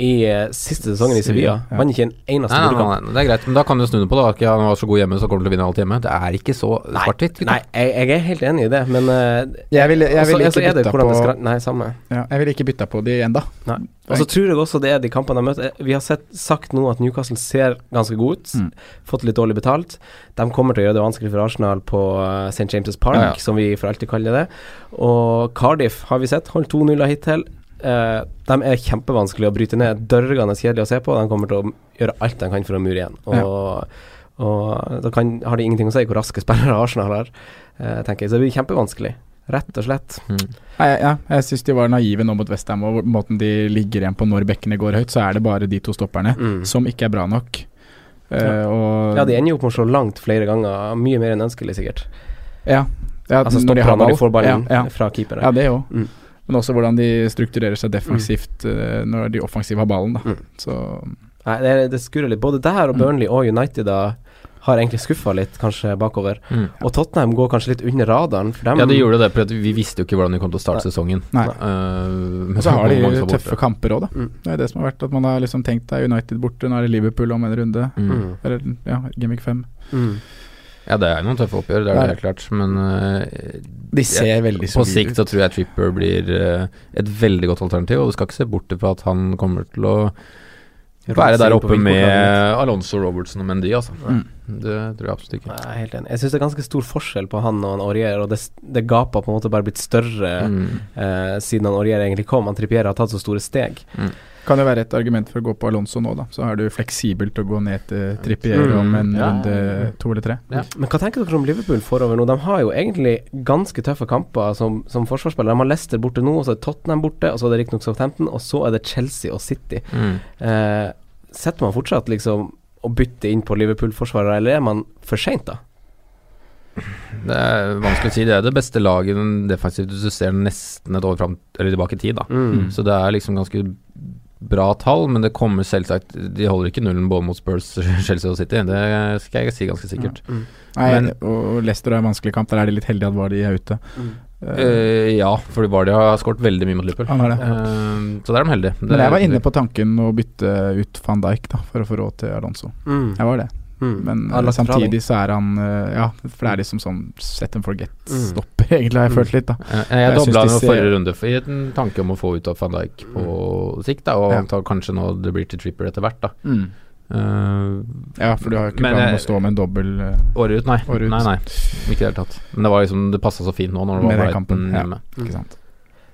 [SPEAKER 3] i eh, siste sesongen i Sevilla
[SPEAKER 4] Ja.
[SPEAKER 3] vant ikke en eneste
[SPEAKER 2] Nei, nei, nei,
[SPEAKER 3] bortekamp.
[SPEAKER 2] nei, det er greit, men da kan du snu det på. da Ikke han var så god hjemme, så kommer han til å vinne alt hjemme. Det er ikke så svart-hvitt. gutta.
[SPEAKER 3] Nei, jeg, jeg er helt enig i det, men eh,
[SPEAKER 4] Jeg ville
[SPEAKER 3] og så-
[SPEAKER 4] jeg ville
[SPEAKER 3] og så
[SPEAKER 4] ikke
[SPEAKER 3] er det
[SPEAKER 4] bytta
[SPEAKER 3] hvordan det
[SPEAKER 4] på
[SPEAKER 3] skra- Nei, samme.
[SPEAKER 4] ja, Jeg ville ikke bytta på de ennå.
[SPEAKER 3] Nei. Og så tror jeg også det er de kampene de møter. Vi har sett, sagt nå at Newcastle ser ganske god ut.
[SPEAKER 4] Mm.
[SPEAKER 3] Fått litt dårlig betalt. De kommer til å gjøre det vanskelig for Arsenal på eh, St. James' Park,
[SPEAKER 2] Ja, ja.
[SPEAKER 3] som vi for alltid kaller det. Og Cardiff har vi sett, holdt 2-0 hittil. Eh, de er kjempevanskelig å bryte ned. Dørgende kjedelig å se på. De kommer til å gjøre alt de kan for å mure igjen. Og, og da kan, har det ingenting å si hvor raske spillere Arsenal har, eh, tenker jeg. Så det blir kjempevanskelig, rett og slett.
[SPEAKER 4] Nei, ja, jeg syns de var naive nå mot Westham, og hvor- måten de ligger igjen på når bekkene går høyt, så er det bare de to stopperne
[SPEAKER 3] Mm.
[SPEAKER 4] som ikke er bra nok. Eh,
[SPEAKER 3] Ja.
[SPEAKER 4] og
[SPEAKER 3] Ja, de ender jo opp med å slå langt flere ganger. Mye mer enn ønskelig, sikkert.
[SPEAKER 4] Ja. ja
[SPEAKER 3] Altså stopperne, de får ballen
[SPEAKER 4] Ja, ja.
[SPEAKER 3] fra keepere.
[SPEAKER 4] Ja, det òg.
[SPEAKER 3] Mm.
[SPEAKER 4] Men også hvordan de strukturerer seg defensivt eh, når de offensive har ballen. Da.
[SPEAKER 3] Mm.
[SPEAKER 4] Så
[SPEAKER 3] Nei, det, det skurrer litt. Både der
[SPEAKER 2] Mm.
[SPEAKER 3] og Burnley og United da, har egentlig skuffa litt, kanskje, bakover.
[SPEAKER 2] Mm.
[SPEAKER 3] Og Tottenham går kanskje litt under radaren, for dem
[SPEAKER 2] Ja, det gjorde det, for at vi visste jo ikke hvordan de kom til å starte sesongen.
[SPEAKER 4] Nei.
[SPEAKER 2] Eh, men
[SPEAKER 4] Og så har de
[SPEAKER 2] mange som var borte.
[SPEAKER 4] tøffe kamper òg, da.
[SPEAKER 2] Mm.
[SPEAKER 4] Det er det som har vært at man har liksom tenkt deg United borte, nå er det Liverpool om en runde.
[SPEAKER 2] Mm.
[SPEAKER 4] Eller ja, Gimmick 5.
[SPEAKER 3] mm.
[SPEAKER 2] Ja, det er jo noen tøffe oppgjør, det er det helt klart. Men eh,
[SPEAKER 4] De ser
[SPEAKER 2] jeg-
[SPEAKER 4] veldig
[SPEAKER 2] på
[SPEAKER 4] solide
[SPEAKER 2] sikt så tror jeg Tripper blir eh, et veldig godt alternativ, og du skal ikke se bort fra at han kommer til å være der oppe med Alonso Robertson og Mendy, altså.
[SPEAKER 4] Mm.
[SPEAKER 2] Det tror jeg absolutt ikke.
[SPEAKER 3] Nei, jeg er helt enig. Jeg syns det er ganske stor forskjell på han og han Aurier, og det, s- det gapet har på en måte bare blitt større
[SPEAKER 2] Mm.
[SPEAKER 3] eh, siden han Aurier egentlig kom. Han Trippier har tatt så store steg.
[SPEAKER 4] Kan jo være et argument for å gå på Alonso nå, da. Så er du fleksibelt å gå ned til Trippier
[SPEAKER 3] Mm.
[SPEAKER 4] om en
[SPEAKER 2] Ja.
[SPEAKER 4] runde to eller tre.
[SPEAKER 3] Men hva tenker dere om Liverpool forover nå? De har jo egentlig ganske tøffe kamper som, som forsvarsspillere. De har Leicester borte nå, og så er Tottenham borte, og så er det riktignok Southampton, og så er det Chelsea og City.
[SPEAKER 2] Mm.
[SPEAKER 3] Eh, setter man fortsatt liksom å bytte inn på Liverpool-forsvarere, eller er man for seint, da?
[SPEAKER 2] Det er vanskelig å si. Det er det beste laget den defensivt hvis du ser nesten et år fram, eller tilbake i tid. da
[SPEAKER 4] Mm.
[SPEAKER 2] Så det er liksom ganske bra tall, men det kommer selvsagt De holder ikke nullen både mot Spurs, Chelsea og City. Det skal jeg si ganske sikkert.
[SPEAKER 4] Nei,
[SPEAKER 2] Men-
[SPEAKER 4] og Leicester er en vanskelig kamp. Der er de litt heldige at Vardy er ute.
[SPEAKER 2] Mm. Eh, ja, fordi Vardy har skåret veldig mye mot Liverpool.
[SPEAKER 4] Han er det.
[SPEAKER 2] Eh, så der er de heldige. Det
[SPEAKER 4] Men jeg var
[SPEAKER 2] er-
[SPEAKER 4] inne på tanken å bytte ut van Dijk da, for å få råd til Alonso.
[SPEAKER 3] Mm.
[SPEAKER 4] Jeg var det.
[SPEAKER 2] Mm.
[SPEAKER 4] Men
[SPEAKER 3] Han har
[SPEAKER 4] eh,
[SPEAKER 3] lagt fra
[SPEAKER 4] samtidig så er han eh, Ja, for det er liksom sånn set and forget-stopper, egentlig, har jeg følt litt, da.
[SPEAKER 2] Eh, jeg
[SPEAKER 4] Jeg synes
[SPEAKER 2] dobla
[SPEAKER 4] de
[SPEAKER 2] han i
[SPEAKER 4] ser-
[SPEAKER 2] forrige runde for, i en tanke om å få ut av van Dijk på sikt, da, og
[SPEAKER 4] Mm. Ja.
[SPEAKER 2] ta- kanskje nå det blir til Tripper etter hvert. da Eh,
[SPEAKER 4] Ja, for du har jo ikke
[SPEAKER 2] Men
[SPEAKER 4] planen
[SPEAKER 2] jeg-
[SPEAKER 4] om å stå med en dobbel eh,
[SPEAKER 2] Året ut, nei.
[SPEAKER 4] Året ut.
[SPEAKER 2] Nei, nei. Ikke i det hele tatt. Men det var liksom Det passa så fint nå når det
[SPEAKER 4] med
[SPEAKER 2] var
[SPEAKER 4] den
[SPEAKER 2] Brighton
[SPEAKER 4] kampen. Ja,
[SPEAKER 2] hjemme.
[SPEAKER 4] ikke sant.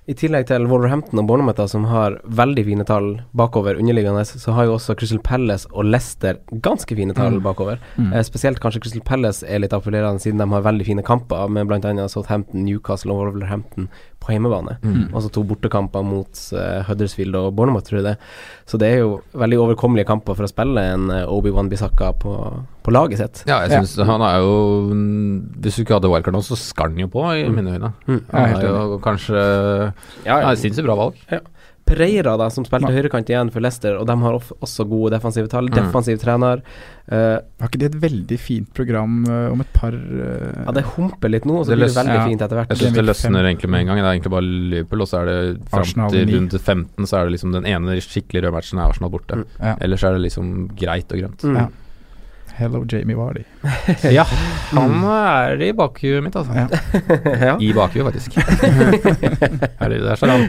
[SPEAKER 3] I tillegg til Wolverhampton og Bournemouth, da, som har veldig fine tall bakover underliggende, så har jo også Crystal Palace og Leicester ganske fine tall
[SPEAKER 4] Mm.
[SPEAKER 3] bakover.
[SPEAKER 2] Mm.
[SPEAKER 3] Eh, spesielt kanskje Crystal Palace er litt appellerende, siden de har veldig fine kamper med bl.a. Southampton, Newcastle og Wolverhampton på hjemmebane.
[SPEAKER 2] Mm.
[SPEAKER 3] Altså to bortekamper mot eh, Huddersfield og Bournemouth, tror jeg det. Så det er jo veldig overkommelige kamper for å spille en eh, Obi-Wan Bissaka på, på laget sitt.
[SPEAKER 2] Ja, jeg synes han er jo Hvis du ikke hadde wildcard nå, så skar han jo på, i mine øyne.
[SPEAKER 4] Jeg er
[SPEAKER 2] Han
[SPEAKER 4] Mm. helt
[SPEAKER 2] er jo kanskje
[SPEAKER 3] Ja, ja.
[SPEAKER 2] Nei, sinnssykt bra valg.
[SPEAKER 3] Pereira, da, som spilte høyrekant igjen for Leicester, og de har of- også gode defensive tall.
[SPEAKER 2] Mm.
[SPEAKER 3] Defensiv trener. Eh,
[SPEAKER 4] Har ikke de et veldig fint program eh, om et par eh,
[SPEAKER 3] Ja, det humper litt nå, og så
[SPEAKER 2] Det
[SPEAKER 3] blir det
[SPEAKER 2] løs-
[SPEAKER 3] veldig
[SPEAKER 4] ja.
[SPEAKER 3] fint etter hvert.
[SPEAKER 2] Jeg syns det
[SPEAKER 4] Genvik
[SPEAKER 2] løsner
[SPEAKER 4] fem.
[SPEAKER 2] egentlig med en gang. Det er egentlig bare Liverpool, og så er det fram
[SPEAKER 4] Arsenal
[SPEAKER 2] til
[SPEAKER 4] ni.
[SPEAKER 2] runde 15, så er det liksom den ene skikkelig røde matchen er Arsenal borte.
[SPEAKER 4] Ja.
[SPEAKER 2] Ellers er det liksom greit og
[SPEAKER 3] Mm.
[SPEAKER 2] grønt.
[SPEAKER 4] ja. Hello, Jamie Vardy. Mm.
[SPEAKER 2] Ja, han eh, er i bakhuet mitt, altså.
[SPEAKER 4] Ja.
[SPEAKER 3] Ja.
[SPEAKER 2] I bakhuet, faktisk. Herregud, der står han.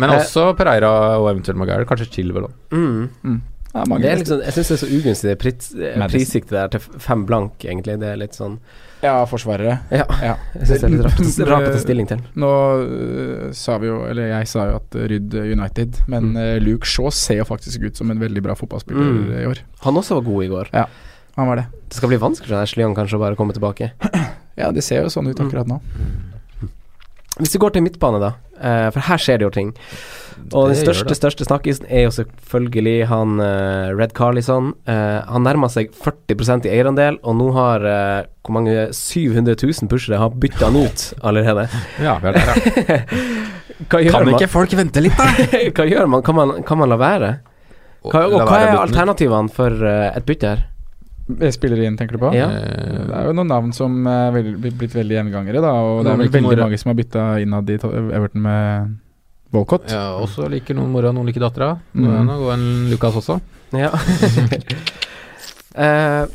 [SPEAKER 2] Men også Pereira og eventuelt Maguire, kanskje Chilwell òg.
[SPEAKER 3] Mm.
[SPEAKER 4] Ja, mange
[SPEAKER 3] Det er liksom, jeg syns det er så ugunstig, det prits- eh,
[SPEAKER 4] Madison.
[SPEAKER 3] prissiktet der til f- fem blank, egentlig. Det er litt sånn
[SPEAKER 4] ja, forsvarere.
[SPEAKER 3] Ja.
[SPEAKER 4] Ja.
[SPEAKER 3] Jeg syns det er litt rart rart å ta stilling til.
[SPEAKER 4] Nå øh, sa vi jo, eller jeg sa jo at øh, Rydd United,
[SPEAKER 2] Mm.
[SPEAKER 4] men øh, Luke Shaw ser jo faktisk ut som en veldig bra fotballspiller
[SPEAKER 3] Mm.
[SPEAKER 4] øh, i år.
[SPEAKER 3] Han også var god i går.
[SPEAKER 4] Han var det.
[SPEAKER 3] Det skal bli vanskelig for Ashley Young kanskje å bare komme tilbake.
[SPEAKER 4] Ja, det ser jo
[SPEAKER 2] Mm.
[SPEAKER 4] sånn ut akkurat nå.
[SPEAKER 3] Hvis vi går til midtbane, da. eh, For her skjer det jo ting. Og den
[SPEAKER 2] Det gjør
[SPEAKER 3] største
[SPEAKER 2] det.
[SPEAKER 3] største snakkisen er jo selvfølgelig han eh, Red Carlison. Eh, han nærmer seg 40 i eierandel, og nå har eh, hvor mange 700 000 pushere har bytta han ut allerede.
[SPEAKER 2] Ja, vi er der, ja.
[SPEAKER 3] Hva gjør man?
[SPEAKER 2] folk vente litt, da?
[SPEAKER 3] hva gjør man? Kan man, kan man la være? Hva, og hva er alternativene for eh, et bytte her?
[SPEAKER 4] Jeg spiller inn, tenker du på?
[SPEAKER 3] Ja.
[SPEAKER 2] Eh,
[SPEAKER 4] Det er jo noen navn som er vel, blir blitt veldig gjengangere, da. Og
[SPEAKER 2] Noen
[SPEAKER 4] det er vel
[SPEAKER 2] liker
[SPEAKER 4] veldig
[SPEAKER 2] Mora.
[SPEAKER 4] mange som har bytta innad i to- Everton med Walcott.
[SPEAKER 2] Ja, også liker noen mora, noen liker dattera.
[SPEAKER 4] Mm.
[SPEAKER 2] Nå er det gå en Lukas også.
[SPEAKER 3] Ja. Eh,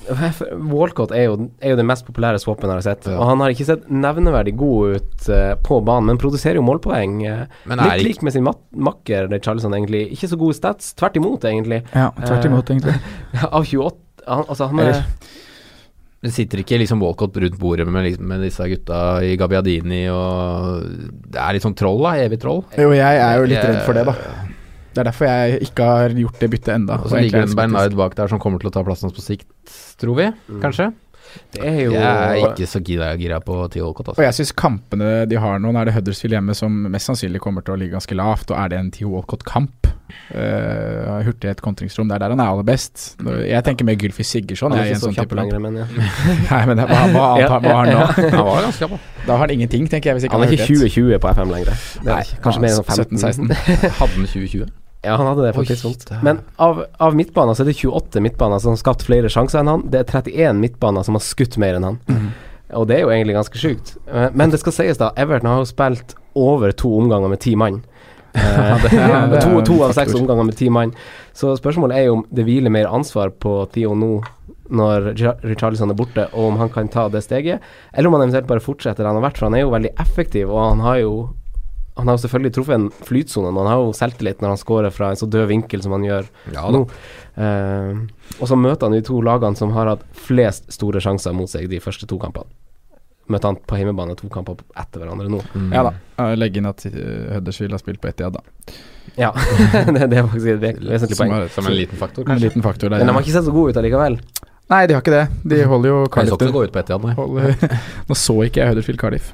[SPEAKER 3] Walcott er jo, er jo den mest populære swappen jeg har sett.
[SPEAKER 2] Ja.
[SPEAKER 3] Og han har ikke sett nevneverdig god ut eh, på banen, men produserer jo målpoeng. eh,
[SPEAKER 2] Men er
[SPEAKER 3] litt
[SPEAKER 2] ikke-
[SPEAKER 3] lik med sin mat makker Charlison, egentlig. Ikke så gode stats, tvert imot, egentlig.
[SPEAKER 4] Ja, tvert
[SPEAKER 3] Eh,
[SPEAKER 4] imot, egentlig.
[SPEAKER 3] Av 28 han, altså, han er,
[SPEAKER 4] Eller-
[SPEAKER 2] Men sitter ikke liksom Walcott rundt bordet med, liksom- med disse gutta i Gabbiadini og Det er litt sånn troll, da. Evig troll.
[SPEAKER 4] Jo, jeg er jo litt
[SPEAKER 2] Jeg-
[SPEAKER 4] redd for det, da. Det er derfor jeg ikke har gjort det byttet enda
[SPEAKER 2] Og så ligger
[SPEAKER 4] Og
[SPEAKER 2] det
[SPEAKER 4] egentlig
[SPEAKER 2] en
[SPEAKER 4] er jeg skeptisk.
[SPEAKER 2] Mm. Bernard bak der som kommer til å ta plassen hans på sikt, tror vi. Kanskje.
[SPEAKER 3] Det er jo
[SPEAKER 2] Jeg er ikke så gira, gira på Theo Olcott,
[SPEAKER 4] Og
[SPEAKER 2] altså.
[SPEAKER 4] jeg syns kampene de har nå, nå er det Huddersfield hjemme som mest sannsynlig kommer til å ligge ganske lavt, og er det en Theo Walcott-kamp? Eh, hurtighet, kontringsrom, det er der han er aller best. Jeg tenker mer Gylfi Sigurdsson.
[SPEAKER 3] Han er
[SPEAKER 4] Jeg, i en
[SPEAKER 3] ikke så
[SPEAKER 4] sånn
[SPEAKER 3] kjapp
[SPEAKER 4] type kamp.
[SPEAKER 3] lenger, men eh, ja.
[SPEAKER 4] Nei, men det, hva, hva, annet har- hva har han nå?
[SPEAKER 2] Han var ganske kjapp, da.
[SPEAKER 4] Da har han ingenting, tenker jeg. Hvis ikke
[SPEAKER 3] Han er ikke 2020
[SPEAKER 4] hurtighet.
[SPEAKER 3] på FM lenger. Det er
[SPEAKER 4] Nei,
[SPEAKER 3] ikke- Kanskje mer enn 15.
[SPEAKER 4] 17-16.
[SPEAKER 2] Hadde han 2020?
[SPEAKER 3] Ja, han hadde det på et
[SPEAKER 2] Oi,
[SPEAKER 3] tidspunkt.
[SPEAKER 2] det er-
[SPEAKER 3] Men av, av midtbaner så er det 28 midtbaner som har skapt flere sjanser enn han. Det er 31 midtbaner som har skutt mer enn han. Og det er jo egentlig ganske sjukt. Eh, Men det skal sies, da. Everton har jo spilt over to omganger med ti mann. Eh,
[SPEAKER 4] Ja, det er
[SPEAKER 3] to,
[SPEAKER 4] en
[SPEAKER 3] to av seks
[SPEAKER 4] faktor.
[SPEAKER 3] omganger med ti mann. Så spørsmålet er jo om det hviler mer ansvar på Theo nå når Ri- Richarlison er borte, og om han kan ta det steget, eller om han eventuelt bare fortsetter der han har vært, for han er jo veldig effektiv, og han har jo han har jo selvfølgelig truffet en flytsone, og han har jo selvtillit når han scorer fra en så død vinkel som han gjør
[SPEAKER 2] Ja da.
[SPEAKER 3] nå. Eh, og så møter han de to lagene som har hatt flest store sjanser mot seg de første to kampene. Møter han på hjemmebane to kamper etter hverandre nå.
[SPEAKER 2] Mm.
[SPEAKER 4] Ja da. Eh, Legg inn at eh, Huddersfield har spilt på ett da.
[SPEAKER 3] Ja, det, det er faktisk et ve- vesentlig
[SPEAKER 4] Som
[SPEAKER 3] poeng.
[SPEAKER 4] er
[SPEAKER 2] Som en liten faktor,
[SPEAKER 4] en
[SPEAKER 2] kanskje.
[SPEAKER 4] liten faktor der.
[SPEAKER 3] Men de
[SPEAKER 4] Ja.
[SPEAKER 3] har ikke sett så gode ut allikevel.
[SPEAKER 4] Nei, de har ikke det. De holder jo
[SPEAKER 2] Jeg så ikke det
[SPEAKER 4] Cardiff.
[SPEAKER 2] gå ut på Etiad, nei.
[SPEAKER 4] Holder. Nå så ikke jeg Huddersfield Cardiff,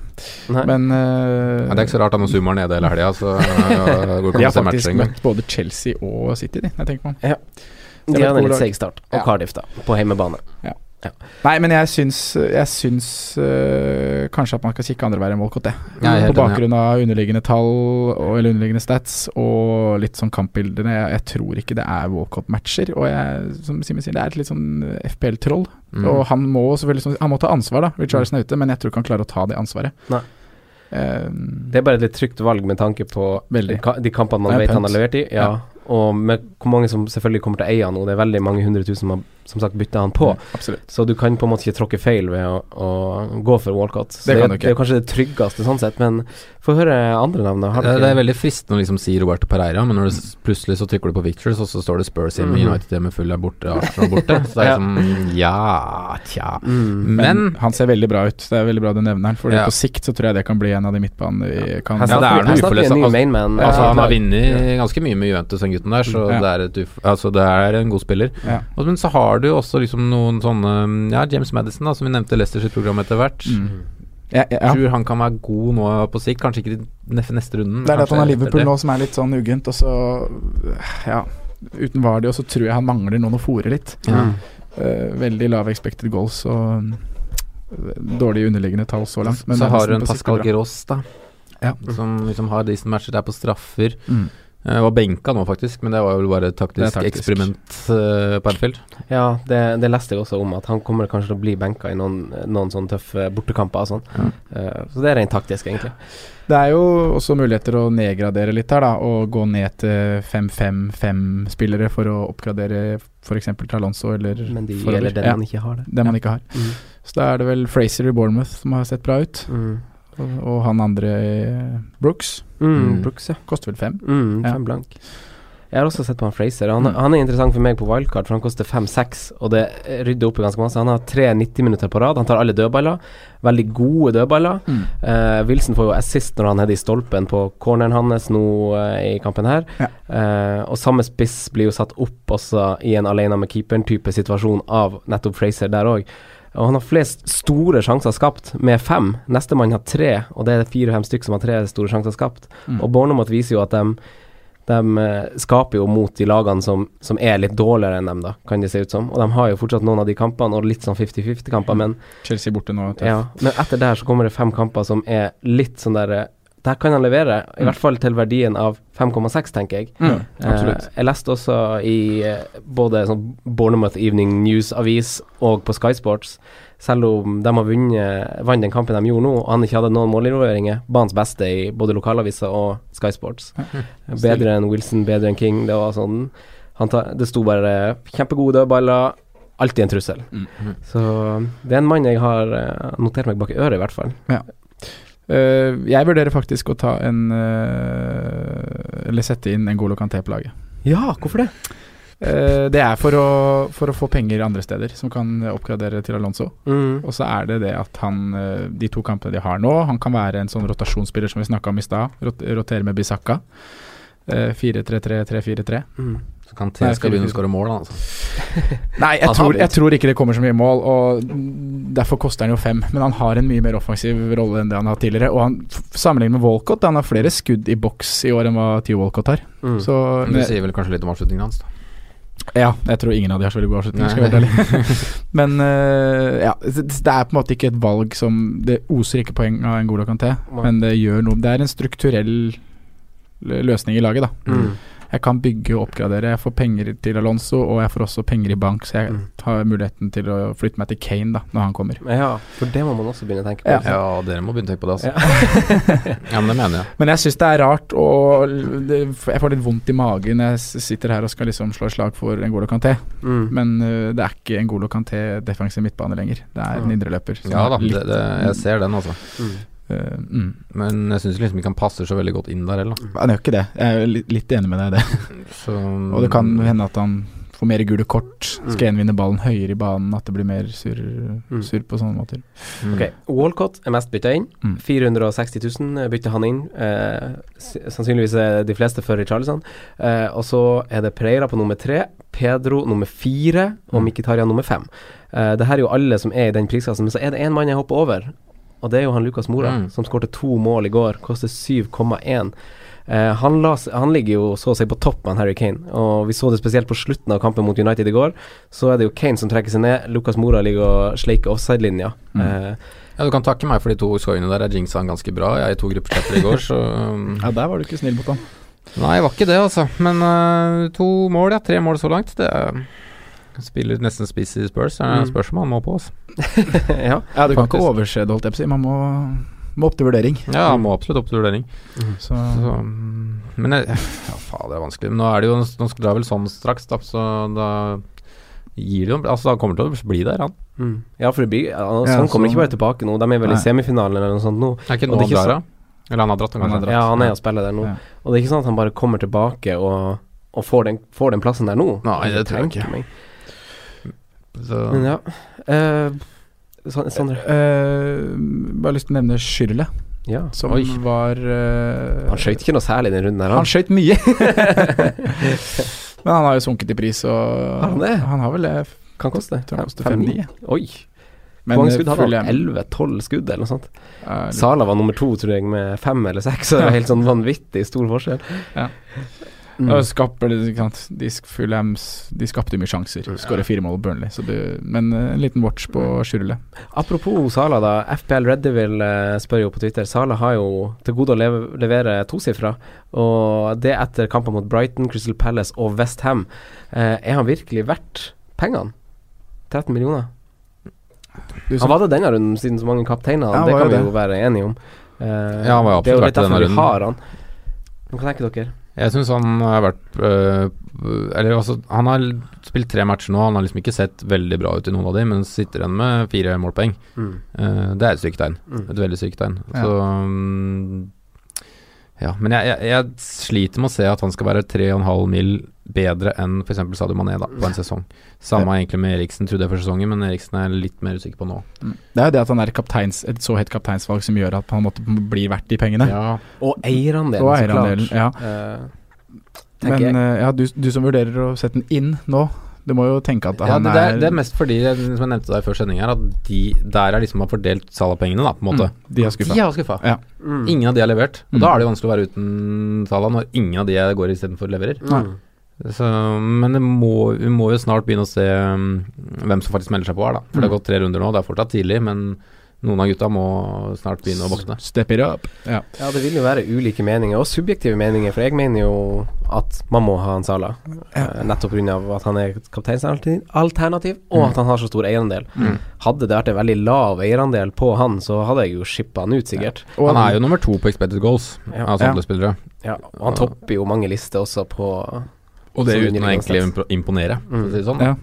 [SPEAKER 3] Nei.
[SPEAKER 4] men eh,
[SPEAKER 2] Nei, Det er ikke så rart, da, når Zoom er nede hele helga, så øh, går ikke å
[SPEAKER 4] De har
[SPEAKER 2] se matcher
[SPEAKER 4] faktisk
[SPEAKER 2] engang.
[SPEAKER 4] møtt både Chelsea og City, de. Jeg tenker på.
[SPEAKER 3] De
[SPEAKER 4] Det er
[SPEAKER 3] hadde en
[SPEAKER 4] et god
[SPEAKER 3] litt
[SPEAKER 4] lag.
[SPEAKER 3] seig start. Og
[SPEAKER 4] Ja.
[SPEAKER 3] Cardiff, da, på hjemmebane.
[SPEAKER 4] Nei, men jeg syns, jeg syns øh, kanskje at man skal kikke andre veien enn Walcott, det.
[SPEAKER 2] Ja, jeg er helt
[SPEAKER 4] På
[SPEAKER 2] enig, ja.
[SPEAKER 4] bakgrunn av underliggende tall og, eller underliggende stats og litt sånn kampbildene. Jeg, jeg tror ikke det er Walcott-matcher. Og jeg, som Simen sier, det er et litt sånn FPL-troll.
[SPEAKER 2] Mm.
[SPEAKER 4] Og han må selvfølgelig sånn- Han må ta ansvar, da. Richardson er ute, men jeg tror ikke han klarer å ta det ansvaret.
[SPEAKER 3] Nei.
[SPEAKER 4] Eh,
[SPEAKER 3] Det er bare et litt trygt valg med tanke på
[SPEAKER 4] Veldig.
[SPEAKER 3] ka- de kampene man
[SPEAKER 4] Det er
[SPEAKER 3] vet han har
[SPEAKER 4] punt.
[SPEAKER 3] levert i. Ja.
[SPEAKER 4] Ja.
[SPEAKER 3] Og med hvor mange som selvfølgelig kommer til å eie han nå. Det er veldig mange hundre tusen som har som sagt bytta han på.
[SPEAKER 4] absolutt.
[SPEAKER 3] Så du kan på en måte ikke tråkke feil ved å, å gå for Walcott. Så
[SPEAKER 4] Det kan du
[SPEAKER 3] er-
[SPEAKER 4] ikke.
[SPEAKER 3] det er kanskje det tryggeste sånn sett, men få høre andre navn. da. Har
[SPEAKER 2] Det,
[SPEAKER 3] dere-
[SPEAKER 2] Eh, det er veldig fristende å liksom si Roberto Pereira, men når du s- plutselig så trykker du på Pictures, og så står det Spurs hjemme,
[SPEAKER 4] Mm.
[SPEAKER 3] Mhm.
[SPEAKER 2] United hjemme, Full er borte, Arsenal borte. Så det er liksom Ja, tja.
[SPEAKER 3] Mm.
[SPEAKER 2] Men
[SPEAKER 4] han ser veldig bra ut. Det er veldig bra du nevner han. For
[SPEAKER 2] Ja.
[SPEAKER 4] på sikt så tror jeg det kan bli en av de midtbanene vi kan
[SPEAKER 3] Her
[SPEAKER 2] Ja, det er
[SPEAKER 3] snakker, vi-
[SPEAKER 2] noe
[SPEAKER 3] her snakker vi
[SPEAKER 2] uforløst,
[SPEAKER 3] en ny
[SPEAKER 2] altså.
[SPEAKER 3] mainman.
[SPEAKER 2] altså, han har
[SPEAKER 3] Ja.
[SPEAKER 2] vunnet ganske mye med Juventus, den gutten der, så
[SPEAKER 4] Ja.
[SPEAKER 2] det, er et uf altså, det er en god spiller.
[SPEAKER 4] Ja.
[SPEAKER 2] Og- Men så har du jo også liksom noen sånne Ja, James Madison, da, som vi nevnte i Leicester sitt program etter hvert.
[SPEAKER 4] Mm. Ja, ja, ja.
[SPEAKER 2] Tror han kan være god nå på sikt, kanskje ikke i nef- neste runden.
[SPEAKER 4] Det er det at han har Liverpool
[SPEAKER 2] nå.
[SPEAKER 4] nå som er litt sånn uggent, og så Ja. Uten Vardy, og så tror jeg han mangler noen å fòre litt.
[SPEAKER 2] Ja.
[SPEAKER 4] Eh, veldig lav expected goals og mm, dårlige underliggende tall så langt.
[SPEAKER 2] så har du en
[SPEAKER 4] nesten på sikt
[SPEAKER 2] Pascal
[SPEAKER 4] bra.
[SPEAKER 2] Geros, da,
[SPEAKER 4] Ja.
[SPEAKER 2] som liksom har decent matcher der på straffer.
[SPEAKER 4] Mm.
[SPEAKER 2] Eh, var benka nå, faktisk, men det var vel bare et
[SPEAKER 4] Det er
[SPEAKER 2] taktisk,
[SPEAKER 4] taktisk.
[SPEAKER 2] eksperiment eh, på Anfield.
[SPEAKER 3] Ja, det, det leste jeg også om, at han kommer kanskje til å bli benka i noen, noen sånne tøffe bortekamper og sånn. Eh, så det er rent taktisk, egentlig.
[SPEAKER 4] Det er jo også muligheter å nedgradere litt her, da. Og gå ned til 5-5-5-spillere for å oppgradere f.eks. til Alonso eller
[SPEAKER 3] Men de
[SPEAKER 4] forover.
[SPEAKER 3] gjelder den
[SPEAKER 4] ja,
[SPEAKER 3] man ikke har det.
[SPEAKER 4] den man ikke har.
[SPEAKER 3] Mm.
[SPEAKER 4] Så da er det vel Fraser i Bournemouth som har sett bra ut,
[SPEAKER 3] Mm.
[SPEAKER 4] og, og han andre eh, Brooks.
[SPEAKER 2] Mm.
[SPEAKER 3] Brooks, ja.
[SPEAKER 4] Koster vel fem.
[SPEAKER 3] Mm,
[SPEAKER 4] Ja.
[SPEAKER 3] Fem blank. Jeg har også sett på han Fraser. Han,
[SPEAKER 4] Mm.
[SPEAKER 3] han er interessant for meg på wildcard, for han koster 5-6, og det rydder opp i ganske masse. Han har tre 90-minutter på rad. Han tar alle dødballer. Veldig gode dødballer.
[SPEAKER 4] Mm.
[SPEAKER 3] Eh, Wilson får jo assist når han header i stolpen på corneren hans nå eh, i kampen her.
[SPEAKER 4] Ja.
[SPEAKER 3] Eh, og samme spiss blir jo satt opp også i en alene med keeperen-type situasjon av nettopp Fraser der òg. Og han har flest store sjanser skapt, med fem. Nestemann har tre, og det er fire-fem stykk som har tre store sjanser skapt.
[SPEAKER 4] Mm.
[SPEAKER 3] Og Bournemouth viser jo at de, skaper jo mot de lagene som, som er litt dårligere enn dem, da, kan det se ut som. Og de har jo fortsatt noen av de kampene, og litt sånn 50-50-kamper,
[SPEAKER 4] Mm.
[SPEAKER 3] men
[SPEAKER 4] Chelsea borte nå. vet du.
[SPEAKER 3] ja, men etter der så kommer det fem kamper som er litt sånn der eh, Der kan han levere, i hvert fall til verdien av 5,6, tenker jeg.
[SPEAKER 4] Mm,
[SPEAKER 3] Eh, jeg leste også i eh, både sånn Bournemouth Evening News-avis og på Sky Sports, selv om de har vunnet vant den kampen de gjorde nå, og han ikke hadde noen målinvolveringer, banens beste i både lokalaviser og Sky Sports. Eh, Bedre enn Wilson, bedre enn King. Det var sånn han ta, Det sto bare kjempegode dødballer. Alltid en trussel.
[SPEAKER 4] Mm.
[SPEAKER 3] Så det er en mann jeg har eh, notert meg bak øret, i hvert fall.
[SPEAKER 4] Eh, jeg vurderer faktisk å ta en eh, Eller sette inn en Golo Kanté på laget.
[SPEAKER 3] Ja, hvorfor det?
[SPEAKER 4] Eh, det er for å, for å få penger andre steder, som kan oppgradere til Alonso.
[SPEAKER 3] Mm.
[SPEAKER 4] Og så er det det at han eh, De to kampene de har nå, han kan være en sånn rotasjonsspiller som vi snakka om i stad. Rot rotere med Bisakka. eh, 4-3-3-3-4-3.
[SPEAKER 2] Så kan
[SPEAKER 4] Nei,
[SPEAKER 2] T skal begynne å skåre mål, da, altså.
[SPEAKER 4] Nei, jeg
[SPEAKER 2] Han har
[SPEAKER 4] tror, jeg
[SPEAKER 2] begynt.
[SPEAKER 4] tror ikke det kommer så mye mål, og derfor koster han jo fem. Men han har en mye mer offensiv rolle enn det han har hatt tidligere. Og han f- sammenlignet med Walcott, han har flere skudd i boks i år enn hva Theo Walcott har.
[SPEAKER 3] Mm.
[SPEAKER 4] Så
[SPEAKER 2] Men det sier vel kanskje litt om avslutningen hans, da.
[SPEAKER 4] ja, jeg tror ingen av de har så veldig god avslutning. Skal jeg
[SPEAKER 2] Nei.
[SPEAKER 4] være helt ærlig. Men eh, ja, det det er på en måte ikke et valg som Det oser ikke poeng av N'Golo Kanté,
[SPEAKER 3] Nei.
[SPEAKER 4] men det gjør noe. Det er en strukturell lø- løsning i laget, da.
[SPEAKER 3] Mm.
[SPEAKER 4] Jeg kan bygge og oppgradere. Jeg får penger til Alonso, og jeg får også penger i bank, så jeg
[SPEAKER 3] Mm.
[SPEAKER 4] har muligheten til å flytte meg til Kane da, når han kommer.
[SPEAKER 3] Ja, for det må man også begynne å tenke på. Mm.
[SPEAKER 4] Ja.
[SPEAKER 2] Ja, dere må begynne å tenke på det, altså. Ja, men det mener jeg.
[SPEAKER 4] Men jeg syns det er rart, og l- det, jeg får litt vondt i magen når jeg s- sitter her og skal liksom slå et slag for N'Golo Kanté.
[SPEAKER 3] Mm.
[SPEAKER 4] Men øh, det er ikke N'Golo Kanté defensiv midtbane lenger. Det er en indreløper. som
[SPEAKER 2] Ja
[SPEAKER 4] er
[SPEAKER 2] da,
[SPEAKER 4] litt,
[SPEAKER 2] det, det, jeg ser den, altså.
[SPEAKER 4] øh, mm.
[SPEAKER 2] Men jeg syns liksom ikke han passer så veldig godt inn der heller.
[SPEAKER 4] Han gjør ikke det. Jeg er jo litt, litt enig med deg i det.
[SPEAKER 2] Så
[SPEAKER 4] Og det kan
[SPEAKER 2] Mm.
[SPEAKER 4] hende at han får mer gule kort, skal gjenvinne ballen høyere i banen, at det blir mer surr surr på sånne måter.
[SPEAKER 2] Mm.
[SPEAKER 3] Ok, Walcott er mest bytta inn.
[SPEAKER 4] Mm.
[SPEAKER 3] 460 000 bytta han inn. Eh, s- sannsynligvis er de fleste for Richarlison. Eh, og så er det Pereira på nummer tre, Pedro nummer fire og
[SPEAKER 2] Mm.
[SPEAKER 3] Mkhitaryan nummer fem. Eh, det her er jo alle som er i den prisklassen, men så er det én mann jeg hopper over. Og det er jo han Lucas Mora,
[SPEAKER 2] Mm.
[SPEAKER 3] som skårte to mål i går. Koster 7,1. Eh, han, la, s- han ligger jo så å si på topp med han Harry Kane, og vi så det spesielt på slutten av kampen mot United i går. Så er det jo Kane som trekker seg ned, Lucas Mora ligger og sleiker offside-linja.
[SPEAKER 2] Mm.
[SPEAKER 3] Eh,
[SPEAKER 2] Ja, du kan takke meg for de to skåringene der. Jeg jinxa han ganske bra. Jeg er i to gruppechatter i går, så um,
[SPEAKER 4] Ja, der var du ikke snill mot han.
[SPEAKER 2] Nei, jeg var ikke det, altså. Men eh, to mål, ja. Tre mål så langt. Det er Spiller nesten spiss i Spurs. Det
[SPEAKER 3] Mm.
[SPEAKER 2] spørs om han må på. Altså.
[SPEAKER 3] ja.
[SPEAKER 4] Ja, du kan ikke
[SPEAKER 2] Faktisk.
[SPEAKER 4] overse det, holdt jeg på å si. Man må, må opp til vurdering.
[SPEAKER 2] Ja, han må absolutt opp til vurdering.
[SPEAKER 4] Så
[SPEAKER 2] Så, mm, men jeg, ja, faen, det er vanskelig. Men nå er det jo Nå skal det vel sånn straks, da, så da gir det jo Altså, han kommer til å bli der, han.
[SPEAKER 3] Mm. Ja, for det blir, altså,
[SPEAKER 4] Ja,
[SPEAKER 3] han kommer
[SPEAKER 4] så-
[SPEAKER 3] ikke bare tilbake nå. De er vel
[SPEAKER 4] Nei.
[SPEAKER 3] i semifinalen eller noe sånt nå.
[SPEAKER 2] Er ikke
[SPEAKER 3] Og det er
[SPEAKER 2] nå han
[SPEAKER 3] ikke
[SPEAKER 2] drar, da? Eller han har dratt, han
[SPEAKER 4] Han har
[SPEAKER 2] kanskje?
[SPEAKER 4] dratt.
[SPEAKER 3] Ja, han er og spiller der nå.
[SPEAKER 4] Ja.
[SPEAKER 3] Og det er ikke sånn at han bare kommer tilbake og, og får, den, får den plassen der nå.
[SPEAKER 2] Nei, det tror jeg
[SPEAKER 3] tenker
[SPEAKER 2] ikke.
[SPEAKER 3] meg.
[SPEAKER 2] Så,
[SPEAKER 3] Men ja. Eh, Sa- Sondre.
[SPEAKER 4] Eh, bare lyst til å nevne Schürrle,
[SPEAKER 3] Ja.
[SPEAKER 4] som
[SPEAKER 2] Oi.
[SPEAKER 4] var eh,
[SPEAKER 3] Han skøyt ikke noe særlig i den runden her,
[SPEAKER 4] Han
[SPEAKER 3] han.
[SPEAKER 4] skøyt mye! Men han har jo sunket i pris, og
[SPEAKER 3] Har han det?
[SPEAKER 4] har vel det.
[SPEAKER 3] Kan koste
[SPEAKER 4] Tror han koster
[SPEAKER 3] 5-9.
[SPEAKER 4] 5-9.
[SPEAKER 3] Oi. Hvor
[SPEAKER 4] Men,
[SPEAKER 3] mange
[SPEAKER 4] eh,
[SPEAKER 3] skudd hadde
[SPEAKER 4] Fulham
[SPEAKER 3] han? 11-12 skudd, eller noe sånt.
[SPEAKER 4] er litt-
[SPEAKER 3] Sala var nummer to, tror jeg, med fem eller seks. Så det var helt sånn vanvittig stor forskjell. Mm.
[SPEAKER 4] Og skaper det, ikke sant? De, sk- Fulhams- de skapte mye sjanser. Skårer fire mål i Burnley. Så du, men eh, en liten watch på
[SPEAKER 3] Mm.
[SPEAKER 4] Schürrle.
[SPEAKER 3] Apropos Sala, da. FPL Red Devil eh, spør jo på Twitter. Sala har jo til gode å leve, levere tosifra, og det etter kamper mot Brighton, Crystal Palace og Westham. Eh, er han virkelig verdt pengene? 13 millioner?
[SPEAKER 4] Du som-
[SPEAKER 3] Han var det denne runden, siden så mange kapteiner han.
[SPEAKER 4] Ja, han
[SPEAKER 3] det
[SPEAKER 4] var
[SPEAKER 3] kan
[SPEAKER 4] jo
[SPEAKER 3] vi
[SPEAKER 4] det.
[SPEAKER 3] jo være enige om. Eh,
[SPEAKER 2] Ja, han var jo
[SPEAKER 3] det er
[SPEAKER 2] absolutt
[SPEAKER 3] jo
[SPEAKER 2] verdt
[SPEAKER 3] litt
[SPEAKER 2] det denne
[SPEAKER 3] derfor vi
[SPEAKER 2] runden.
[SPEAKER 3] har han. Men hva tenker dere?
[SPEAKER 2] Jeg syns han har vært øh, Eller altså, han har l- spilt tre matcher nå. Han har liksom ikke sett veldig bra ut i noen av de, men sitter igjen med fire målpoeng. Eh, det er et sykt tegn.
[SPEAKER 3] Mm.
[SPEAKER 2] Et veldig sykt tegn.
[SPEAKER 4] Ja.
[SPEAKER 2] Så mm, Ja. Men jeg, jeg, jeg sliter med å se at han skal være 3,5 mil bedre enn f.eks. Sadio Mané da, på en sesong. Samme egentlig med Eriksen, trodde jeg før sesongen, men Eriksen er jeg litt mer usikker på nå.
[SPEAKER 4] Det er jo det at han er kapteins, et så hett kapteinsvalg som gjør at han måtte bli verdt de pengene.
[SPEAKER 2] Ja,
[SPEAKER 3] Og eierandelen,
[SPEAKER 4] og
[SPEAKER 3] så klart.
[SPEAKER 4] eierandelen. Ja.
[SPEAKER 3] Eh, tenker jeg.
[SPEAKER 4] Men eh, ja, du, du som vurderer å sette den inn nå, du må jo tenke at
[SPEAKER 2] Ja,
[SPEAKER 4] han
[SPEAKER 2] det, det, er,
[SPEAKER 4] er
[SPEAKER 2] det er mest fordi, jeg- som jeg nevnte deg før sending her, at de der er liksom har fordelt Salah-pengene, da, på en måte.
[SPEAKER 4] Mm, de er skuffa.
[SPEAKER 2] De har skuffa.
[SPEAKER 4] Ja.
[SPEAKER 3] Mm.
[SPEAKER 2] Ingen av de har levert. Og
[SPEAKER 4] Mm.
[SPEAKER 2] da er det jo vanskelig å være uten Salah når ingen av de jeg går istedenfor, leverer.
[SPEAKER 3] Mm.
[SPEAKER 2] Så, men det må, vi må jo snart begynne å se um, hvem som faktisk melder seg på her, da. For det har gått tre runder nå, det er fortsatt tidlig, men noen av gutta må snart begynne å våkne.
[SPEAKER 4] Step it up. Ja.
[SPEAKER 3] Ja, det vil jo være ulike meninger, og subjektive meninger, for jeg mener jo at man må ha en Sala. eh, Nettopp pga. at han er kapteinsalternativ, alternativ,
[SPEAKER 2] Mm.
[SPEAKER 3] og at han har så stor eierandel. Hadde det vært en veldig lav eierandel på han, så hadde jeg jo shippa han ut, sikkert.
[SPEAKER 4] Og
[SPEAKER 2] Han er jo nummer to på expected goals
[SPEAKER 3] Ja.
[SPEAKER 2] av
[SPEAKER 4] Ja.
[SPEAKER 2] samtlige spillere.
[SPEAKER 3] Ja, og han topper jo mange lister også på
[SPEAKER 2] Og det
[SPEAKER 3] Så
[SPEAKER 2] uten å
[SPEAKER 3] underliggende
[SPEAKER 2] egentlig impo- imponere, for å si det sånn.
[SPEAKER 4] Ja.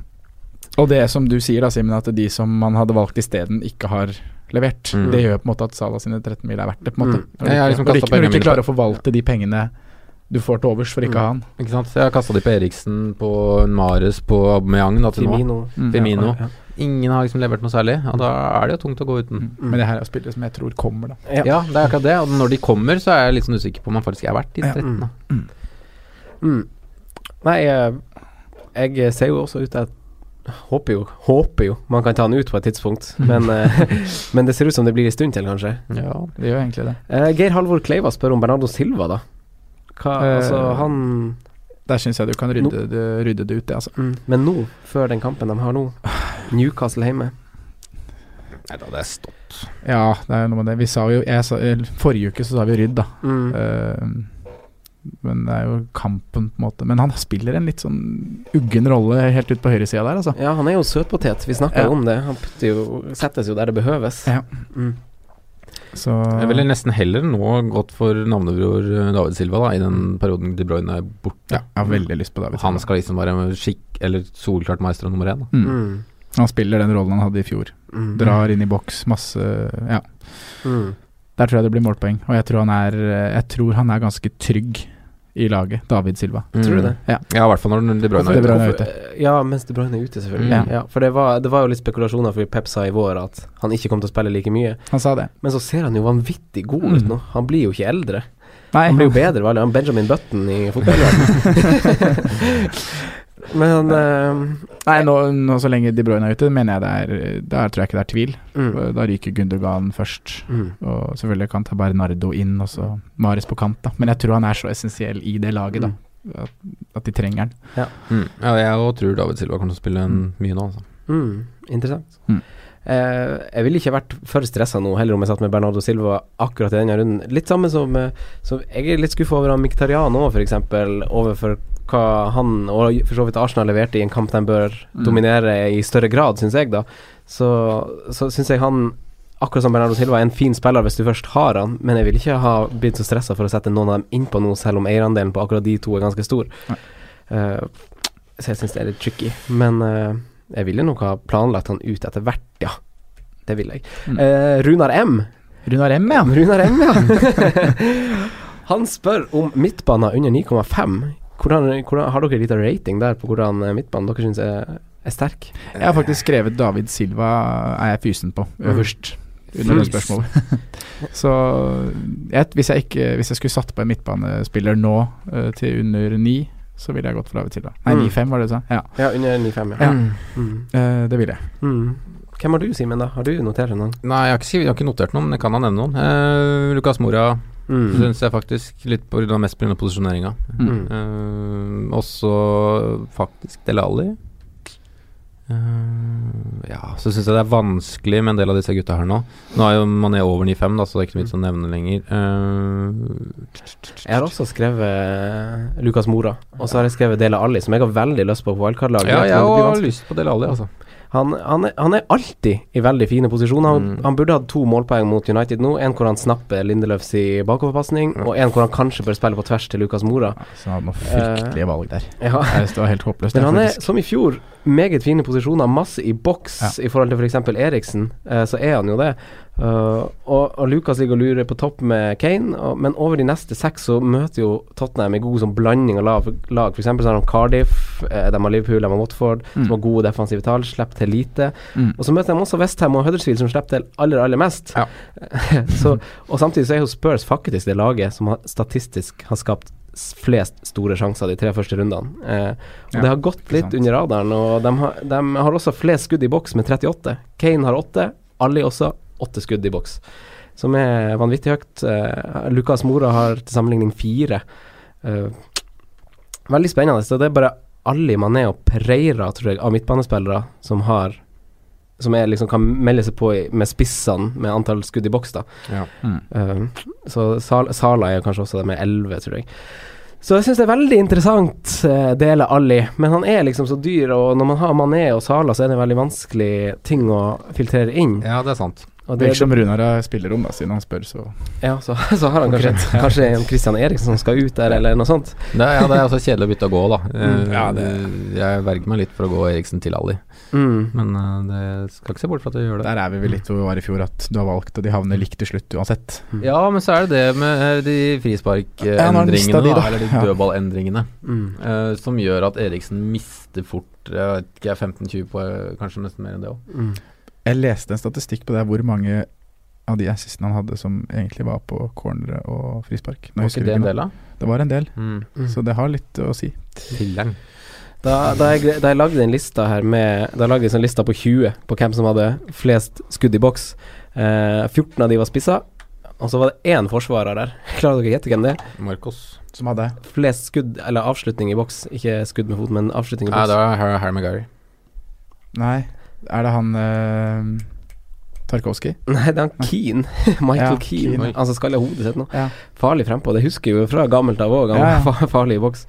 [SPEAKER 4] Og det som du sier da, Simen, at de som man hadde valgt isteden, ikke har levert.
[SPEAKER 2] Mm.
[SPEAKER 4] Det gjør på en måte at Salah sine 13 mil er verdt det, på en måte.
[SPEAKER 3] Mm.
[SPEAKER 4] Når du
[SPEAKER 2] Jeg har
[SPEAKER 4] ikke-
[SPEAKER 2] liksom
[SPEAKER 4] når du
[SPEAKER 2] kastet
[SPEAKER 4] ikke, når du
[SPEAKER 2] pengene
[SPEAKER 4] ikke
[SPEAKER 2] mine Mm.
[SPEAKER 4] klarer å forvalte de pengene du får til overs for ikke å ha han.
[SPEAKER 2] Ikke sant? Så jeg har kasta de på Eriksen, på Mares, på Aubameyang da, til nå.
[SPEAKER 3] Firmino.
[SPEAKER 4] Mm.
[SPEAKER 2] Firmino.
[SPEAKER 3] Ja.
[SPEAKER 2] Ingen har liksom levert noe særlig, og da er det jo tungt å gå uten.
[SPEAKER 4] Mm. Men det her er spillere som jeg tror kommer, da.
[SPEAKER 3] Ja.
[SPEAKER 2] Ja, det er akkurat det. Og når de kommer, så er jeg litt sånn usikker på om han faktisk er verdt de
[SPEAKER 4] Ja.
[SPEAKER 2] 13. Da.
[SPEAKER 3] Mm. Nei, eh, jeg eh, ser jo også ut til at Håper jo, håper jo man kan ta han ut på et tidspunkt,
[SPEAKER 2] Mm.
[SPEAKER 3] men, eh, men det ser ut som det blir en stund til, kanskje.
[SPEAKER 4] Ja, det gjør egentlig det.
[SPEAKER 3] Eh, Geir Halvor Kleiva spør om Bernardo Silva, da. Hva,
[SPEAKER 4] Eh,
[SPEAKER 3] altså, han
[SPEAKER 4] Der syns jeg du kan rydde, det, rydde det ut, det, altså.
[SPEAKER 3] mm, Men nå, før den kampen de har nå, Newcastle hjemme
[SPEAKER 2] Nei da, det er stopp.
[SPEAKER 4] Ja, det er jo noe med det. Vi sa jo jeg sa, eller, Forrige uke så sa vi rydd, da.
[SPEAKER 3] mm.
[SPEAKER 4] Eh, men det er jo kampen, på en måte. Men han spiller en litt sånn uggen rolle helt ut på høyresida der, altså.
[SPEAKER 3] Ja, han er jo søtpotet, vi snakka
[SPEAKER 4] Ja.
[SPEAKER 3] jo om det. Han putter jo, settes jo der det behøves.
[SPEAKER 4] Ja.
[SPEAKER 3] Mm.
[SPEAKER 4] Så
[SPEAKER 2] Jeg ville nesten heller nå gått for navnebror eh, David Silva, da, i den perioden De Bruyne er borte.
[SPEAKER 4] ja, jeg har veldig lyst på David.
[SPEAKER 2] Han skal liksom være skikk eller solklart maestro nummer én. Da.
[SPEAKER 4] Mm.
[SPEAKER 3] Mm.
[SPEAKER 4] Han spiller den rollen han hadde i fjor.
[SPEAKER 3] Mm.
[SPEAKER 4] Drar inn i boks, masse Ja.
[SPEAKER 3] Mm.
[SPEAKER 4] Der tror jeg det blir målpoeng. Og jeg tror han er, eh, jeg tror han er ganske trygg i laget, David Silva.
[SPEAKER 3] Tror du det?
[SPEAKER 2] Mm. Ja, i hvert fall når De Bruyne
[SPEAKER 4] Det
[SPEAKER 2] er
[SPEAKER 4] er bra
[SPEAKER 2] ute.
[SPEAKER 4] han er
[SPEAKER 3] Hvorfor- Ja, mens De Bruyne er ute, selvfølgelig.
[SPEAKER 2] Mm.
[SPEAKER 3] Ja. for det var, det var jo litt spekulasjoner fordi Pep sa i vår at han ikke kom til å spille like mye.
[SPEAKER 4] Han sa det.
[SPEAKER 3] Men så ser han jo vanvittig god ut
[SPEAKER 4] Mm.
[SPEAKER 3] nå. Han blir jo ikke eldre.
[SPEAKER 4] Nei,
[SPEAKER 3] Han blir jo bedre, vel? Han er Benjamin Button i fotballverdenen. Men eh,
[SPEAKER 4] nei nå, nå så lenge De Bruyne er ute, mener jeg det er Der tror jeg ikke det er tvil.
[SPEAKER 3] mm,
[SPEAKER 4] Da ryker Gundogan først.
[SPEAKER 3] mm.
[SPEAKER 4] Og selvfølgelig kan ta Bernardo inn, og så Mares på kant, da. Men jeg tror han er så essensiell i det laget, da. At, at de trenger han.
[SPEAKER 2] Mm. Ja, jeg òg tror David Silva kommer til å spille en, mye nå, altså.
[SPEAKER 3] Mm, interessant.
[SPEAKER 4] Mm.
[SPEAKER 3] Eh, jeg ville ikke vært for stressa nå, heller om jeg satt med Bernardo Silva akkurat i denne runden. Litt samme som, eh, som Jeg er litt skuffa over han Miktarian òg, f.eks. Overfor hva han og for så vidt Arsenal leverte i en kamp de bør
[SPEAKER 4] Mm.
[SPEAKER 3] dominere i større grad, syns jeg, da. Så, så syns jeg han Akkurat som Bernardo Silva er en fin spiller hvis du først har han, men jeg vil ikke ha blitt så stressa for å sette noen av dem innpå nå, selv om eierandelen på akkurat de to er ganske stor.
[SPEAKER 4] Nei.
[SPEAKER 3] Eh, så jeg syns det er litt tricky. Men eh, jeg ville nok ha planlagt han ut etter hvert, ja. Det ville jeg.
[SPEAKER 4] Mm.
[SPEAKER 3] Eh, Runar M.
[SPEAKER 4] Runar M, ja.
[SPEAKER 3] Runar M, ja. han spør om midtbaner under 9,5. Hvordan, hvordan, har dere en liten rating der på hvordan eh, midtbanen dere syns er, er sterk?
[SPEAKER 4] Jeg har faktisk skrevet David Silva er jeg fysen på, øverst. Under det
[SPEAKER 3] Mm. Fysen.
[SPEAKER 4] spørsmålet. Så jeg, hvis, jeg ikke, hvis jeg skulle satt på en midtbanespiller nå eh, til under ni, så ville jeg gått for David Silva. Nei,
[SPEAKER 3] Mm.
[SPEAKER 4] 9-5 var det du sa? Ja,
[SPEAKER 3] Ja, under 9,5, ja.
[SPEAKER 4] Ja.
[SPEAKER 3] Mm.
[SPEAKER 4] eh, det ville jeg.
[SPEAKER 3] Mm. Hvem har du, Simen? da? Har du notert noen?
[SPEAKER 2] Nei, jeg har, ikke, skrevet- jeg har ikke notert noen, men jeg kan ha nevne noen. Eh, Lucas Mora
[SPEAKER 3] Mm.
[SPEAKER 2] synes syns jeg faktisk litt på grunn av mest pga. posisjoneringa.
[SPEAKER 3] Mm.
[SPEAKER 2] Eh, også faktisk Dele Alli. Eh, ja, så syns jeg det er vanskelig med en del av disse gutta her nå. Nå er jo Mané over 9,5, da, så det er ikke noe vits å nevne lenger. Eh,
[SPEAKER 3] Jeg har også skrevet eh, Lukas Mora, og så har jeg skrevet Dele Alli, som jeg har veldig lyst på på wildcard-laget.
[SPEAKER 2] ja,
[SPEAKER 3] Jeg
[SPEAKER 2] jeg
[SPEAKER 3] tror det blir
[SPEAKER 2] har
[SPEAKER 3] vanskelig.
[SPEAKER 2] lyst på Dele Alli, altså.
[SPEAKER 3] han, han, er- han er alltid i veldig fine posisjoner. Han,
[SPEAKER 2] Mm.
[SPEAKER 3] han burde hatt to målpoeng mot United nå. En hvor han snapper Lindeløfs i bakoverpasning, og en hvor han kanskje bør spille på tvers til Lukas Mora.
[SPEAKER 4] Så han hadde noen fryktelige valg der.
[SPEAKER 3] Eh, Ja.
[SPEAKER 4] Jeg synes Det var helt håpløst.
[SPEAKER 3] Men
[SPEAKER 4] jeg,
[SPEAKER 3] han er,
[SPEAKER 4] faktisk.
[SPEAKER 3] som i fjor, meget fine posisjoner, masse i boks i forhold til f.eks. Eriksen, eh, så er han jo det. Eh, og, og Lucas ligger og lurer på topp med Kane, og, men over de neste seks så møter jo Tottenham en god sånn blanding av lav- lag. F.eks. så har de Cardiff, eh, de har Liverpool, de har Watford, som har gode defensive tall, slipper til lite.
[SPEAKER 4] Mm.
[SPEAKER 3] Og så møter de også Westham og Huddersfield, som slipper til aller, aller mest.
[SPEAKER 4] Ja.
[SPEAKER 3] så, og samtidig så er jo Spurs faktisk det laget som har, statistisk har skapt s- flest store sjanser de tre første rundene. Eh, og
[SPEAKER 4] Ja,
[SPEAKER 3] det har gått
[SPEAKER 4] ikke
[SPEAKER 3] litt
[SPEAKER 4] sant.
[SPEAKER 3] under radaren, og de har, de har også flest skudd i boks med 38. Kane har åtte, Ali også åtte skudd i boks, som er vanvittig høyt. Eh, Lucas Mora har til sammenligning fire. Eh, veldig spennende. Så det er bare Ali Mané og Pereira, tror jeg, av midtbanespillere som har som er liksom kan melde seg på i, med spissene med antall skudd i boks, da.
[SPEAKER 2] Ja.
[SPEAKER 4] Mm.
[SPEAKER 3] Eh, så Sal Sala er jo kanskje også det med 11, tror jeg. Så jeg syns det er veldig interessant eh, del av Ali, men han er liksom så dyr, og når man har Mané og Sala, så er det en veldig vanskelig ting å filtrere inn.
[SPEAKER 2] Ja, det er sant.
[SPEAKER 3] Og det,
[SPEAKER 4] Virker som Runar har spillerom, da, siden han spør, så
[SPEAKER 3] ja, så, så har han kanskje Kanskje det er en Christian Eriksen som skal ut der, eller noe sånt.
[SPEAKER 2] Det, er- ja, det er også kjedelig å bytte å gå, da. Eh,
[SPEAKER 4] Ja, det-
[SPEAKER 2] Jeg verger meg litt for å gå Eriksen til Alli,
[SPEAKER 3] Mm.
[SPEAKER 2] men eh, det skal ikke se bort fra at jeg gjør det.
[SPEAKER 4] Der er vi vel litt hvor vi var i fjor, at du har valgt, og de havner likt til slutt uansett.
[SPEAKER 3] Mm.
[SPEAKER 2] Ja, men så er det det med eh, de
[SPEAKER 4] Ja, nå har han
[SPEAKER 2] frisparkendringene,
[SPEAKER 4] mistet
[SPEAKER 2] da,
[SPEAKER 4] de, da.
[SPEAKER 2] eller de
[SPEAKER 4] Ja.
[SPEAKER 2] dødballendringene,
[SPEAKER 3] Mm.
[SPEAKER 2] eh, som gjør at Eriksen mister fort jeg vet ikke, 15-20 på eh, kanskje nesten mer enn det òg.
[SPEAKER 3] Mm.
[SPEAKER 4] Jeg leste en statistikk på det, hvor mange av de assistene han hadde som egentlig var på cornere og frispark. Nå
[SPEAKER 2] Var
[SPEAKER 4] husker
[SPEAKER 2] ikke
[SPEAKER 4] jeg
[SPEAKER 2] det en
[SPEAKER 4] ikke
[SPEAKER 2] del av?
[SPEAKER 4] nå. Det var en del,
[SPEAKER 2] Mm.
[SPEAKER 4] så det har litt å si.
[SPEAKER 2] Filleren.
[SPEAKER 3] Da, da, jeg, da jeg lagde den lista her med Da jeg lagde en sånn lista på 20 på hvem som hadde flest skudd i boks. Eh, 14 av de var spissa, og så var det én forsvarer der. Klarer dere å gjette hvem det er?
[SPEAKER 2] Marcos.
[SPEAKER 4] Som hadde
[SPEAKER 3] Flest skudd, eller avslutning i boks. Ikke skudd med fot, men avslutning i
[SPEAKER 2] Nei,
[SPEAKER 3] boks.
[SPEAKER 2] det var Har- Harry Maguire.
[SPEAKER 4] Nei, er det han eh, Tarkovskij?
[SPEAKER 3] Nei, det er han Keane. Michael
[SPEAKER 4] Ja,
[SPEAKER 3] Keane.
[SPEAKER 4] Keane.
[SPEAKER 3] Han som skaller hodet sitt nå.
[SPEAKER 4] Ja.
[SPEAKER 3] Farlig frempå. Det husker jeg jo fra gammelt av òg. Han
[SPEAKER 4] Ja, ja.
[SPEAKER 3] var fa- farlig i boks.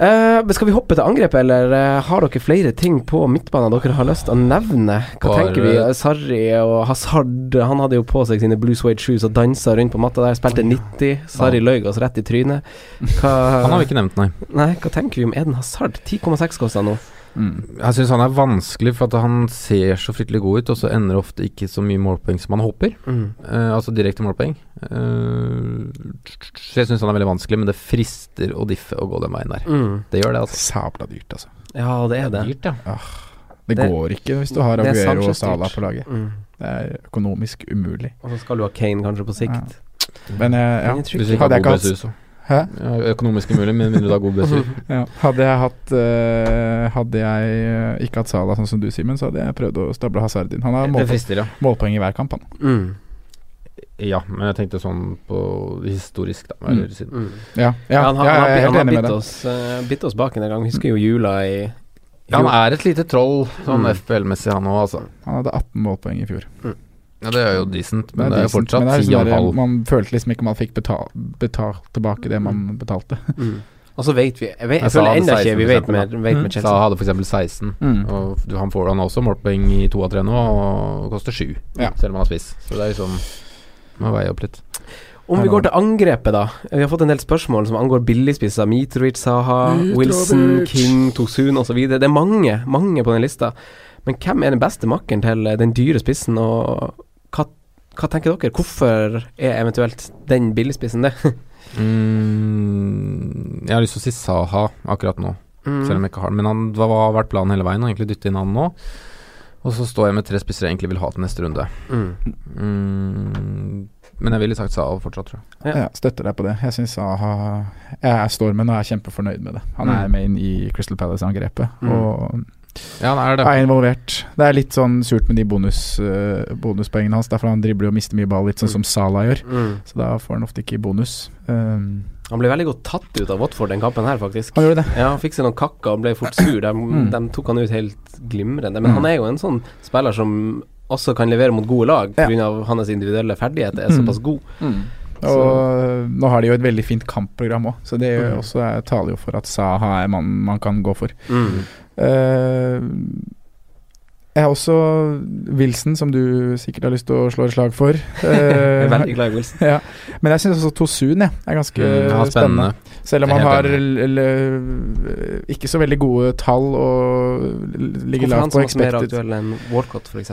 [SPEAKER 3] Eh, men skal vi hoppe til angrepet, eller eh, har dere flere ting på midtbanen dere har lyst til å nevne? Hva
[SPEAKER 2] Bare-
[SPEAKER 3] tenker vi? Eh, Sarri og Hazard, han hadde jo på seg sine blue suede shoes og dansa rundt på matta der. Spilte 90. Sarri løy oss rett i trynet.
[SPEAKER 2] Han har
[SPEAKER 3] Hva,
[SPEAKER 2] vi ikke nevnt, nei.
[SPEAKER 3] nei, hva tenker vi om Eden Hazard? 10,6 koster han nå.
[SPEAKER 2] Jeg syns han er vanskelig, for at han ser så fryktelig god ut, og så ender det ofte ikke så mye målpoeng som han håper. Eh, altså direkte målpoeng. Eh, så jeg syns han er veldig vanskelig, men det frister å diffe og gå den veien der.
[SPEAKER 3] Mm.
[SPEAKER 2] Det gjør det, altså.
[SPEAKER 4] Sabla dyrt, altså.
[SPEAKER 3] Ja, det er det.
[SPEAKER 2] Dyrt, ja.
[SPEAKER 4] Det,
[SPEAKER 3] Det-
[SPEAKER 4] går ikke hvis du har
[SPEAKER 3] Det er
[SPEAKER 4] Aguero og
[SPEAKER 3] Sanchez
[SPEAKER 4] Sala
[SPEAKER 3] dyrt.
[SPEAKER 4] på laget.
[SPEAKER 3] Mm.
[SPEAKER 4] Det er økonomisk umulig.
[SPEAKER 3] Og så skal du ha Kane kanskje på sikt. Mm.
[SPEAKER 4] Men eh, ja.
[SPEAKER 3] Men jeg tror ikke-
[SPEAKER 2] Hvis du ikke har
[SPEAKER 4] Hadde jeg
[SPEAKER 2] god
[SPEAKER 4] ikke hatt-
[SPEAKER 2] Bessus, så.
[SPEAKER 4] Hæ?
[SPEAKER 2] Ja, økonomisk umulig, men mindre du har god Bessus.
[SPEAKER 4] Ja. Hadde jeg hatt eh, Hadde jeg eh, ikke hatt Sala sånn som du, Simen, så hadde jeg prøvd å stable Hazard inn. Han har
[SPEAKER 2] Det
[SPEAKER 4] målpoeng,
[SPEAKER 2] frister, ja.
[SPEAKER 4] målpoeng i hver kamp, han.
[SPEAKER 3] Mm.
[SPEAKER 2] Ja, men jeg tenkte sånn på historisk, da. Eller
[SPEAKER 4] Mm.
[SPEAKER 2] siden.
[SPEAKER 3] Mm.
[SPEAKER 4] Ja,
[SPEAKER 3] Ja,
[SPEAKER 4] ja,
[SPEAKER 3] han har,
[SPEAKER 4] jeg
[SPEAKER 3] han har,
[SPEAKER 4] er
[SPEAKER 3] han
[SPEAKER 4] helt
[SPEAKER 3] har
[SPEAKER 4] enig
[SPEAKER 3] bitt,
[SPEAKER 4] med deg.
[SPEAKER 3] oss, eh, bitt oss bak en del ganger. Husker jo jula i
[SPEAKER 2] Ja, han er et lite troll, sånn
[SPEAKER 3] Mm.
[SPEAKER 2] FPL-messig, han òg, altså.
[SPEAKER 4] Han hadde 18 målpoeng i fjor.
[SPEAKER 2] Ja, det er jo decent, men det
[SPEAKER 4] Det
[SPEAKER 2] er liksom jo
[SPEAKER 4] decent,
[SPEAKER 2] fortsatt
[SPEAKER 4] men det er
[SPEAKER 2] 10,5.
[SPEAKER 4] sånn der, Man følte liksom ikke man fikk betalt, betalt tilbake det
[SPEAKER 3] Mm.
[SPEAKER 4] man betalte.
[SPEAKER 3] Og så vet vi Jeg, vet, jeg
[SPEAKER 2] Jeg sa
[SPEAKER 3] føler
[SPEAKER 2] han
[SPEAKER 3] enda ikke
[SPEAKER 2] 16
[SPEAKER 3] vi
[SPEAKER 2] for
[SPEAKER 3] vet
[SPEAKER 2] eksempel, Mm.
[SPEAKER 3] med, vet med
[SPEAKER 2] Sa
[SPEAKER 3] Chelsea.
[SPEAKER 2] hadde f.eks. 16,
[SPEAKER 4] Mm.
[SPEAKER 2] og du- han får han også målpoeng i to av tre nå, og koster sju,
[SPEAKER 4] Ja.
[SPEAKER 2] selv om han har spiss. Så det er liksom Må veie opp litt.
[SPEAKER 3] Om vi går til angrepet, da. Vi har fått en del spørsmål som angår billigspisser. Mitrovic, Saha, Wilson, King, Tosun osv. Det er mange, mange på den lista. Men hvem er den beste makkeren til eh, den dyre spissen, og hva, hva tenker dere? Hvorfor er eventuelt den billigspissen det?
[SPEAKER 2] Mm, jeg har lyst til å si Saha akkurat nå, selv om jeg ikke har Men han, hva har vært planen hele veien, å egentlig dytte inn han nå? Og så står jeg med tre spisser jeg egentlig vil ha til neste runde.
[SPEAKER 3] Mm.
[SPEAKER 2] Mm, men jeg ville sagt Saha fortsatt, tror jeg.
[SPEAKER 3] Ja.
[SPEAKER 4] Ja, støtter deg på det. Jeg syns Aha Jeg står med den og er kjempefornøyd med det. Han er med inn i Crystal Palace-angrepet
[SPEAKER 3] Mm.
[SPEAKER 4] og
[SPEAKER 2] Ja, han er det.
[SPEAKER 4] er involvert. Det er litt sånn surt med de bonus, eh, bonuspoengene hans, derfor han dribler og mister mye ball, litt sånn som Salah gjør.
[SPEAKER 3] Mm.
[SPEAKER 4] Så da får han ofte ikke bonus. Um,
[SPEAKER 3] Han ble veldig godt tatt ut av Watford den kampen her, faktisk.
[SPEAKER 4] han gjorde det.
[SPEAKER 3] Ja, han fikk seg noen kakker og ble fort sur. De,
[SPEAKER 4] Mm.
[SPEAKER 3] de tok han ut helt glimrende. Men han er jo en sånn spiller som også kan levere mot gode lag,
[SPEAKER 4] Ja.
[SPEAKER 3] pga. av hans individuelle ferdigheter er
[SPEAKER 4] Mm.
[SPEAKER 3] såpass god.
[SPEAKER 4] Og nå har de jo et veldig fint kampprogram òg, så det gjør også, eh, taler jo for at Saha er mannen man kan gå for. Eh, jeg har også Wilson, som du sikkert har lyst til å slå et slag for.
[SPEAKER 3] Jeg
[SPEAKER 4] Eh,
[SPEAKER 3] er veldig glad i Wilson.
[SPEAKER 4] ja. Men jeg syns også Tosun ja, er ganske
[SPEAKER 2] Mm, han er
[SPEAKER 4] spennende.
[SPEAKER 2] spennende.
[SPEAKER 4] Selv om
[SPEAKER 2] Jeg er
[SPEAKER 4] han har
[SPEAKER 2] helt
[SPEAKER 4] l- l- ikke så veldig gode tall og l- ligger
[SPEAKER 3] Hvorfor er han
[SPEAKER 4] lavt på
[SPEAKER 3] som også mer
[SPEAKER 4] expected.
[SPEAKER 3] aktuell enn Walcott, f.eks.?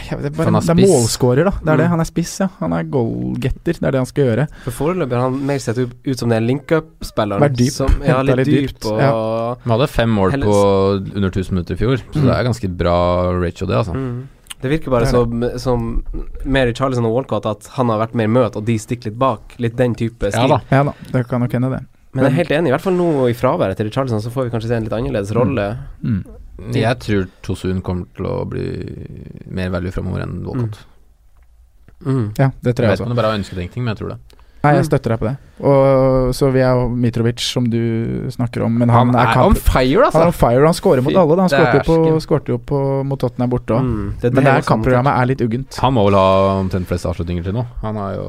[SPEAKER 4] Nei, jeg vet ikke,
[SPEAKER 2] For
[SPEAKER 4] bare,
[SPEAKER 2] han er
[SPEAKER 4] det er
[SPEAKER 2] spiss.
[SPEAKER 4] målskårer, da. Det er det.
[SPEAKER 3] Mm.
[SPEAKER 4] Han er spiss, ja. Han er goalgetter. Det er det han skal gjøre.
[SPEAKER 3] For foreløpig har han mer sett ut ut som den link-up-spilleren
[SPEAKER 4] Vært dyp.
[SPEAKER 3] som ja, litt
[SPEAKER 4] Hentet litt
[SPEAKER 3] dyp
[SPEAKER 4] dypt,
[SPEAKER 3] og
[SPEAKER 2] Vi hadde fem mål
[SPEAKER 3] Helles.
[SPEAKER 2] på under 1000 minutter i fjor, så det er ganske bra ratio, det, altså.
[SPEAKER 3] mm. Det virker bare
[SPEAKER 4] Det er
[SPEAKER 3] som, som Mary Charlison og Walcott at han har vært mer møt, og de stikker litt bak. Litt den type stil.
[SPEAKER 2] Ja da.
[SPEAKER 4] Ja da, det kan nok hende, det.
[SPEAKER 3] Men jeg er helt enig, i hvert fall nå i fraværet til Richarlison, så får vi kanskje se en litt annerledes rolle.
[SPEAKER 4] Mm.
[SPEAKER 2] Jeg tror Tosun kommer til å bli mer value framover enn Walcott.
[SPEAKER 4] Ja, det
[SPEAKER 2] Jeg
[SPEAKER 4] tror jeg
[SPEAKER 2] vet
[SPEAKER 4] også.
[SPEAKER 2] ikke om det bare er ønsketenkning, men jeg tror det.
[SPEAKER 4] Nei, jeg støtter deg på det. Og så vi er jo Mitrovic, som du snakker om, altså. men han, er kamp...
[SPEAKER 2] fire, altså.
[SPEAKER 4] Han er on fire, han scorer mot
[SPEAKER 2] Fy
[SPEAKER 4] alle. Da. Han skårte jo, på,
[SPEAKER 2] dæsken.
[SPEAKER 4] skårte jo på, mot Tottenham borte òg.
[SPEAKER 3] Mm. Det,
[SPEAKER 4] Men det her
[SPEAKER 3] også han-
[SPEAKER 4] kampprogrammet er litt uggent.
[SPEAKER 2] Han må vel ha omtrent flest avslutninger til nå. Han er jo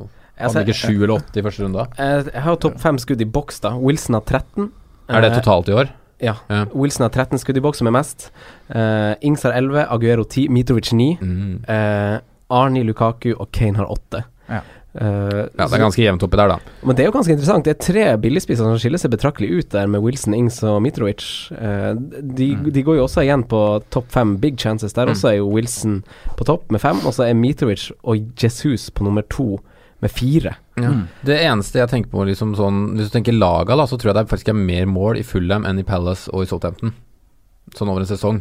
[SPEAKER 3] Jeg,
[SPEAKER 2] Hadde ikke
[SPEAKER 3] ser,
[SPEAKER 2] sju eller åtte i første runde. da.
[SPEAKER 3] jeg, jeg har jo topp fem skudd i boks, da. Wilson har 13.
[SPEAKER 2] Er det
[SPEAKER 3] Eh,
[SPEAKER 2] totalt i år?
[SPEAKER 3] Ja.
[SPEAKER 2] Ja.
[SPEAKER 3] Wilson har 13 skudd i boks, som er mest. Eh, Ings har 11, Aguero 10, Mitrovic 9.
[SPEAKER 2] Mm.
[SPEAKER 3] eh, Arni Lukaku og Kane har 8.
[SPEAKER 4] Ja.
[SPEAKER 3] Eh,
[SPEAKER 2] Ja, det
[SPEAKER 3] så-
[SPEAKER 2] er ganske jevnt oppi der, da.
[SPEAKER 3] Men det er jo ganske interessant. Det er tre billigspisser som skiller seg betraktelig ut der, med Wilson, Ings og Mitrovic. Eh, de,
[SPEAKER 2] Mm.
[SPEAKER 3] de går jo også igjen på topp fem big chances. Der også er jo Wilson på topp med fem, og så er Mitrovic og Jesus på nummer to med fire.
[SPEAKER 2] Det eneste jeg tenker på, liksom sånn Hvis du tenker laga, da, så tror jeg det faktisk er mer mål i Fulham enn i Palace og i Southampton. Sånn over en sesong.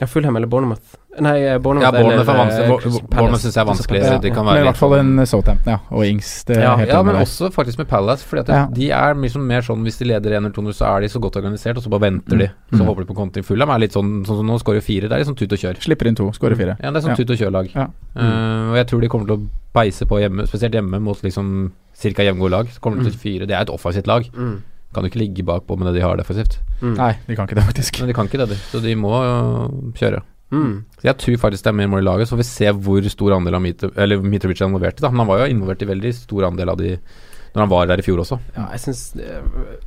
[SPEAKER 3] Ja, Fulham eller Bournemouth. Nei, eh, Bournemouth.
[SPEAKER 2] Ja, Bournemouth er
[SPEAKER 3] eller,
[SPEAKER 2] vanskelig.
[SPEAKER 3] eh,
[SPEAKER 2] Bo-
[SPEAKER 3] Crystal
[SPEAKER 2] Bournemouth
[SPEAKER 3] Palace.
[SPEAKER 2] synes jeg er vanskelig,
[SPEAKER 4] Ja,
[SPEAKER 2] så det kan
[SPEAKER 4] men
[SPEAKER 2] være
[SPEAKER 4] i hvert
[SPEAKER 2] litt
[SPEAKER 4] fall en Southampton, ja. Og Ings. Det er
[SPEAKER 3] Ja,
[SPEAKER 4] helt
[SPEAKER 2] ja,
[SPEAKER 4] enig
[SPEAKER 2] men
[SPEAKER 4] med deg.
[SPEAKER 2] også faktisk med Palace. Fordi at
[SPEAKER 4] Ja.
[SPEAKER 2] De er liksom mer sånn hvis de leder 1 eller 2-0, så er de så godt organisert, og så bare venter de. Så
[SPEAKER 4] Mm.
[SPEAKER 2] håper de på kontring. Fulham er litt sånn sånn som nå, skårer fire. Det er litt sånn tut og kjør.
[SPEAKER 4] Slipper inn to, skårer fire.
[SPEAKER 2] Ja, det er sånn
[SPEAKER 4] Ja.
[SPEAKER 2] tut og kjør-lag.
[SPEAKER 4] Ja.
[SPEAKER 2] Eh, og jeg tror de kommer til å beise på hjemme, spesielt hjemme mot liksom ca. jevngode lag. Så kommer de
[SPEAKER 4] Mm.
[SPEAKER 2] til fire. Det er et offensivt lag.
[SPEAKER 3] Mm.
[SPEAKER 2] Kan jo ikke ligge bakpå med det de har defensivt.
[SPEAKER 4] Nei, de kan ikke det, faktisk.
[SPEAKER 2] Men de kan ikke det, de. Så de må øh, kjøre.
[SPEAKER 3] Mm.
[SPEAKER 2] Så jeg tror faktisk det er mer mål i laget, så får vi se hvor stor andel av Mitro, eller Mitrovic er involvert i. da Men han var jo involvert i veldig stor andel av de når han var der i fjor også.
[SPEAKER 3] Ja, jeg synes eh,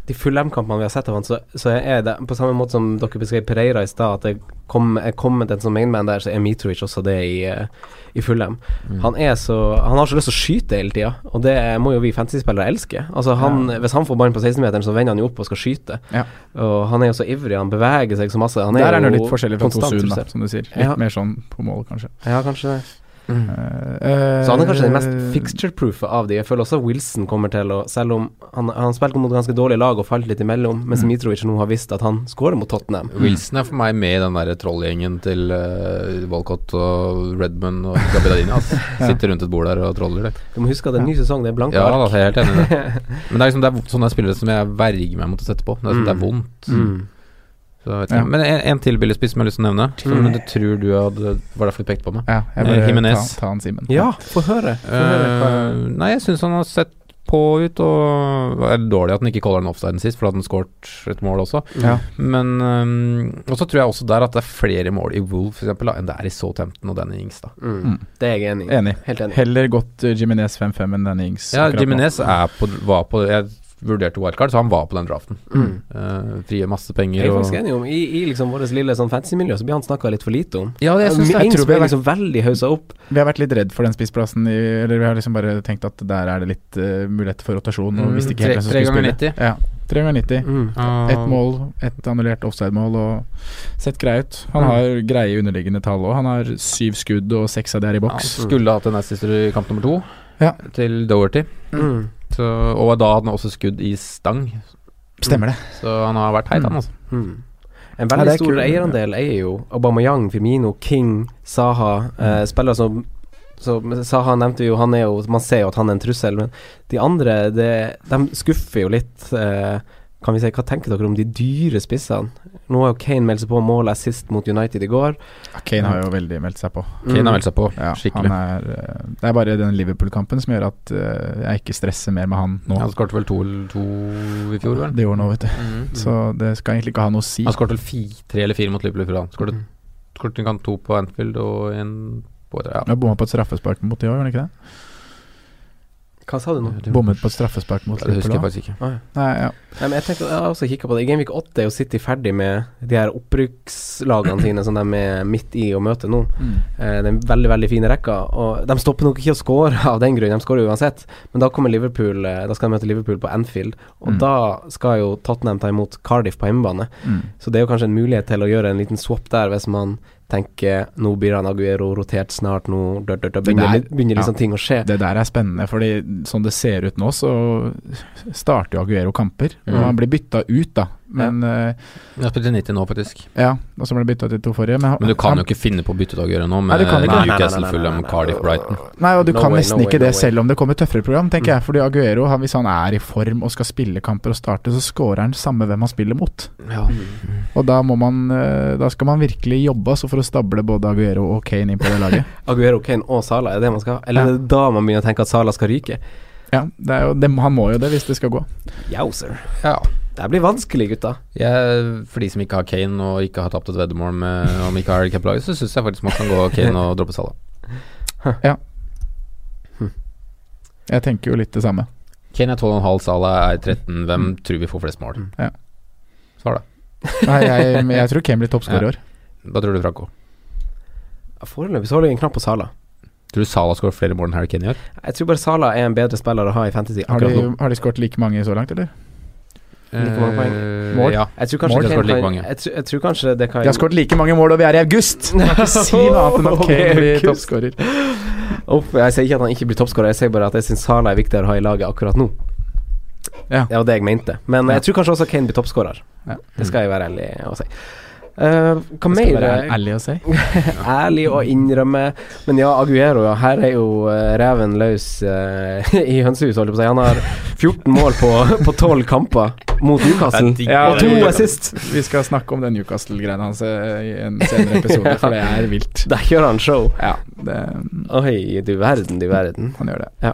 [SPEAKER 3] De Fulham-kampene vi har sett av han, så, så er det på samme måte som dere beskrev Pereira i stad, at det kom, er kommet en som mainman der, så er Mitrovic også det i, eh, i Fulham.
[SPEAKER 4] Mm.
[SPEAKER 3] Han er så Han har så lyst til å skyte hele tida, og det må jo vi fantasy-spillere elske. Altså han, Hvis han får ballen på 16-meteren, så vender han jo opp og skal skyte.
[SPEAKER 4] Ja.
[SPEAKER 3] Og han er jo så ivrig, han beveger seg så masse. Han er
[SPEAKER 4] Der er det
[SPEAKER 3] jo
[SPEAKER 4] jo litt forskjellig fra
[SPEAKER 3] konstant
[SPEAKER 4] Tosun, da,
[SPEAKER 3] trussel.
[SPEAKER 4] som du sier. Litt
[SPEAKER 3] Ja.
[SPEAKER 4] mer sånn på mål, kanskje.
[SPEAKER 3] Ja, kanskje det.
[SPEAKER 4] Eh,
[SPEAKER 3] Mm. Så han er kanskje den mest
[SPEAKER 4] eh,
[SPEAKER 3] fixture-proofe av de. Jeg føler også Wilson kommer til å Selv om han, han spilte mot ganske dårlige lag og falt litt imellom, mens Mitrovic nå har visst at han skårer mot Tottenham.
[SPEAKER 2] Wilson er for meg med i den der trollgjengen til øh, Walcott og Redman og Gabedadini. Altså. Sitter rundt et bord der og troller, det.
[SPEAKER 3] Du må huske at det er en ny sesong, det er blanke
[SPEAKER 2] Ja,
[SPEAKER 3] ark.
[SPEAKER 2] da, jeg er helt enig i det. Men det er liksom det er sånne spillere som jeg verger meg mot å sette på. Det er, sånn, det er vondt.
[SPEAKER 3] Mm.
[SPEAKER 2] Så jeg vet ikke.
[SPEAKER 4] Ja.
[SPEAKER 2] Men en, en til billigspiss som jeg har lyst til å nevne, som du tror du hadde Var derfor du pekte på meg?
[SPEAKER 4] Ja, jeg
[SPEAKER 2] Eh,
[SPEAKER 4] bare ta,
[SPEAKER 2] Jimenez.
[SPEAKER 4] ta han Simen.
[SPEAKER 3] Ja, få høre. Få høre hva-
[SPEAKER 2] Eh, nei, jeg syns han har sett på ut, og det er dårlig at han ikke caller den offside sist, for da hadde han skåret et mål også.
[SPEAKER 4] Ja.
[SPEAKER 2] Men eh, Og så tror jeg også der at det er flere mål i Wolf for eksempel, da, enn det er i Southampton og Danny Ings. Da.
[SPEAKER 3] mm. Det er jeg enig i.
[SPEAKER 4] Enig.
[SPEAKER 3] Helt enig.
[SPEAKER 4] Heller gått eh, Jimenez 5-5 enn denne Ings.
[SPEAKER 2] Ja,
[SPEAKER 4] akkurat nå.
[SPEAKER 2] Jimenez er på, var på Jeg vurderte wildcard, så han var på den draften.
[SPEAKER 3] Mm.
[SPEAKER 2] Eh, frigjør masse
[SPEAKER 3] Jeg
[SPEAKER 2] penger
[SPEAKER 3] er
[SPEAKER 2] og
[SPEAKER 3] faktisk enig om I, i liksom vårt lille sånn fancy-miljø så blir han snakka litt for lite om.
[SPEAKER 2] Ja, det- jeg synes det.
[SPEAKER 3] Ings
[SPEAKER 2] Jeg tror vi
[SPEAKER 3] blir
[SPEAKER 2] har
[SPEAKER 3] liksom veldig hausa opp.
[SPEAKER 4] Vi har vært litt redd for den spissplassen, i, eller vi har liksom bare tenkt at der er det litt eh, mulighet for rotasjon. Og
[SPEAKER 2] Mm,
[SPEAKER 4] visste ikke
[SPEAKER 2] tre-
[SPEAKER 4] helt hvem som
[SPEAKER 2] tre
[SPEAKER 4] skulle
[SPEAKER 2] ganger
[SPEAKER 4] spille. Ja, tre ganger 90.
[SPEAKER 3] Mm.
[SPEAKER 2] Ah.
[SPEAKER 4] Ett mål, ett annullert offside-mål, og sett grei ut.
[SPEAKER 2] Mm.
[SPEAKER 4] Han har greie underliggende tall òg. Han har syv skudd, og seks av de er i
[SPEAKER 2] Han
[SPEAKER 4] boks.
[SPEAKER 2] skulle hatt en assister i kamp nummer to,
[SPEAKER 4] Ja.
[SPEAKER 2] til Doherty.
[SPEAKER 3] Mm.
[SPEAKER 2] Så, og da hadde han også skudd i stang,
[SPEAKER 4] Stemmer det.
[SPEAKER 2] så han har vært heit, han altså.
[SPEAKER 3] Mm. En
[SPEAKER 4] Ja,
[SPEAKER 3] veldig
[SPEAKER 4] det er
[SPEAKER 3] stor
[SPEAKER 4] kul-
[SPEAKER 3] eierandel eier jo Aubameyang, Firmino, King, Saha
[SPEAKER 2] Hmm.
[SPEAKER 3] eh, Spillere som som Saha nevnte vi jo, han er jo Man ser jo at han er en trussel, men de andre det, De skuffer jo litt. Eh, kan vi si, Hva tenker dere om de dyre spissene? Nå har jo Kane meldt seg på mål assist mot United i går. Hmm.
[SPEAKER 4] Kane har jo veldig meldt seg på.
[SPEAKER 2] Kane har meldt seg på,
[SPEAKER 4] Mm. Ja, han
[SPEAKER 2] skikkelig.
[SPEAKER 4] er, eh, det er bare den Liverpool-kampen som gjør at eh, jeg ikke stresser mer med han nå.
[SPEAKER 2] Han skåret vel to, to i fjor, vel?
[SPEAKER 4] Det gjorde han nå, vet du.
[SPEAKER 2] Mhm.
[SPEAKER 4] Så det skal egentlig ikke ha noe å si.
[SPEAKER 2] Han skåret vel fi, tre eller fire mot Liverpool i fjor. Han skåret skåret en kamp to på Anfield og en på et, ja.
[SPEAKER 4] Jeg bomma på et straffespark mot de òg, gjorde han ikke det?
[SPEAKER 3] Hva sa du nå?
[SPEAKER 2] Det-
[SPEAKER 4] Bommet på et straffespark mot
[SPEAKER 2] Ja, Det husker jeg
[SPEAKER 4] Liverpool òg.
[SPEAKER 2] faktisk ikke.
[SPEAKER 4] Nei, ja.
[SPEAKER 3] Nei, men jeg, tenker, jeg har også kikket på det. I Gameweek 8 er jo City ferdig med de her opprykkslagene sine som de er midt i å møte nå.
[SPEAKER 4] Mm.
[SPEAKER 3] Eh, det er en veldig veldig fin rekke. Og de stopper nok ikke å score av den grunn, de skårer uansett. Men da kommer Liverpool eh, Da skal de møte Liverpool på Anfield, og
[SPEAKER 4] Mm.
[SPEAKER 3] da skal jo Tottenham ta imot Cardiff på hjemmebane.
[SPEAKER 4] Mm.
[SPEAKER 3] Så det er jo kanskje en mulighet til å gjøre en liten swap der, hvis man tenker nå blir han Aguero rotert snart, nå dør, dør, dør, begynner,
[SPEAKER 4] der-
[SPEAKER 3] begynner liksom
[SPEAKER 4] ja.
[SPEAKER 3] ting å skje.
[SPEAKER 4] Det der er spennende, fordi sånn det ser ut nå, så starter jo Aguero kamper. Og
[SPEAKER 2] Mm.
[SPEAKER 4] han blir bytta ut, da. Men eh,
[SPEAKER 2] Jeg spilte 90 nå, faktisk.
[SPEAKER 4] ja, og så ble han bytta ut i to forrige. Men, han-
[SPEAKER 2] Men du kan jo
[SPEAKER 4] han-
[SPEAKER 2] ikke finne på å bytte ut Aguero nå,
[SPEAKER 4] Nei,
[SPEAKER 2] med
[SPEAKER 4] du kan ikke. Nei, nei,
[SPEAKER 3] nei,
[SPEAKER 2] Newcastle,
[SPEAKER 3] nei, nei,
[SPEAKER 2] Fulham,
[SPEAKER 3] nei, nei.
[SPEAKER 2] Cardiff, Brighton.
[SPEAKER 4] Nei, og du
[SPEAKER 3] No
[SPEAKER 4] kan
[SPEAKER 3] way,
[SPEAKER 4] nesten
[SPEAKER 3] no
[SPEAKER 4] ikke
[SPEAKER 3] way, Mm.
[SPEAKER 4] det
[SPEAKER 3] no way.
[SPEAKER 4] selv om det kommer tøffere program, tenker jeg. Fordi Aguero, han, hvis han er i form og skal spille kamper og starte, så scorer han samme hvem han spiller mot.
[SPEAKER 2] Ja.
[SPEAKER 4] Og da, må man, eh, da skal man virkelig jobbe altså, for å stable både Aguero og Kane inn på det laget.
[SPEAKER 3] Aguero, Kane og Sala, er det man skal ha? Eller
[SPEAKER 4] Ja.
[SPEAKER 3] er det da man begynner å tenke at Sala skal ryke?
[SPEAKER 4] ja, det er jo, det, han må jo det hvis det skal gå.
[SPEAKER 3] Yowzer.
[SPEAKER 2] ja.
[SPEAKER 3] Det blir vanskelig, gutta.
[SPEAKER 2] Jeg, for de som ikke har Kane og ikke har tapt et veddemål med om ikke har Cap-laget, så syns jeg faktisk man kan gå Kane og droppe Salah.
[SPEAKER 4] Jeg tenker jo litt det samme.
[SPEAKER 2] Kane er 12,5, Salah er 13. Hvem tror vi får flest mål?
[SPEAKER 4] Ja.
[SPEAKER 2] Svar, da.
[SPEAKER 4] Nei, jeg, men jeg tror Kane blir toppskårer i
[SPEAKER 2] Ja.
[SPEAKER 4] år.
[SPEAKER 2] Hva tror du, Franco?
[SPEAKER 3] Foreløpig så holder jeg en knapp på Sala.
[SPEAKER 2] Tror du Salah skårer flere mål enn Harry Kane i år?
[SPEAKER 3] Jeg tror bare Sala er en bedre spiller å ha i fantasy
[SPEAKER 4] Har de,
[SPEAKER 3] akkurat nå.
[SPEAKER 4] har de skåret like mange så langt, eller?
[SPEAKER 3] Like mange poeng.
[SPEAKER 2] Eh,
[SPEAKER 4] Mål?
[SPEAKER 2] Ja.
[SPEAKER 3] Jeg tror kanskje,
[SPEAKER 2] Mål har
[SPEAKER 3] Kane
[SPEAKER 2] skåret like
[SPEAKER 3] kan,
[SPEAKER 2] mange.
[SPEAKER 3] jeg, tror, jeg tror kanskje det kan
[SPEAKER 4] De har skåret like mange mål, og vi er i august! Man kan ikke si noe annet enn at Kane blir toppskårer.
[SPEAKER 3] Opp, Jeg sier ikke at han ikke blir toppskårer, jeg sier bare at jeg syns Sala er viktigere å ha i laget akkurat nå.
[SPEAKER 4] Ja.
[SPEAKER 3] eh, Det var det jeg mente. Men jeg tror kanskje også Kane blir toppskårer.
[SPEAKER 4] Ja.
[SPEAKER 3] Det skal jeg være ærlig og si. Eh, hva
[SPEAKER 4] Det skal
[SPEAKER 3] mer
[SPEAKER 4] være ærlig å si.
[SPEAKER 3] ærlig å innrømme. Men ja, Aguero, ja. Her er jo eh, reven løs eh, i hønsehuset, holdt jeg på å si. Han har 14 mål på, på 12 kamper mot Newcastle.
[SPEAKER 2] Det er digg.
[SPEAKER 4] Ja,
[SPEAKER 3] og to assist.
[SPEAKER 4] Vi skal snakke om den Newcastle-greia hans eh, i en senere episode, for det er vilt.
[SPEAKER 3] Der gjør han show.
[SPEAKER 4] Ja, det,
[SPEAKER 3] Oi, du verden, du verden.
[SPEAKER 4] han gjør det.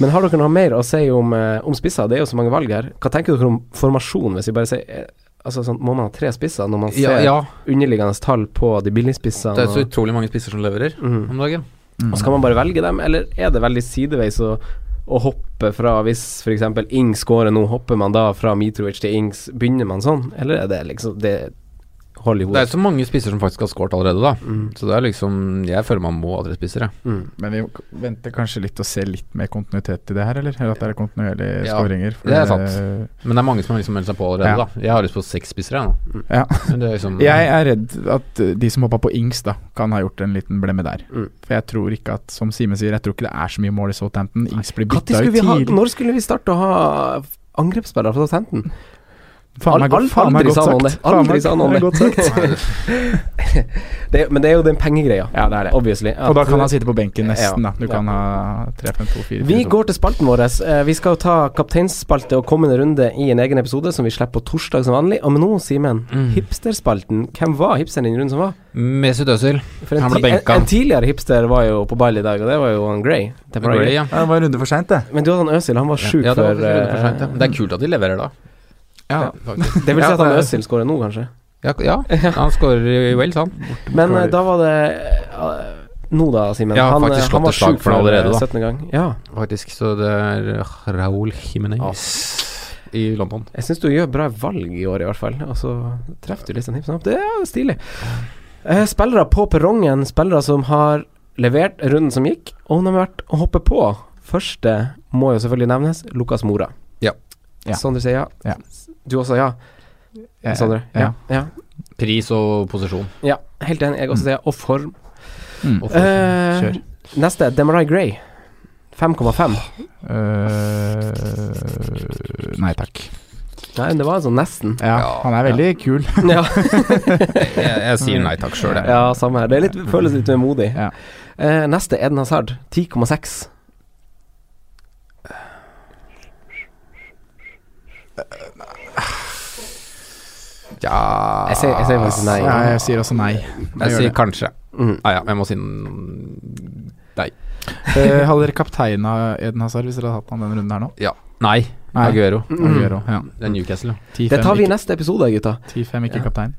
[SPEAKER 3] Men har dere noe mer å si om, eh, om spisser? Det er jo så mange valg her. Hva tenker dere om formasjon, hvis vi bare sier eh, Altså sånn, Må man ha tre spisser når man ser
[SPEAKER 2] Ja, ja,
[SPEAKER 3] underliggende tall på de billigspissene?
[SPEAKER 2] det er så
[SPEAKER 3] og-
[SPEAKER 2] utrolig mange spisser som leverer
[SPEAKER 3] Mhm.
[SPEAKER 2] om dagen.
[SPEAKER 3] Og Skal man bare velge dem, eller er det veldig sideveis å, å hoppe fra Hvis f.eks. Ing scorer nå, hopper man da fra Mitrovic til Ings? Begynner man sånn, eller er det liksom Det holder i
[SPEAKER 2] Det er
[SPEAKER 3] hodet.
[SPEAKER 2] så mange spisser som faktisk har scoret allerede, da. Så det er liksom Jeg føler man må ha tre spisser, jeg.
[SPEAKER 3] Mm.
[SPEAKER 4] Men vi k- venter kanskje litt og ser litt mer kontinuitet i det her, eller? Eller at det er kontinuerlige
[SPEAKER 2] Ja,
[SPEAKER 4] skåringer? for
[SPEAKER 2] det er
[SPEAKER 4] det-
[SPEAKER 2] Men det er mange som har liksom meldt seg på allerede,
[SPEAKER 4] Ja.
[SPEAKER 2] da. Jeg har lyst på seks spisser, jeg nå.
[SPEAKER 4] eh, Ja.
[SPEAKER 2] Men det er liksom
[SPEAKER 4] Jeg er redd at eh, de som hoppa på Ings, da kan ha gjort en liten blemme der.
[SPEAKER 3] Mm.
[SPEAKER 4] For jeg tror ikke at, som Simen sier, jeg tror ikke det er så mye mål i Southampton. Ings blir
[SPEAKER 3] Når
[SPEAKER 4] bytta
[SPEAKER 3] skulle
[SPEAKER 4] ut
[SPEAKER 3] vi ha,
[SPEAKER 4] tidlig.
[SPEAKER 3] når skulle vi starte å ha angrepsspillere fra Southampton?
[SPEAKER 4] Faen meg
[SPEAKER 3] Al- al-
[SPEAKER 4] godt- faen meg
[SPEAKER 3] aldri
[SPEAKER 4] godt
[SPEAKER 3] sa noen
[SPEAKER 4] sagt.
[SPEAKER 3] det. Aldri
[SPEAKER 4] Faen meg-
[SPEAKER 3] sa noen
[SPEAKER 4] det
[SPEAKER 3] det.
[SPEAKER 4] er godt sagt.
[SPEAKER 3] det, er- men det er jo den pengegreia,
[SPEAKER 4] Ja, det er det.
[SPEAKER 3] obviously.
[SPEAKER 4] Og da
[SPEAKER 3] At-
[SPEAKER 4] kan han sitte på benken nesten,
[SPEAKER 3] Ja.
[SPEAKER 4] da. Du kan ha 3, 5, 2, 4
[SPEAKER 3] Vi går til spalten vår. Eh, Vi skal jo ta kapteinsspalte og kommende runde i en egen episode som vi slipper på torsdag som vanlig. Og men nå, Simen,
[SPEAKER 2] Mm.
[SPEAKER 3] hipsterspalten. Hvem var hipsteren i den runden som var?
[SPEAKER 2] Mesut Özil.
[SPEAKER 3] For en,
[SPEAKER 2] Han ble
[SPEAKER 3] ti- en,
[SPEAKER 2] benka.
[SPEAKER 3] en tidligere hipster var jo på ball i dag, og det var jo han Gray. Det var
[SPEAKER 2] Gray,
[SPEAKER 3] Gray.
[SPEAKER 2] ja.
[SPEAKER 4] Ja, det var en runde for seint, det.
[SPEAKER 3] Men du hadde han Øsil, han var sjuk
[SPEAKER 2] ja, det var
[SPEAKER 3] før
[SPEAKER 2] faktisk runde for sent, ja.
[SPEAKER 3] eh,
[SPEAKER 2] Men Det er kult at de leverer da.
[SPEAKER 4] Ja.
[SPEAKER 2] faktisk.
[SPEAKER 3] Det vil si
[SPEAKER 2] Ja,
[SPEAKER 3] at han
[SPEAKER 2] det er-
[SPEAKER 3] Øsil skårer nå, kanskje.
[SPEAKER 2] Ja, ja. han scorer i Wales, han.
[SPEAKER 3] Men
[SPEAKER 4] Beklager.
[SPEAKER 3] eh, da var det eh, Nå da, Simen.
[SPEAKER 2] Ja,
[SPEAKER 3] han, eh,
[SPEAKER 2] faktisk slått
[SPEAKER 3] han var
[SPEAKER 2] et slag
[SPEAKER 3] sjuk
[SPEAKER 2] for
[SPEAKER 3] før,
[SPEAKER 2] den
[SPEAKER 3] eh,
[SPEAKER 2] allerede, da.
[SPEAKER 3] 17. gang. Ja.
[SPEAKER 2] Faktisk, så det er Raúl Jiménez i London.
[SPEAKER 3] Jeg syns du gjør bra valg i år, i hvert fall. Og så treffer du litt sånn hipp som happ. Det er stilig. Eh, spillere på perrongen, spillere som har levert runden som gikk, og de har vært å hoppe på. Første må jo selvfølgelig nevnes, Lukas Mora.
[SPEAKER 2] Ja.
[SPEAKER 4] Ja.
[SPEAKER 3] Sondre sier ja.
[SPEAKER 4] Ja.
[SPEAKER 3] Du også ja, Sondre?
[SPEAKER 4] Ja.
[SPEAKER 3] ja.
[SPEAKER 2] Pris og posisjon.
[SPEAKER 3] Ja, Helt enig. Jeg også sier ja. Og form.
[SPEAKER 4] Mm.
[SPEAKER 2] Og
[SPEAKER 3] Eh,
[SPEAKER 4] Kjør.
[SPEAKER 3] neste, Demarai Gray. 5,5.
[SPEAKER 4] Eh, nei takk.
[SPEAKER 3] Nei, det var altså nesten.
[SPEAKER 4] Ja,
[SPEAKER 2] Ja,
[SPEAKER 4] han er veldig kul.
[SPEAKER 3] Ja.
[SPEAKER 2] Jeg, jeg sier nei takk sjøl, jeg.
[SPEAKER 3] Ja, samme her. Det er litt, føles litt vemodig.
[SPEAKER 4] Ja.
[SPEAKER 3] Eh, neste Eden Hazard, 10,6.
[SPEAKER 2] Ja.
[SPEAKER 3] Jeg sier, jeg sier faktisk nei.
[SPEAKER 4] Ja, jeg sier også nei.
[SPEAKER 2] Jeg
[SPEAKER 4] gjør
[SPEAKER 2] sier
[SPEAKER 4] det.
[SPEAKER 2] kanskje.
[SPEAKER 3] Mm.
[SPEAKER 2] Ah, ja, jeg må si n-
[SPEAKER 4] Eh, hadde dere kapteina Eden Hazard hvis dere hadde hatt han denne runden her nå?
[SPEAKER 2] nei.
[SPEAKER 4] Nei.
[SPEAKER 2] Aguero.
[SPEAKER 3] Mm.
[SPEAKER 4] Aguero, ja.
[SPEAKER 2] Mm. Det er Newcastle. ja.
[SPEAKER 4] 10-5,
[SPEAKER 3] Det tar vi i
[SPEAKER 4] ikke-
[SPEAKER 3] neste episode, gutta.
[SPEAKER 4] 10-5, ikke kaptein.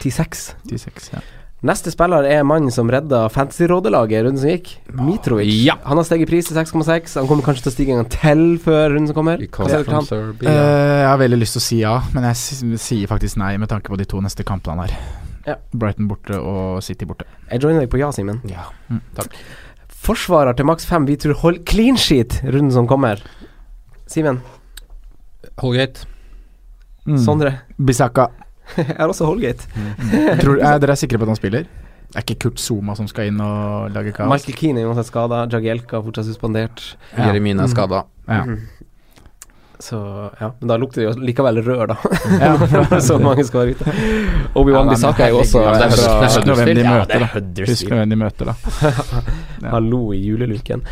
[SPEAKER 3] 10-6.
[SPEAKER 4] 10-6, ja.
[SPEAKER 3] Neste spiller er mannen som redda fantasy-rådelaget i runden som gikk. Mitrovic.
[SPEAKER 2] Ja.
[SPEAKER 3] Han har steget i pris til 6,6. Han kommer kanskje til å stige en gang til før runden som kommer. Hva sier dere til han?
[SPEAKER 2] Serbia.
[SPEAKER 4] Eh, jeg har veldig lyst til å si ja, men jeg si- sier faktisk nei med tanke på de to neste kampene han har.
[SPEAKER 3] Ja.
[SPEAKER 4] Brighton borte og City borte.
[SPEAKER 3] Jeg joiner deg på ja, Simen.
[SPEAKER 2] Ja,
[SPEAKER 4] Mm.
[SPEAKER 2] takk.
[SPEAKER 3] Forsvarer til maks 5. Vi tror hold clean sheet runden som kommer. Simen.
[SPEAKER 2] Holgate.
[SPEAKER 4] Mm.
[SPEAKER 2] Sånn.
[SPEAKER 3] Sondre.
[SPEAKER 4] Bisaka.
[SPEAKER 3] Mm. Jeg har også Holgate.
[SPEAKER 4] Tror, er dere sikre på at han spiller? Det er ikke Kurt Zuma som skal inn og lage kaos?
[SPEAKER 3] Michael Keane er uansett skada. Jagielka er fortsatt suspendert.
[SPEAKER 4] Ja.
[SPEAKER 2] Jeremine er skada.
[SPEAKER 4] Ja.
[SPEAKER 2] Mhm.
[SPEAKER 3] Så ja, men da lukter det jo likevel rør, da.
[SPEAKER 4] Ja.
[SPEAKER 3] så mange skal være ute. Obi-Wan Bissaka er jo også
[SPEAKER 2] herregud, altså,
[SPEAKER 3] fra-
[SPEAKER 2] det er
[SPEAKER 4] Husk nå hvem de
[SPEAKER 2] Ja,
[SPEAKER 4] møter, da. Husk nå hvem de møter, da. Ja.
[SPEAKER 3] Hallo i juleluken.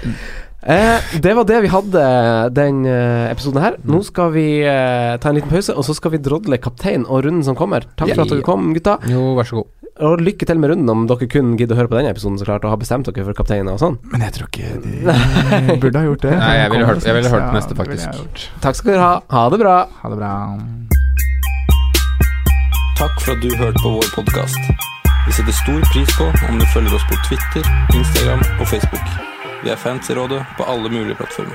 [SPEAKER 3] Eh, det var det vi hadde den eh, episoden her. Nå skal vi eh, ta en liten pause, og så skal vi drodle kaptein og runden som kommer. Takk for at dere kom, gutta.
[SPEAKER 2] Jo, vær så god.
[SPEAKER 3] Og lykke til med runden, om dere kun gidder å høre på den episoden, så klart, og har bestemt dere for kapteiner og sånn.
[SPEAKER 4] Men jeg tror ikke de burde ha gjort det.
[SPEAKER 2] Nei, jeg ville
[SPEAKER 4] Kom,
[SPEAKER 2] hørt- jeg ville hørt den
[SPEAKER 4] ja,
[SPEAKER 2] neste,
[SPEAKER 4] det ville jeg
[SPEAKER 2] faktisk.
[SPEAKER 4] gjort.
[SPEAKER 3] Takk skal dere ha. Ha det bra.
[SPEAKER 4] Ha det bra.
[SPEAKER 6] Takk for at du hørte på vår podkast. Vi setter stor pris på om du følger oss på Twitter, Instagram og Facebook. Vi er fans i rådet på alle mulige plattformer.